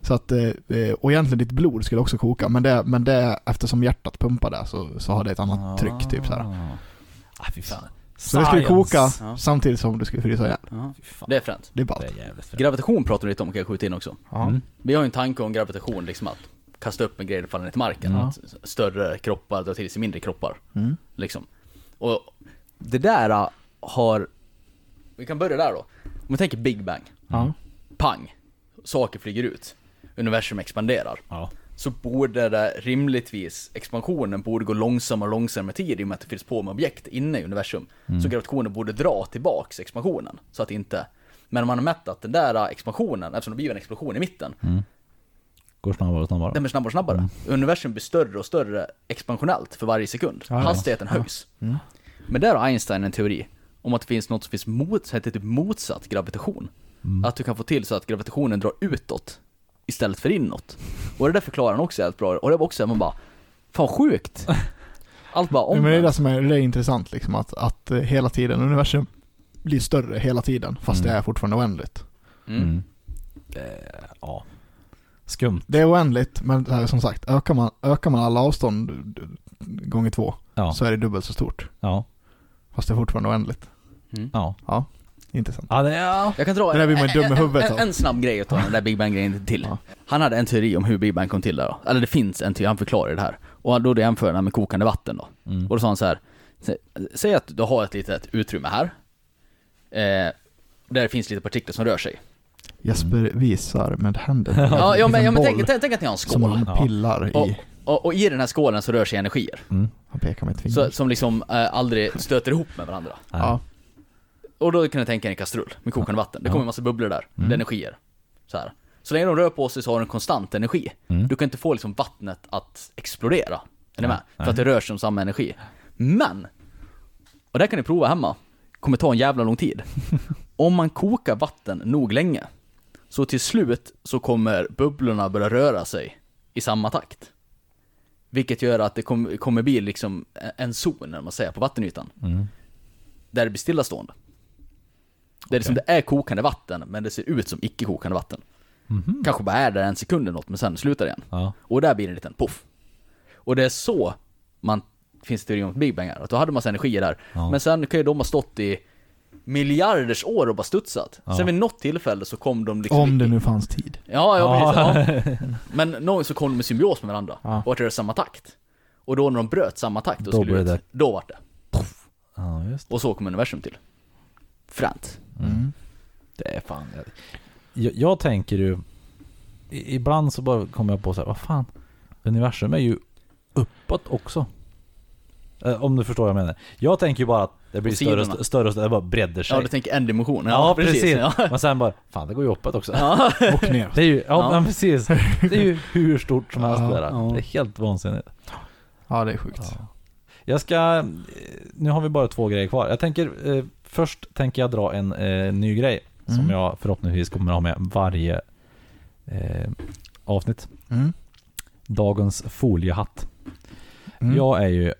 C: Så att, eh, eh, och egentligen ditt blod skulle också koka, men det, men det eftersom hjärtat pumpar det så, så har det ett annat tryck typ så här.
E: Ah, fy fan.
C: Så det skulle koka
B: Ja.
C: samtidigt som du skulle frysa ihjäl.
B: Ja.
E: Fy fan.
B: Det är fränt.
C: Det
E: Det
C: är ballt.
E: är jävligt fränt.
B: Gravitation pratar vi lite om, kan jag skjuta in också.
C: Ja.
E: Mm.
B: Vi har ju en tanke om gravitation, liksom att kasta upp en grej och falla ner till marken. Att större kroppar drar till sig mindre kroppar.
C: Mm.
B: Liksom. Och det där äh, har... Vi kan börja där då. Om vi tänker Big Bang.
C: Ja.
B: Pang! Saker flyger ut. Universum expanderar.
E: Ja.
B: Så borde det rimligtvis, expansionen borde gå långsammare och långsammare med tid i och med att det fylls på med objekt inne i universum. Så gravitationen borde dra tillbaks expansionen. Så att inte... Men om man har mätt att den där expansionen, eftersom det blir en explosion i mitten,
E: Går snabbare och snabbare.
B: den blir snabbare och snabbare. Universum blir större och större expansionellt för varje sekund. Hastigheten höjs. Men där har Einstein en teori om att det finns något som finns mot, som heter typ motsatt gravitation.
E: Mm.
B: Att du kan få till så att gravitationen drar utåt istället för inåt. Och det där förklarar han också helt bra. Och det var också, man bara, fan
C: [LAUGHS]
B: sjukt. Allt bara om.
C: Men det är det som är, det är intressant liksom, att, att eh, hela tiden universum blir större hela tiden, fast det är fortfarande oändligt.
B: mm.
E: Eh, Ja. Skumt.
C: Det är oändligt, men det här, är som sagt, ökar man, ökar man alla avstånd d- d- gånger två
E: Ja.
C: så är det dubbelt så stort.
E: Ja.
C: Fast det är fortfarande oändligt.
E: Ja.
C: Ja, intressant.
E: Ja, det är... Ja.
B: Jag kan dra
C: Det där blir man ju dum i
B: en, en,
C: huvudet
B: en,
C: av.
B: en snabb grej att ta den där Big Bang-grejen till. Han hade en teori om hur Big Bang kom till där då. Eller det finns en teori, han förklarar det här. Och då det jämför han med kokande vatten
C: Mm.
B: då.
E: Mm.
B: Och då sa han så här. "Sä- Säg att du har ett litet utrymme här. Eh, där det finns lite partiklar som rör sig.
C: Jesper visar med händerna.
B: Mm. [LAUGHS] Ja, ja men, ja, men
C: En
B: tänk,
C: liksom boll.
B: tänk, tänk att ni har en
C: Som
B: skål.
C: han pillar
B: Och,
C: i.
B: och, och i den här skålen så rör sig energier.
C: Han pekar med ett finger.
B: Så, som liksom eh, aldrig stöter ihop med varandra.
C: ja.
B: Och då kan jag tänka er en kastrull med kokande vatten. Det kommer en massa bubblor där. Det är energier. Så, här. så länge de rör på sig så har de konstant energi. Du kan inte få liksom vattnet att explodera. Är ni med? För att det rör sig om samma energi. Men! Och det här kan ni prova hemma. Kommer ta en jävla lång tid. Om man kokar vatten nog länge, så till slut så kommer bubblorna börja röra sig i samma takt. Vilket gör att det kom, kommer bli liksom en zon, när man säger, på vattenytan.
E: Mm.
B: Där det blir stillastående. Där det, liksom, det är kokande vatten, men det ser ut som icke-kokande vatten. Kanske bara är där en sekund eller något, men sen slutar det igen.
E: Ja.
B: Och där blir det en liten poff. Och det är så man finns teori om Big Bang är. Att då hade man massa energi där.
E: Ja.
B: Men sen kan ju de ha stått i miljarders år och bara studsat. Sen vid något tillfälle så kom de liksom...
C: Om det nu fanns tid.
B: Ja, ja precis. Ja. Men någon gång så kom de i symbios med varandra. Och att det var samma takt. Och då när de bröt samma takt, då,
E: Då
B: skulle
E: blev
B: ut,
E: det-
B: då vart det.
E: [LAUGHS] Ja, just
B: Och så kom universum till. Fränt.
C: Mm.
B: [LAUGHS]
E: det. är fan. Jag, jag tänker ju... i- Ibland så bara kommer jag på så här, vad fan. Universum är ju uppåt också. Eh, Om du förstår vad jag menar. Jag tänker ju bara att det blir
B: På
E: större och
B: sidorna.
E: större, större och större, det bara bredder sig.
B: Ja, du tänker en dimension. Ja,
E: Ja, precis.
B: Ja. [LAUGHS]
E: Men sen bara, fan det går ju uppåt också.
C: Och ner.
E: Det är ju, ja,
B: Ja.
E: Men precis. Det är ju [LAUGHS] hur stort som helst
C: Ja,
E: det där.
C: ja.
E: Det är helt vansinnigt.
C: Ja, det är sjukt.
E: Jag ska, eh, nu har vi bara två grejer kvar. Jag tänker, eh, först tänker jag dra en eh, ny grej. Som
C: Mm.
E: jag förhoppningsvis kommer ha med varje eh, avsnitt.
C: Mm.
E: Dagens foliehatt.
C: Mm.
E: Jag är ju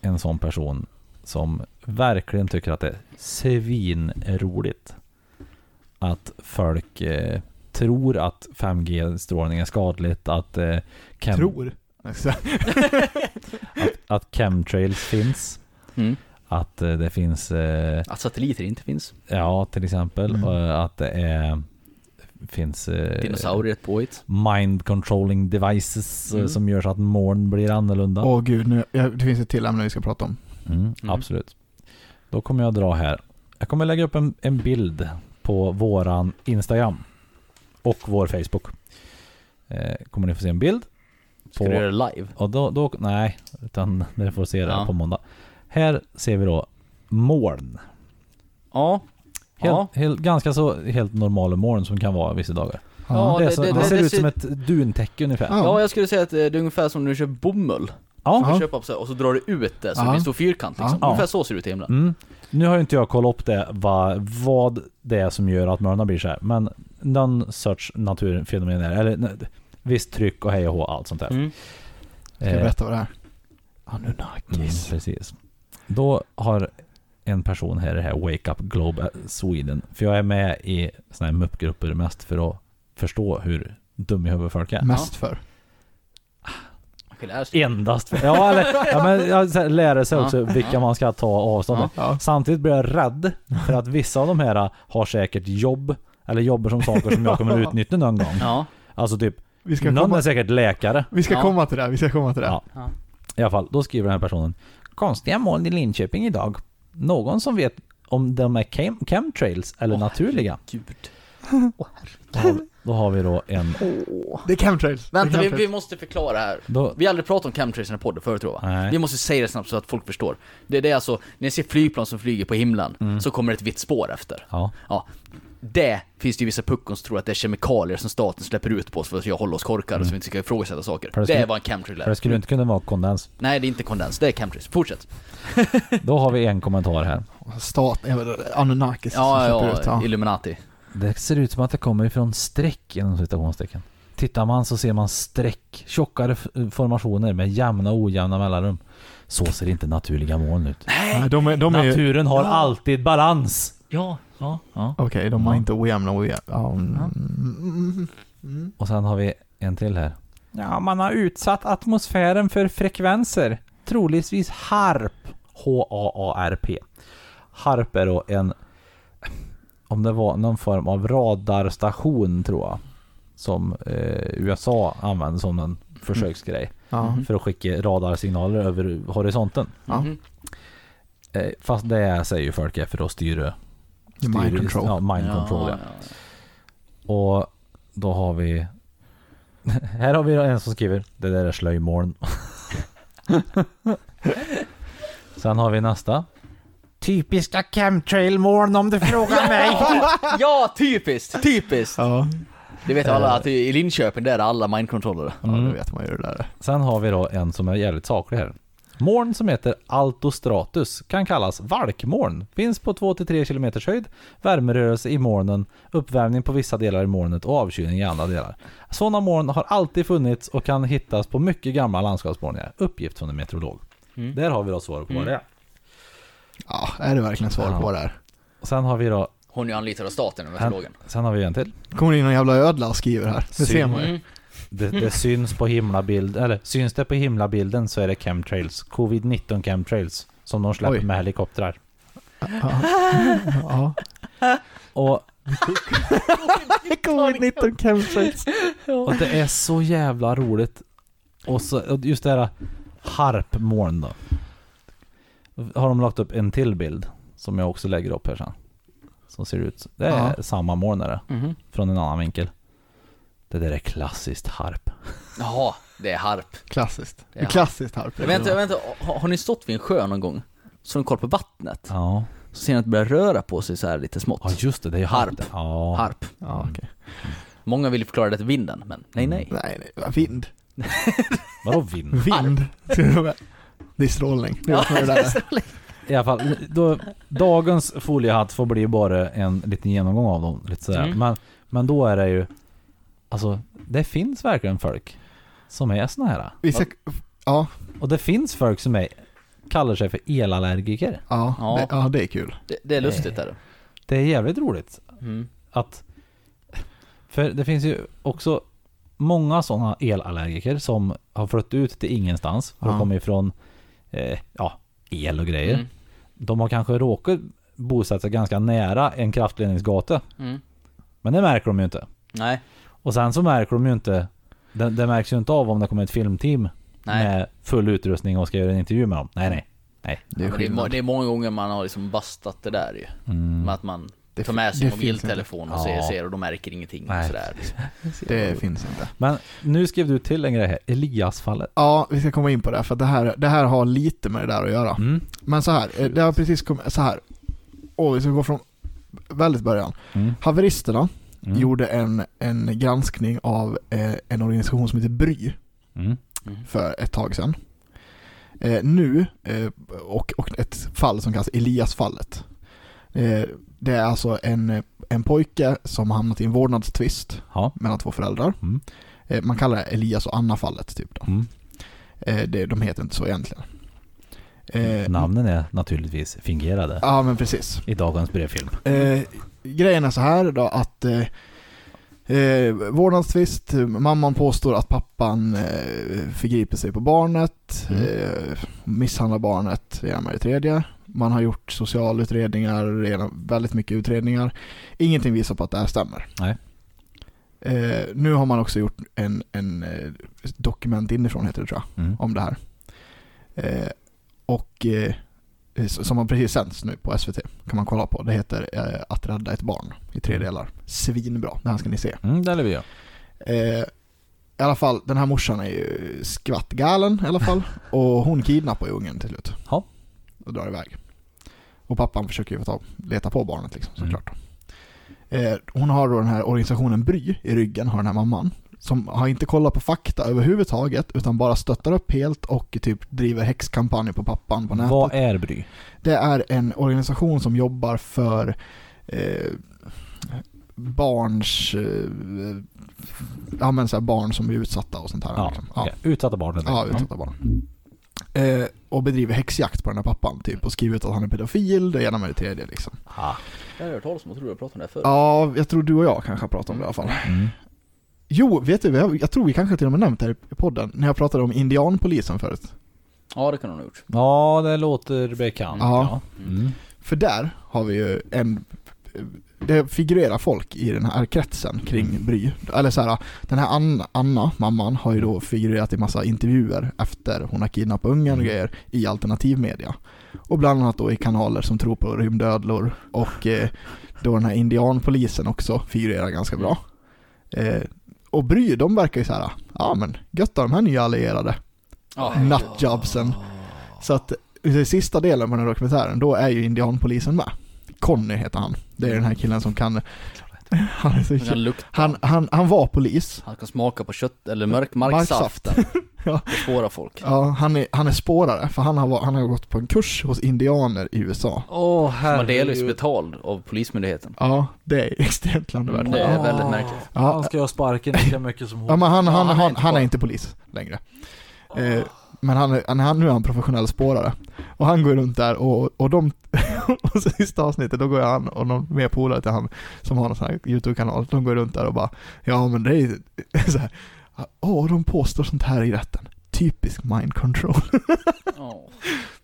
E: en sån person som verkligen tycker att det är svinroligt att folk eh, tror att 5G-strålning är skadligt, att, eh, chem-
C: Tror.
E: att chemtrails finns,
B: Mm.
E: att eh, det finns, eh,
B: Att satelliter inte finns.
E: ja till exempel,
C: Mm.
E: och att det är, finns eh,
B: Dinosaurier är ett påhitt.
E: mind controlling devices eh,
B: Mm.
E: som gör så att moln blir annorlunda.
C: Åh gud, nu, ja, det finns ett till ämne vi ska prata om.
E: Mm, Absolut. Då kommer jag dra här. Jag kommer lägga upp en, en bild på våran Instagram och vår Facebook. Eh, kommer ni få se en bild.
B: Ska
E: På-
B: du göra det live?
E: Och då, då, nej, utan [LAUGHS] ni får se det här
B: Ja.
E: på måndag. Här ser vi då moln.
B: Ja.
E: Helt,
B: Ja.
E: helt, ganska så helt normala moln som kan vara vissa dagar.
B: Ja,
E: det, är
B: det-
E: så,
B: det-
E: det,
B: det-
E: ser
B: det
E: ut som
B: ser-
E: ett duntäcke ungefär.
C: Ja.
B: Ja, jag skulle säga att eh, det är ungefär som när du köper bomull.
E: Ja.
B: Du köper upp så här, och så drar du ut det så det
C: Ja.
B: blir en stor fyrkant liksom.
E: Ja.
B: Ungefär så ser det ut i himlen.
E: Mm. Nu har ju inte jag kollat upp det, vad, vad det är som gör att Mörna blir så här. men någon sorts naturfenomen är det. eller nej, visst tryck och hej och hå, allt sånt där.
B: Mm.
C: Ska jag
E: Eh,
C: berätta vad det är?
E: mm,
C: Anunnakis.
E: precis. Då har en person här i det här Wake Up Globe eh, Sweden, för jag är med i såna här muppgrupper mest för att förstå hur dum i huvudet folk är.
C: Mest för.
B: Man kan lära sig.
E: Endast för, ja, eller, ja men jag så här, lära sig
B: Ja.
E: också vilka man ska ta avstånd
B: Ja.
E: till. Samtidigt blir jag rädd för att vissa av de här äh, har säkert jobb, eller jobbar som saker som jag kommer utnyttja någon gång.
B: Ja.
E: Alltså typ,
C: Vi ska,
E: någon
C: komma,
E: är säkert läkare
C: vi ska
B: Ja.
C: komma till det, vi ska komma till det.
E: Ja. i alla fall. Då skriver den här personen Konstiga moln i Linköping idag. Någon som vet om de är chem- chemtrails eller naturliga?
B: Gud.
E: Då har, då har vi då en...
C: Det är chemtrails. Det är
B: Vänta, vi,
C: chemtrails.
B: vi måste förklara här.
E: Då,
B: Vi har aldrig pratat om chemtrails i den här podden förut tror jag va?
E: Nej.
B: Vi måste säga det snabbt så att folk förstår. Det, det är alltså, när ni ser flygplan som flyger på himlen,
E: Mm.
B: så kommer ett vitt spår efter.
E: ja.
B: Ja. Det finns det ju vissa puckon som tror att det är kemikalier som staten släpper ut på oss för att jag håller oss korkade så vi inte ska ifrågasätta saker.
E: För det
B: Det
E: skulle-
B: är vad en chemtrail
E: För det
B: är.
E: skulle inte kunna vara kondens.
B: Nej, det är inte kondens, det är chemtrails. Fortsätt.
E: Då har vi en kommentar här.
C: Stat, eh, Anunnakis
B: Ja,
C: som
B: ja,
C: släpper
B: ja,
C: ut.
B: Illuminati.
E: Det ser ut som att det kommer ifrån streck inom citationstecken. Tittar man så ser man streck, tjockare f- formationer med jämna och ojämna mellanrum. Så ser inte naturliga moln ut.
C: Ja. Nej, de, är- de är ju... Okej,
E: Naturen har alltid balans.
B: Ja.
E: Ja,
C: de har
E: Ja.
C: inte ojämna ojämna... Ja, mm, mm.
E: Och sen har vi en till här. Ja, man har utsatt atmosfären för frekvenser. Troligtvis harp. H-A-A-R-P. Harp är då en... Om det var någon form av radarstation tror jag. Som eh, USA använde som en försöksgrej.
C: Mm. Ja.
E: För att skicka radarsignaler över horisonten.
C: Ja.
B: Mhm.
E: Eh, fast det är, säger ju folk är för att styra...
C: Mind
E: styra-
C: control.
E: Ja, mind control ja.
B: ja, ja.
E: Och då har vi... [LAUGHS] Här har vi en som skriver Det där är slöjmoln. [LAUGHS] Sen har vi nästa. Typiska chemtrail-moln om du
C: [LAUGHS]
E: frågar mig.
B: Ja, typiskt! Typiskt!
C: Ja,
B: Det vet alla att i Linköping där är alla mindcontrollare.
C: ja, det vet man ju det där.
E: Sen har vi då en som är jävligt saklig här. Moln som heter altostratus kan kallas valkmoln. Finns på 2-3 km höjd, värmerörelse i molnen, uppvärmning på vissa delar i molnet och avkylning i andra delar. Sådana moln har alltid funnits och kan hittas på mycket gamla landskapsmålningar. Uppgift från en meteorolog. Där har vi då svaret på vad det är.
C: Ja, är det verkligen svar på det här?
E: Och sen har vi då...
B: Hon är ju anlitad av staten, den här
E: Sen,
B: meteorologen.
E: sen har vi en till.
C: Kommer in någon jävla ödla och skriver här. Det ser
E: Syn.
C: man
B: Mm.
C: ju.
E: Det, det syns på himlabild, eller syns det på himlabilden så är det chemtrails. Covid-19 chemtrails. Som de släpper
C: Oj.
E: med helikoptrar.
C: Ja.
E: Och,
B: [LAUGHS]
C: Covid-19 campsites.
E: och det är så jävla roligt. Och, så, och just det här harpmoln då. Har de lagt upp en till bild. Som jag också lägger upp här sen. Som ser ut, det är samma moln är det.
B: Mhm.
E: Från en annan vinkel. Det där är klassiskt harp.
B: Jaha, det är harp.
C: Klassiskt.
B: Ja.
C: Klassiskt harp.
B: Vänta, vänta, har, har ni stått vid en sjö någon gång? Så har ni koll på vattnet?
E: Ja,
B: Så ser ni att det börjar röra på sig så här lite smått.
E: ja just det, det är ju
B: Harp.
E: harp. där. Ja.
B: Harp.
C: Ja, okej.
B: Många vill förklara det till vinden, men nej nej.
C: Nej, nej, vad vind.
E: Vadå vind?
C: Vind. Det är strålning. Det är vad som är det där.
E: I alla fall, då, dagens foliehatt får bli bara en liten genomgång av dem. Lite sådär.
B: Mm.
E: Men, men då är det ju, alltså det finns verkligen folk som är såna här.
C: Vi ska, ja,
E: Och det finns folk som är, kallar sig för elallergiker.
C: ja,
B: Ja.
C: Det, ja, det är kul.
B: Det, det är lustigt är det.
E: Det är jävligt roligt
B: Mm.
E: att, för det finns ju också många sådana elallergiker som har flyttat ut till ingenstans. För de
C: Ja.
E: kommer ifrån, eh, ja, el och grejer.
B: Mm.
E: De har kanske råkat bosätta sig ganska nära en kraftledningsgata.
B: Mm.
E: Men det märker de ju inte.
B: Nej,
E: Och sen så märker de ju inte, det, det märks ju inte av om det kommer ett filmteam
B: nej.
E: med full utrustning och ska göra en intervju med dem. Nej, nej. Nej.
C: Det
B: Ja,
C: är
B: men Det är, må-
C: skillnad. Mm.
B: det är många gånger man har liksom bastat det där ju. Med
E: Mm.
B: att man
C: Det
B: tar
C: fi-
B: med sin
C: det finns
B: mobiltelefon och
E: inte.
B: ser,
E: Ja.
B: ser och de märker ingenting.
E: Nej.
B: Och sådär. liksom.
C: Det finns inte.
E: Men nu skrev du till en grej här, Elias-fallet.
C: Ja, vi ska komma in på det, här, för att det här, det här har lite med det där att göra.
E: Mm.
C: Men så här, eh, det har precis kommit, så här. Och vi ska gå från väldigt början.
E: Mm.
C: Haveristerna
E: Mm.
C: gjorde en, en granskning av eh, en organisation som heter BRY
E: Mm.
C: för ett tag sedan. Eh, nu, eh, och, och ett fall som kallas Eliasfallet. Eh, det är alltså en, en pojke som har hamnat i en vårdnadstvist
E: Ja.
C: mellan två föräldrar.
E: Mm.
C: Eh, man kallar det Elias och Anna-fallet typ då.
E: Mm.
C: Eh, det, de heter inte så egentligen. Eh,
E: Namnen är naturligtvis fingerade
C: Ja men precis.
E: i dagens brevfilm.
C: Eh, grejen är så här då att eh, eh, vårdnadstvist, mamman påstår att pappan eh, förgriper sig på barnet,
E: Mm.
C: eh, misshandlar barnet, det ena med det tredje. Man har gjort socialutredningar, redan väldigt mycket utredningar. Ingenting visar på att det här stämmer.
E: Nej.
C: Eh, nu har man också gjort en, en eh, dokument inifrån heter det tror jag
E: Mm.
C: om det här. Eh, och eh, s- som har precis sänds nu på SVT kan man kolla på. Det heter eh, Att rädda ett barn i tre delar. Svinbra, det här ska ni se.
E: Mm, det är vi ju.
C: Eh, I alla fall, den här morsan är ju skvattgalen i
E: [LAUGHS]
C: alla fall. Och hon kidnappar ju ungen till slut.
E: Ja.
C: Och drar iväg. Och pappan försöker ju få tag, leta på barnet liksom
E: Mm.
C: såklart. Eh, hon har då den här organisationen BRY i ryggen, har den här mamman. Som har inte kollat på fakta överhuvudtaget utan bara stöttar upp helt och typ driver häxkampanjer på pappan på nätet.
E: Vad är Bry?
C: Det är en organisation som jobbar för eh, barns, eh, ja men så här barn som blir utsatta och sånt här.
E: Ja,
C: liksom.
E: okej. Utsatta Mm. barn. helt
C: ja
E: enkelt.
C: utsatta barn. Eh, och bedriver häxjakt på den här pappan typ och skriver ut att han är pedofil, det ena med det tredje liksom.
E: Ja.
B: Det har jag hört talas om och tror jag pratade om det här förut.
C: Ja, jag tror du och jag kanske har pratat om det i alla fall.
E: Mm.
C: Jo, vet du, jag, jag tror vi kanske till och med nämnt det här i podden, när jag pratade om indianpolisen förut.
B: Ja, det kan hon ha gjort.
E: ja, det låter bekant.
C: Ja.
E: Mm.
C: För där har vi ju en... Det figurerar folk i den här kretsen kring Bry. Eller så här, den här Anna, Anna, mamman, har ju då figurerat i massa intervjuer efter hon har kidnappat ungen och grejer i alternativmedia. Och bland annat då i kanaler som tror på rymdödlor och eh, då den här indianpolisen också figurerar ganska bra. Eh, och Bry, de verkar ju så här, ja men gött av de här nya allierade
B: Ja.
C: nattjobsen. Så att i sista delen på den här dokumentären, då är ju indianpolisen med. Conny heter han. Det är den här killen som kan Han, är så
B: Han kan
C: jä-
B: lukta.
C: han, han, han var polis.
B: Han kan smaka på kött eller mörk marksaft.
C: Ja.
B: Och spåra folk.
C: Ja, han, är, han är spårare, för han har, va- han har gått på en kurs hos indianer i USA.
E: Åh
B: Som är delvis betald av polismyndigheten.
C: Ja, det är [LAUGHS] extremt klandervärt.
B: Det är
C: Ja.
B: väldigt märkligt.
E: Han
C: Ja,
E: ska ha sparken lika mycket som hon.
C: ja, men han, han,
B: han är
C: han,
B: inte
C: han är
B: bara-
C: inte polis längre. Eh, men han, är- han, han, nu är han professionell spårare. Och han går runt där och, och de, [LAUGHS] och så sista avsnittet då går han och någon mer polare till han som har någon sån här YouTube-kanal, de går runt där och bara Ja men det är ju [LAUGHS] så här, åh de påstår sånt här i rätten. Typisk mind control. [LAUGHS]
B: Ja.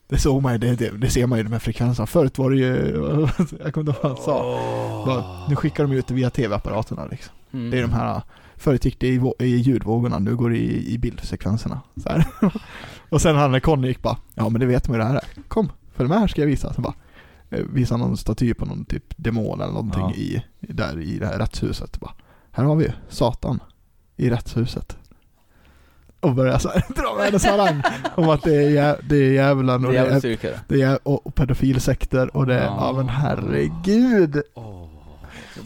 C: Det såg man ju, det, det, det ser man ju i de här frekvenserna. Förut var det ju, [LAUGHS] jag kommer inte ihåg vad han sa. Bara, nu skickar de ut det via tv-apparaterna liksom.
B: Mm.
C: Det är de här, förut gick det i, vå- i ljudvågorna, nu går det i, i bildsekvenserna. Så här. [LAUGHS] Och sen han när Conny gick bara, ja men det vet man ju det här är. Kom, följ med här ska jag visa. Så bara, eh, visa någon staty på någon typ demon eller någonting
E: Ja.
C: i, i- där i det här rättshuset. Bara, här har vi ju Satan i rättshuset. Och börjar så här, [LAUGHS] dra med hennes harang om att det är, jä- det är djävulen och
B: Det
C: det
B: är
C: är
B: jävligt styrkare.
C: det är, och, och pedofilsekter och det är, ja.
B: Ja.
C: men herregud.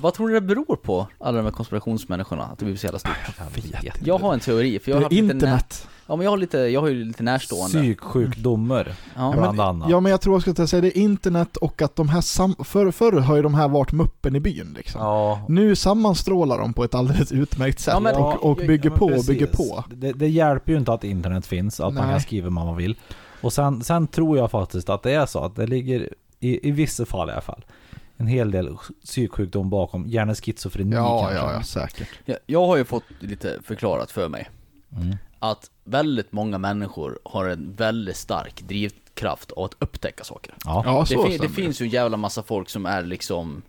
B: Vad tror du det beror på, alla de här konspirationsmänniskorna? Att det blir så jävla stort?
E: vet inte.
B: Jag har en teori, för
C: Det
B: jag har,
C: är
B: haft lite nä-
C: internet.
B: ja, men jag, har lite, jag har ju lite närstående.
E: Psyksjukdomar,
B: Ja.
E: bland annat.
C: Mm. Ja men jag tror jag skulle säga det är internet och att de här sam- förr, förr har ju de här varit muppen i byn liksom.
E: Ja.
C: Nu sammanstrålar de på ett alldeles utmärkt sätt
B: Ja, men-
C: och, och
E: Ja,
C: bygger
E: men
C: på och
E: precis.
C: bygger på.
E: Det, det hjälper ju inte att internet finns, att man
C: Nej.
E: kan skriva vad man vill. Och sen, sen tror jag faktiskt att det är så att det ligger, i, i vissa fall i alla fall, en hel del psyksjukdom bakom, gärna schizofreni
C: Ja,
E: kanske.
C: ja, ja, säkert.
B: Jag, jag har ju fått lite förklarat för mig
E: Mm.
B: att väldigt många människor har en väldigt stark drivkraft av att upptäcka saker.
E: Ja.
C: Ja,
B: Det,
C: så
B: fin- det
C: stämmer.
B: finns ju en jävla massa folk som är liksom,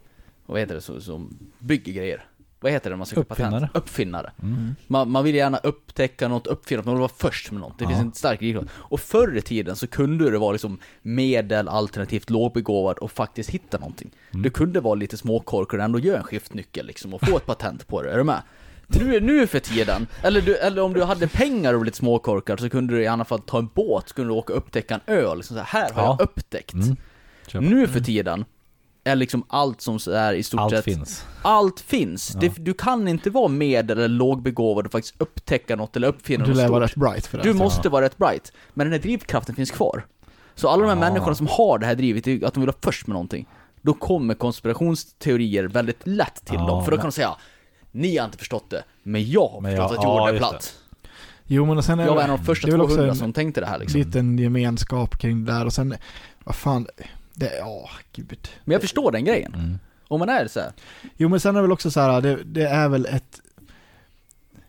B: vad heter det, som, som bygger grejer. Vad heter det när man söker
E: Uppfinnare.
B: patent? Uppfinnare.
E: Mm.
B: Man, man vill gärna upptäcka något, uppfinna något, man vill vara först med något. Det finns en stark drivkraft. Och förr i tiden så kunde du vara liksom medel, alternativt lågbegåvad och faktiskt hitta någonting.
E: Mm.
B: Du kunde vara lite småkorkad och ändå göra en skiftnyckel liksom och få ett patent på det, är du med? Nu, nu för tiden, eller, du, eller om du hade pengar och blev lite småkorkad så kunde du i alla fall ta en båt, så kunde du åka och upptäcka en ö, liksom så här, här har
E: Ja. Mm.
B: jag upptäckt.
E: Köp.
B: Nu för tiden är liksom allt som så är i stort
E: Allt
B: sett...
E: finns.
B: Allt finns. Det, du kan inte vara med eller lågbegåvad och faktiskt upptäcka något eller uppfinna
C: Du
B: något
C: lär vara
B: stort.
C: rätt bright för det.
B: Du måste vara rätt bright. Men den här drivkraften finns kvar. Så alla de här människorna som har det här drivet, det är att de vill vara först med någonting. Då kommer konspirationsteorier väldigt lätt till
E: Ja,
B: dem, för då kan
E: men-
B: de säga Ni har inte förstått det, men jag har
E: Men
B: förstått
E: jag-
B: att jorden
E: ja,
B: är
E: just
B: platt.
C: Jo men och sen är
B: Jag var
C: det-
B: en av de första
C: det är väl också
B: 200
C: en-
B: som tänkte det här liksom.
C: liten gemenskap kring det där och sen, vad fan, det, ja gud.
B: Men jag förstår den grejen. Om man är så här.
C: Jo men sen är det väl också så här, det, det är väl ett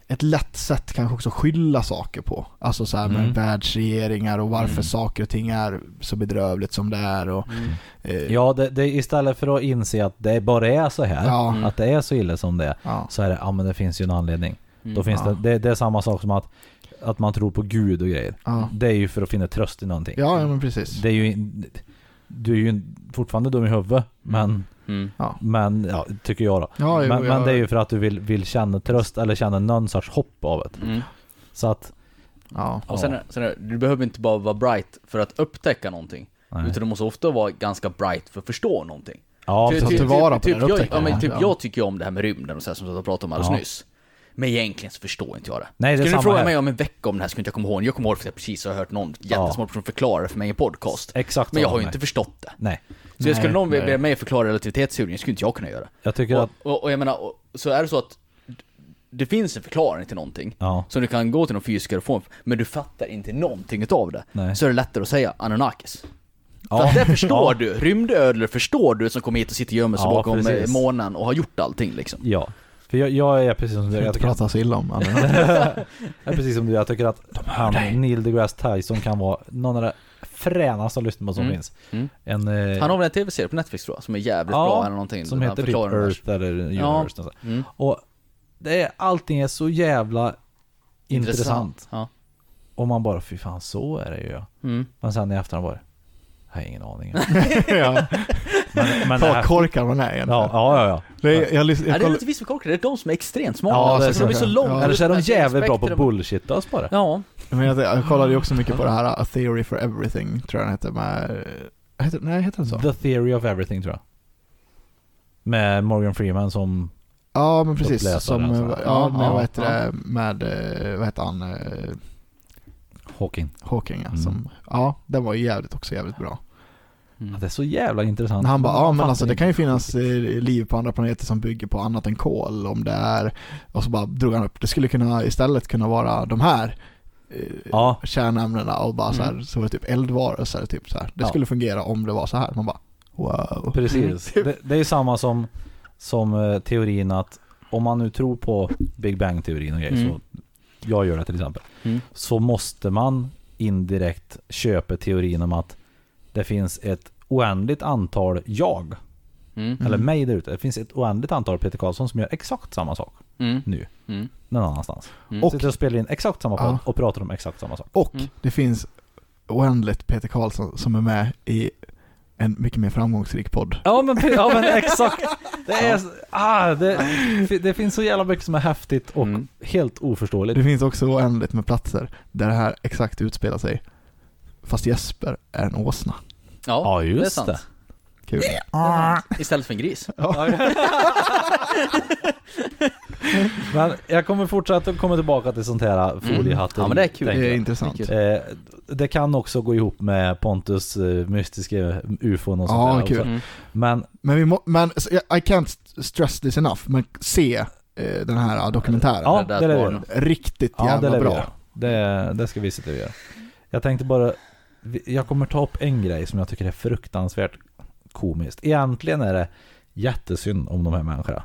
C: ett lätt sätt kanske också att skylla saker på. Alltså så här med
E: Mm.
C: världsregeringar och varför saker och ting är så bedrövligt som det är och...
B: Mm.
C: Eh,
E: Ja, det, det, istället för att inse att det bara är så här,
C: Ja.
E: att det är så illa som det är,
C: Ja.
E: så är det, ja men det finns ju en anledning. Då finns
B: Mm.
C: Ja.
E: det, det, det är samma sak som att, att man tror på Gud och grejer.
C: Ja.
E: Det är ju för att finna tröst i någonting.
C: ja, ja men precis.
E: Det är ju, du är ju fortfarande dum i huvudet, men,
B: Mm.
C: Ja.
E: men ja, tycker jag då.
C: Ja, jo,
E: men,
C: jag-
E: men det är ju för att du vill, vill känna tröst eller känna någon sorts hopp av det.
B: Mm.
E: Så att,
C: Ja.
B: Och sen, är- sen är, du behöver inte bara vara bright för att upptäcka någonting.
E: Nej.
B: Utan du måste ofta vara ganska bright för att förstå någonting.
E: ja,
B: Ty- ty-
C: ta
E: precis.
C: tillvara på
B: typ,
C: den
B: jag, ja,
C: upptäckten.
B: men typ
C: Ja.
B: jag tycker ju om det här med rymden och så här som jag pratade om alldeles
E: Ja.
B: nyss. Men egentligen så förstår inte jag det.
E: Nej, det är
B: skulle du
E: samma
B: fråga
E: här.
B: mig om en vecka om det här skulle inte jag komma ihåg. Jag kommer ihåg för att jag precis har hört någon jättesmart person förklara det för mig i en podcast.
E: Exakt
B: men jag har ju
E: samma.
B: inte förstått det.
E: Nej.
B: Så jag skulle någon
C: nej.
B: be mig förklara relativitetsteorin, skulle inte jag kunna göra.
E: Jag tycker att,
B: Och, och, och jag menar, och, så är det så att det finns en förklaring till någonting.
E: ja.
B: Så du kan gå till någon fysiker och få en, men du fattar inte någonting utav det.
E: Nej.
B: Så är det lättare att säga Anunnakis.
E: Ja.
B: För att det förstår du, rymdödlor förstår du som kommer hit och sitter och gömmer sig
E: Ja,
B: bakom
E: precis.
B: eh, månen och har gjort allting liksom.
E: Ja. För jag, jag är precis som du,
C: Jag
E: jag
C: inte
E: tycker,
C: prata så illa om andra.
E: jag är precis som du, jag tycker att han, Neil deGrasse Tyson kan vara någon av de fränaste att lyssna på som
B: Mm.
E: finns.
B: Mm.
E: En, eh,
B: Han har väl en tv-serie på Netflix tror jag, som är jävligt bra eller någonting.
E: som
B: där
E: heter
B: han
E: typ
B: förklarar den här.
E: Earth eller Universe. Ja.
B: Mm.
E: Och det är, allting är så jävla intressant.
B: Ja.
E: Och man bara, fy fan så är det ju.
B: Mm.
E: Men sen i efterhand bara, jag har ingen aning.
C: [LAUGHS] ja.
E: Men, men det
C: Ta
E: här,
C: korkar man är
E: ja,
C: egentligen.
E: ja, ja, ja.
C: Det är, jag, lys-
B: Ja, det är
C: jag, koll,
B: lite visst korkat, det är de som är extremt smarta.
E: Ja,
B: alltså,
E: det är
B: så de är
E: så.
B: så långa.
C: Ja.
E: Eller så är de
B: Det ett
E: jävligt bra på att
B: spektrum.
E: bullshitta oss bara.
B: Alltså, Ja.
C: men jag, jag kollade ju också mycket på det här A Theory for Everything, tror jag den heter, med... Heter, nej, heter den så?
E: The Theory of Everything tror jag. Med Morgan Freeman som
C: Ja, men precis.
E: Uppläsaren,
C: Som, eh,
E: alltså.
C: ja, med,
E: Ja,
C: vad heter
E: ja.
C: det, med, eh, vad heter han, eh,
E: Hawking.
C: Hawking ja,
E: Mm.
C: som, ja, den var ju jävligt också jävligt bra.
E: Ja, det är så jävla intressant.
C: När han bara, ja men
E: Fattar
C: alltså det
E: inte.
C: kan ju finnas eh, liv på andra planeter som bygger på annat än kol om det är, och så bara drog han upp, det skulle kunna istället kunna vara de här eh,
E: Ja, Mm.
C: kärnämnena och bara så här, så var det typ eldvarelser typ så här. Det
E: Ja.
C: skulle fungera om det var så här. Man bara, wow.
E: [LAUGHS] precis. Det, det är samma som, som eh, teorin att om man nu tror på Big Bang-teorin och grejer,
B: Mm.
E: så jag gör det till exempel,
B: Mm.
E: så måste man indirekt köpa teorin om att det finns ett oändligt antal jag,
B: Mm.
E: eller mig där ute. Det finns ett oändligt antal Peter Karlsson som gör exakt samma sak
B: Mm.
E: nu,
B: Mm.
E: någon annanstans.
B: Mm.
E: Och sitter och spelar in exakt samma podd
C: Ja.
E: och pratar om exakt samma sak.
C: Och
B: Mm.
C: det finns oändligt Peter Karlsson som är med i en mycket mer framgångsrik podd.
E: Ja men, ja, men exakt. Det, är, ah, det, det finns så jävla mycket som är häftigt och
B: Mm.
E: helt oförståeligt.
C: Det finns också oändligt med platser där det här exakt utspelar sig. Fast Jesper är en åsna.
B: Ja,
E: Ja,
B: det är
E: just
B: sant.
E: det. Ah.
C: Kul.
B: Istället för en gris.
E: [LAUGHS] Men jag kommer fortsätta komma tillbaka till sånt här foliehatten.
B: Mm. Ja, men det är kul.
E: tänker
C: Det är
E: jag.
C: intressant.
B: Mycket.
E: Eh, det kan också gå ihop med Pontus eh, mystiska ufon och sånt
C: Ja,
E: där
C: kul.
E: också.
B: Mm.
E: Men
C: Men vi må, men s- I can't st- stress this enough, men se eh, den här ja, dokumentären.
E: ja,
B: där
E: det
B: var
E: är
B: det.
E: det.
C: Riktigt
E: Ja, det
C: jävla
E: lär vi
C: bra.
E: göra. Det, det ska vi se till att göra. Jag tänkte bara, vi- jag kommer ta upp en grej som jag tycker är fruktansvärt komiskt. Egentligen är det jättesynd om de här människorna.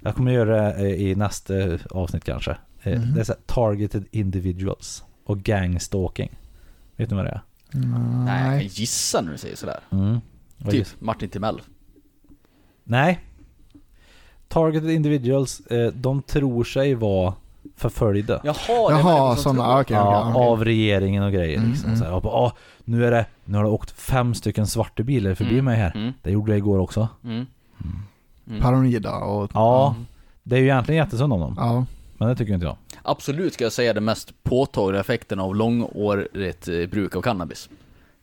E: Jag kommer göra det eh, i nästa avsnitt kanske. Eh,
C: Mhm.
E: Det är så här, targeted individuals och gangstalking. Vet ni vad det är?
B: Nej, jag kan
C: Nej.
B: gissa när du säger sådär.
E: Mm. Vad
B: Typ
E: gissar-
B: Martin Timell.
E: Nej. Targeted individuals, eh, de tror sig vara förföljda.
B: Jaha,
C: Jaha, sådana, okej.
E: ja,
C: okej, okej.
E: Av regeringen och grejer
C: Mm,
E: liksom.
C: mm.
E: Så här, och bara, "Ah, nu, är det, nu har det åkt fem stycken svarta bilar förbi mig här.
B: Mm.
E: Det gjorde det igår också.
B: Mm.
C: Paranoida och...
E: Ja, det är ju egentligen jättesynd om dem.
C: Ja.
E: Men det tycker inte jag.
B: Absolut ska jag säga den mest påtagliga effekten av långårigt eh, bruk av cannabis.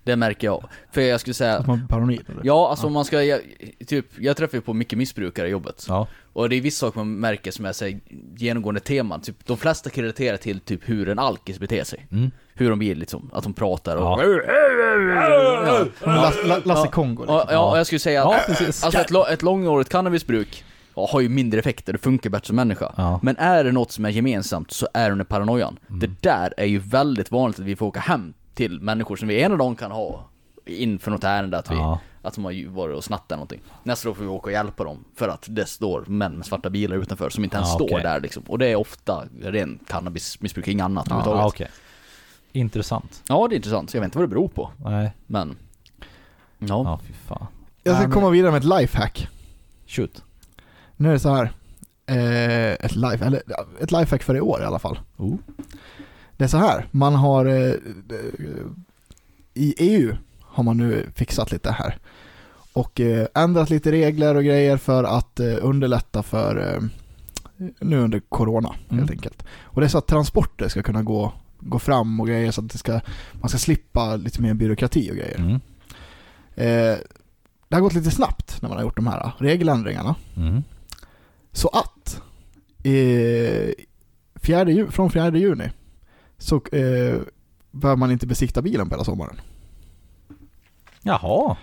B: Det märker jag. För jag skulle säga,
C: Att man är paranoid? eller?
B: ja alltså om man ska, jag, typ, jag träffar ju på mycket missbrukare i jobbet.
E: Ja.
B: Och det är vissa saker man märker som jag säger genomgående teman. Typ, de flesta kan relatera till typ hur en alkis beter sig. Hur de blir liksom, att de pratar och...
E: Mm. Ja.
B: Ja.
C: Men Lasse, La- Lasse Kongo liksom.
B: Ja, ja, och jag skulle säga
E: Ja,
B: att
E: precis.
B: alltså ett, lo- ett långårigt cannabisbruk ja, har ju mindre effekter, det funkar bättre som människa.
E: Ja. Mm.
B: Men är det något som är gemensamt så är det den paranoian. Det där är ju väldigt vanligt att vi får åka hem till människor som vi ena dagen kan ha in för något ärende att, vi,
E: Ja.
B: att de har ju varit och snattat någonting. Nästa dag får vi åka och hjälpa dem för att det står män med svarta bilar utanför som inte ens
E: Ja,
B: står
E: okej.
B: där liksom. Och det är ofta ren cannabismissbruk, inget annat
E: Ja,
B: överhuvudtaget.
E: okej. Intressant.
B: Ja, det är intressant. Jag vet inte vad det beror på,
E: Nej,
B: men... Ja.
E: ja fy fan.
C: Jag ska
E: Nej,
C: komma vidare med ett lifehack.
E: Shoot.
C: Nu är det så här. Eh, ett, life, eller, ja, ett lifehack för i år i alla fall.
E: Oh.
C: Det är så här, man har... Eh, eh, I EU har man nu fixat lite här. Och eh, ändrat lite regler och grejer för att eh, underlätta för eh, nu under corona
E: Mm.
C: helt enkelt. Och det är så att transporter ska kunna gå, gå fram och grejer så att det ska, man ska slippa lite mer byråkrati och grejer.
E: Mm.
C: Eh, det har gått lite snabbt när man har gjort de här eh, regeländringarna.
E: Mm.
C: Så att eh, fjärde, ju- från 4 juni så eh, behöver man inte besikta bilen på hela sommaren.
E: Jaha.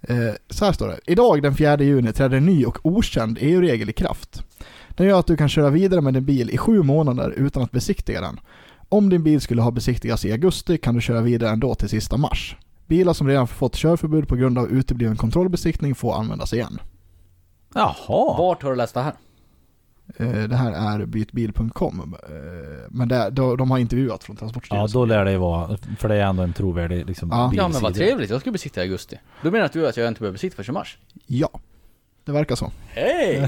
C: Eh, så här står det. Idag den 4 juni träder en ny och okänd EU-regel i kraft. Den gör att du kan köra vidare med din bil i sju månader utan att besiktiga den. Om din bil skulle ha besiktigats i augusti kan du köra vidare ändå till sista mars. Bilar som redan fått körförbud på grund av utebliven kontrollbesiktning får användas igen.
E: Jaha.
B: Vart har du läst det här?
C: Eh, Det här är bytbil.com, eh, men det, de, de har intervjuat från
E: Ja,
C: Transportstyrelsen.
E: då lär det ju vara, för det är ändå en trovärdig liksom,
C: Ja.
B: Ja men vad
E: bilsida.
B: trevligt, jag ska besikta i augusti. Då menar du att jag inte behöver besikta förrän i mars?
C: Ja, det verkar så.
B: [LAUGHS] Hej!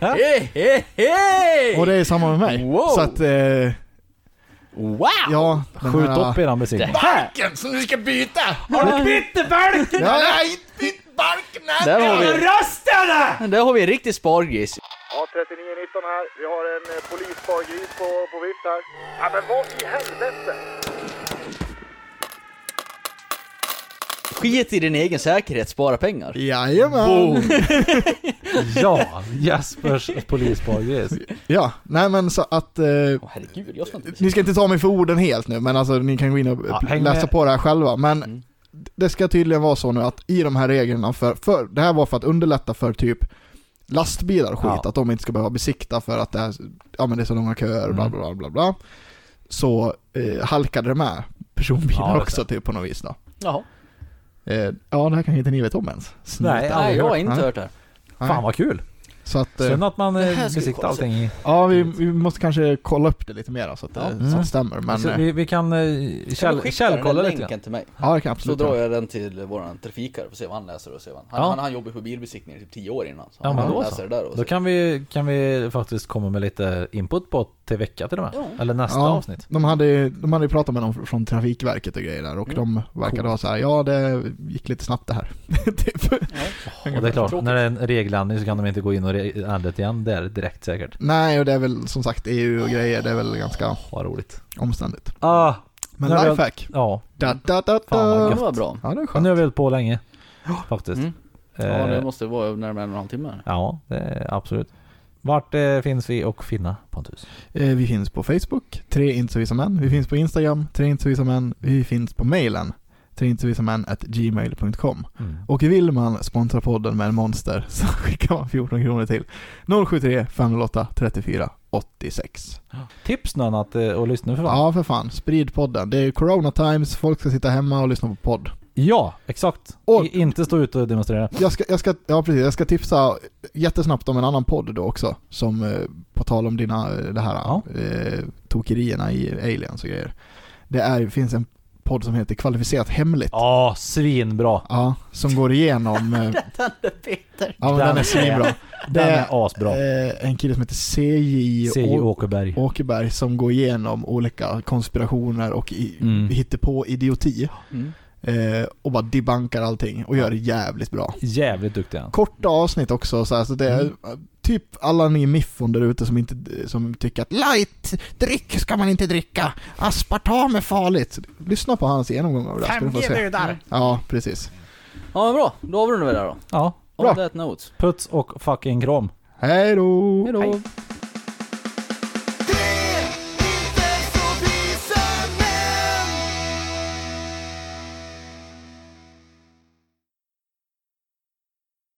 B: Hej, hej, hej!
C: Och det är samma med mig.
B: Wow!
C: Så att, eh,
B: Wow!
C: ja. den
E: Skjut
C: här-
E: upp eran besiktning.
D: Balken som du ska byta!
G: Har du kvitt det balken?
C: Ja, ja,
D: Nej, inte bytt balken! nej.
B: Där har vi,
G: Rösterna!
B: där har vi en riktig spargris.
H: Ja, 3919 här. Vi har en eh, polisspargris på, på vift här. Ja, men vad i helvete!
B: Skit i din egen säkerhet, spara pengar. [LAUGHS]
C: Jajamän!
E: Ja, Jespers polisbargris.
C: Ja, nej men så att... Eh,
B: Åh herregud, jag ska inte
C: ni ska inte ta mig för orden helt nu, men alltså ni kan gå in och
E: Ja, häng
C: läsa
E: med.
C: på det här själva. Men
B: Mm.
C: det ska tydligen vara så nu att i de här reglerna, för, för det här var för att underlätta för typ lastbilar och skit,
E: Ja.
C: att de inte ska behöva besikta för att det, är, ja, men det är så långa köer, bla
E: Mm.
C: bla bla bla bla. Så eh, halkade det med personbilar
E: Ja, just
C: också typ på något vis då.
B: Jaha.
C: Eh, ja, det här kanske inte ni vet om ens. Snuten.
E: Nej,
B: Nej,
E: aldrig
B: jag har
E: hört.
B: inte hört det här.
C: Nej.
E: Fan vad kul.
C: Så att, eh,
E: Synd att man eh,
B: Det här ska vi
E: besiktar
B: kolla
E: allting i...
C: ja vi, vi måste kanske kolla upp det lite mer så att, det- så att det
E: Mm.
C: stämmer. Men,
E: Så
C: eh,
E: vi, vi kan eh,
B: Kan du
E: käll,
B: skicka
E: källkolla
B: den här
E: lite grann.
B: länken till mig.
C: ja, det kan jag
B: Så
C: absolut
B: drar
C: göra.
B: jag den till våran trafikare, får se vad han läser och se vad han... Han,
E: Ja.
B: han, han jobbar på bilbesiktningen i typ 10 år innan. Så
E: Ja,
B: han
E: men då
B: läser
E: så.
B: det där och
E: Då
B: så.
E: kan vi, kan vi faktiskt komma med lite input på till vecka till och med.
B: Ja.
E: Eller nästa
C: Ja.
E: avsnitt.
C: De hade, ju- de hade ju pratat med någon från Trafikverket och grejer där och
E: Mm.
C: de verkade ha så här, ja det gick lite snabbt det här. [LAUGHS]
E: Och
C: typ.
E: det är klart,
B: Tråkigt.
E: när det är en regeländring så kan de inte gå in och re- ändra det igen där direkt säkert.
C: Nej, och det är väl som sagt EU och grejer, det är väl ganska
E: Vad roligt.
C: omständigt.
E: Ah,
C: Men
E: Nej, men-
C: lifehack.
E: ja.
C: Da, da, da,
E: Fan, vad
B: Det
E: gött.
C: da.
B: var bra.
C: Ja, det är
E: Men nu
C: skönt.
E: har vi hållit på länge. Faktiskt.
B: Mm. Ja,
E: Eh,
B: det måste vara närmare en och en halv timme. här.
E: Ja, det är absolut. Vart eh, finns vi och finna Pontus?
C: Eh, Vi finns på Facebook, tre inte så visa män. Vi finns på Instagram, tre inte så visa män. Vi finns på mailen, tre inte så visa män at gmail.com.
E: Mm.
C: Och vill man sponsra podden med en monster [LAUGHS] så skickar man 14 kronor till 073 508 34 86.
E: Tips någon att eh, och lyssna för fan.
C: Ja, för fan. Sprid podden. Det är corona times, folk ska sitta hemma och lyssna på podd.
E: Ja, exakt.
C: Och-
E: I, inte stå ute och demonstrera.
C: Jag ska, jag ska, ja precis, jag ska tipsa jättesnabbt om en annan podd då också, som eh, på tal om dina, eh, det här,
E: Ja.
C: eh, tokerierna i aliens och grejer. Det är, finns en podd som heter Kvalificerat Hemligt. Ja.
E: Ja, svinbra.
C: som går igenom... Den
E: [LAUGHS]
C: är Peter. Ja, men den är svinbra. Det
E: Den
C: är
E: är asbra.
C: eh, en kille som heter CJ
E: CJ
C: Å-
E: Åkerberg.
C: Åkerberg som går igenom olika konspirationer och i,
E: Mm.
C: hittar på idioti.
B: Mm.
C: Eh, och bara debankar allting och gör det jävligt bra.
E: Jävligt duktig han.
C: Korta avsnitt också så, här, så det är eh, typ alla ni miffon där ute som, inte, som tycker att light dryck ska man inte dricka, aspartam är farligt. Lyssna på hans genomgång av det här, ska du få se.
D: brudar.
C: Ja, precis.
B: Ja, men bra. Då avrundar vi det här då.
E: Ja.
B: On
C: Bra.
B: that note.
E: Puts och fucking kram.
C: Hej då!
B: Hej då.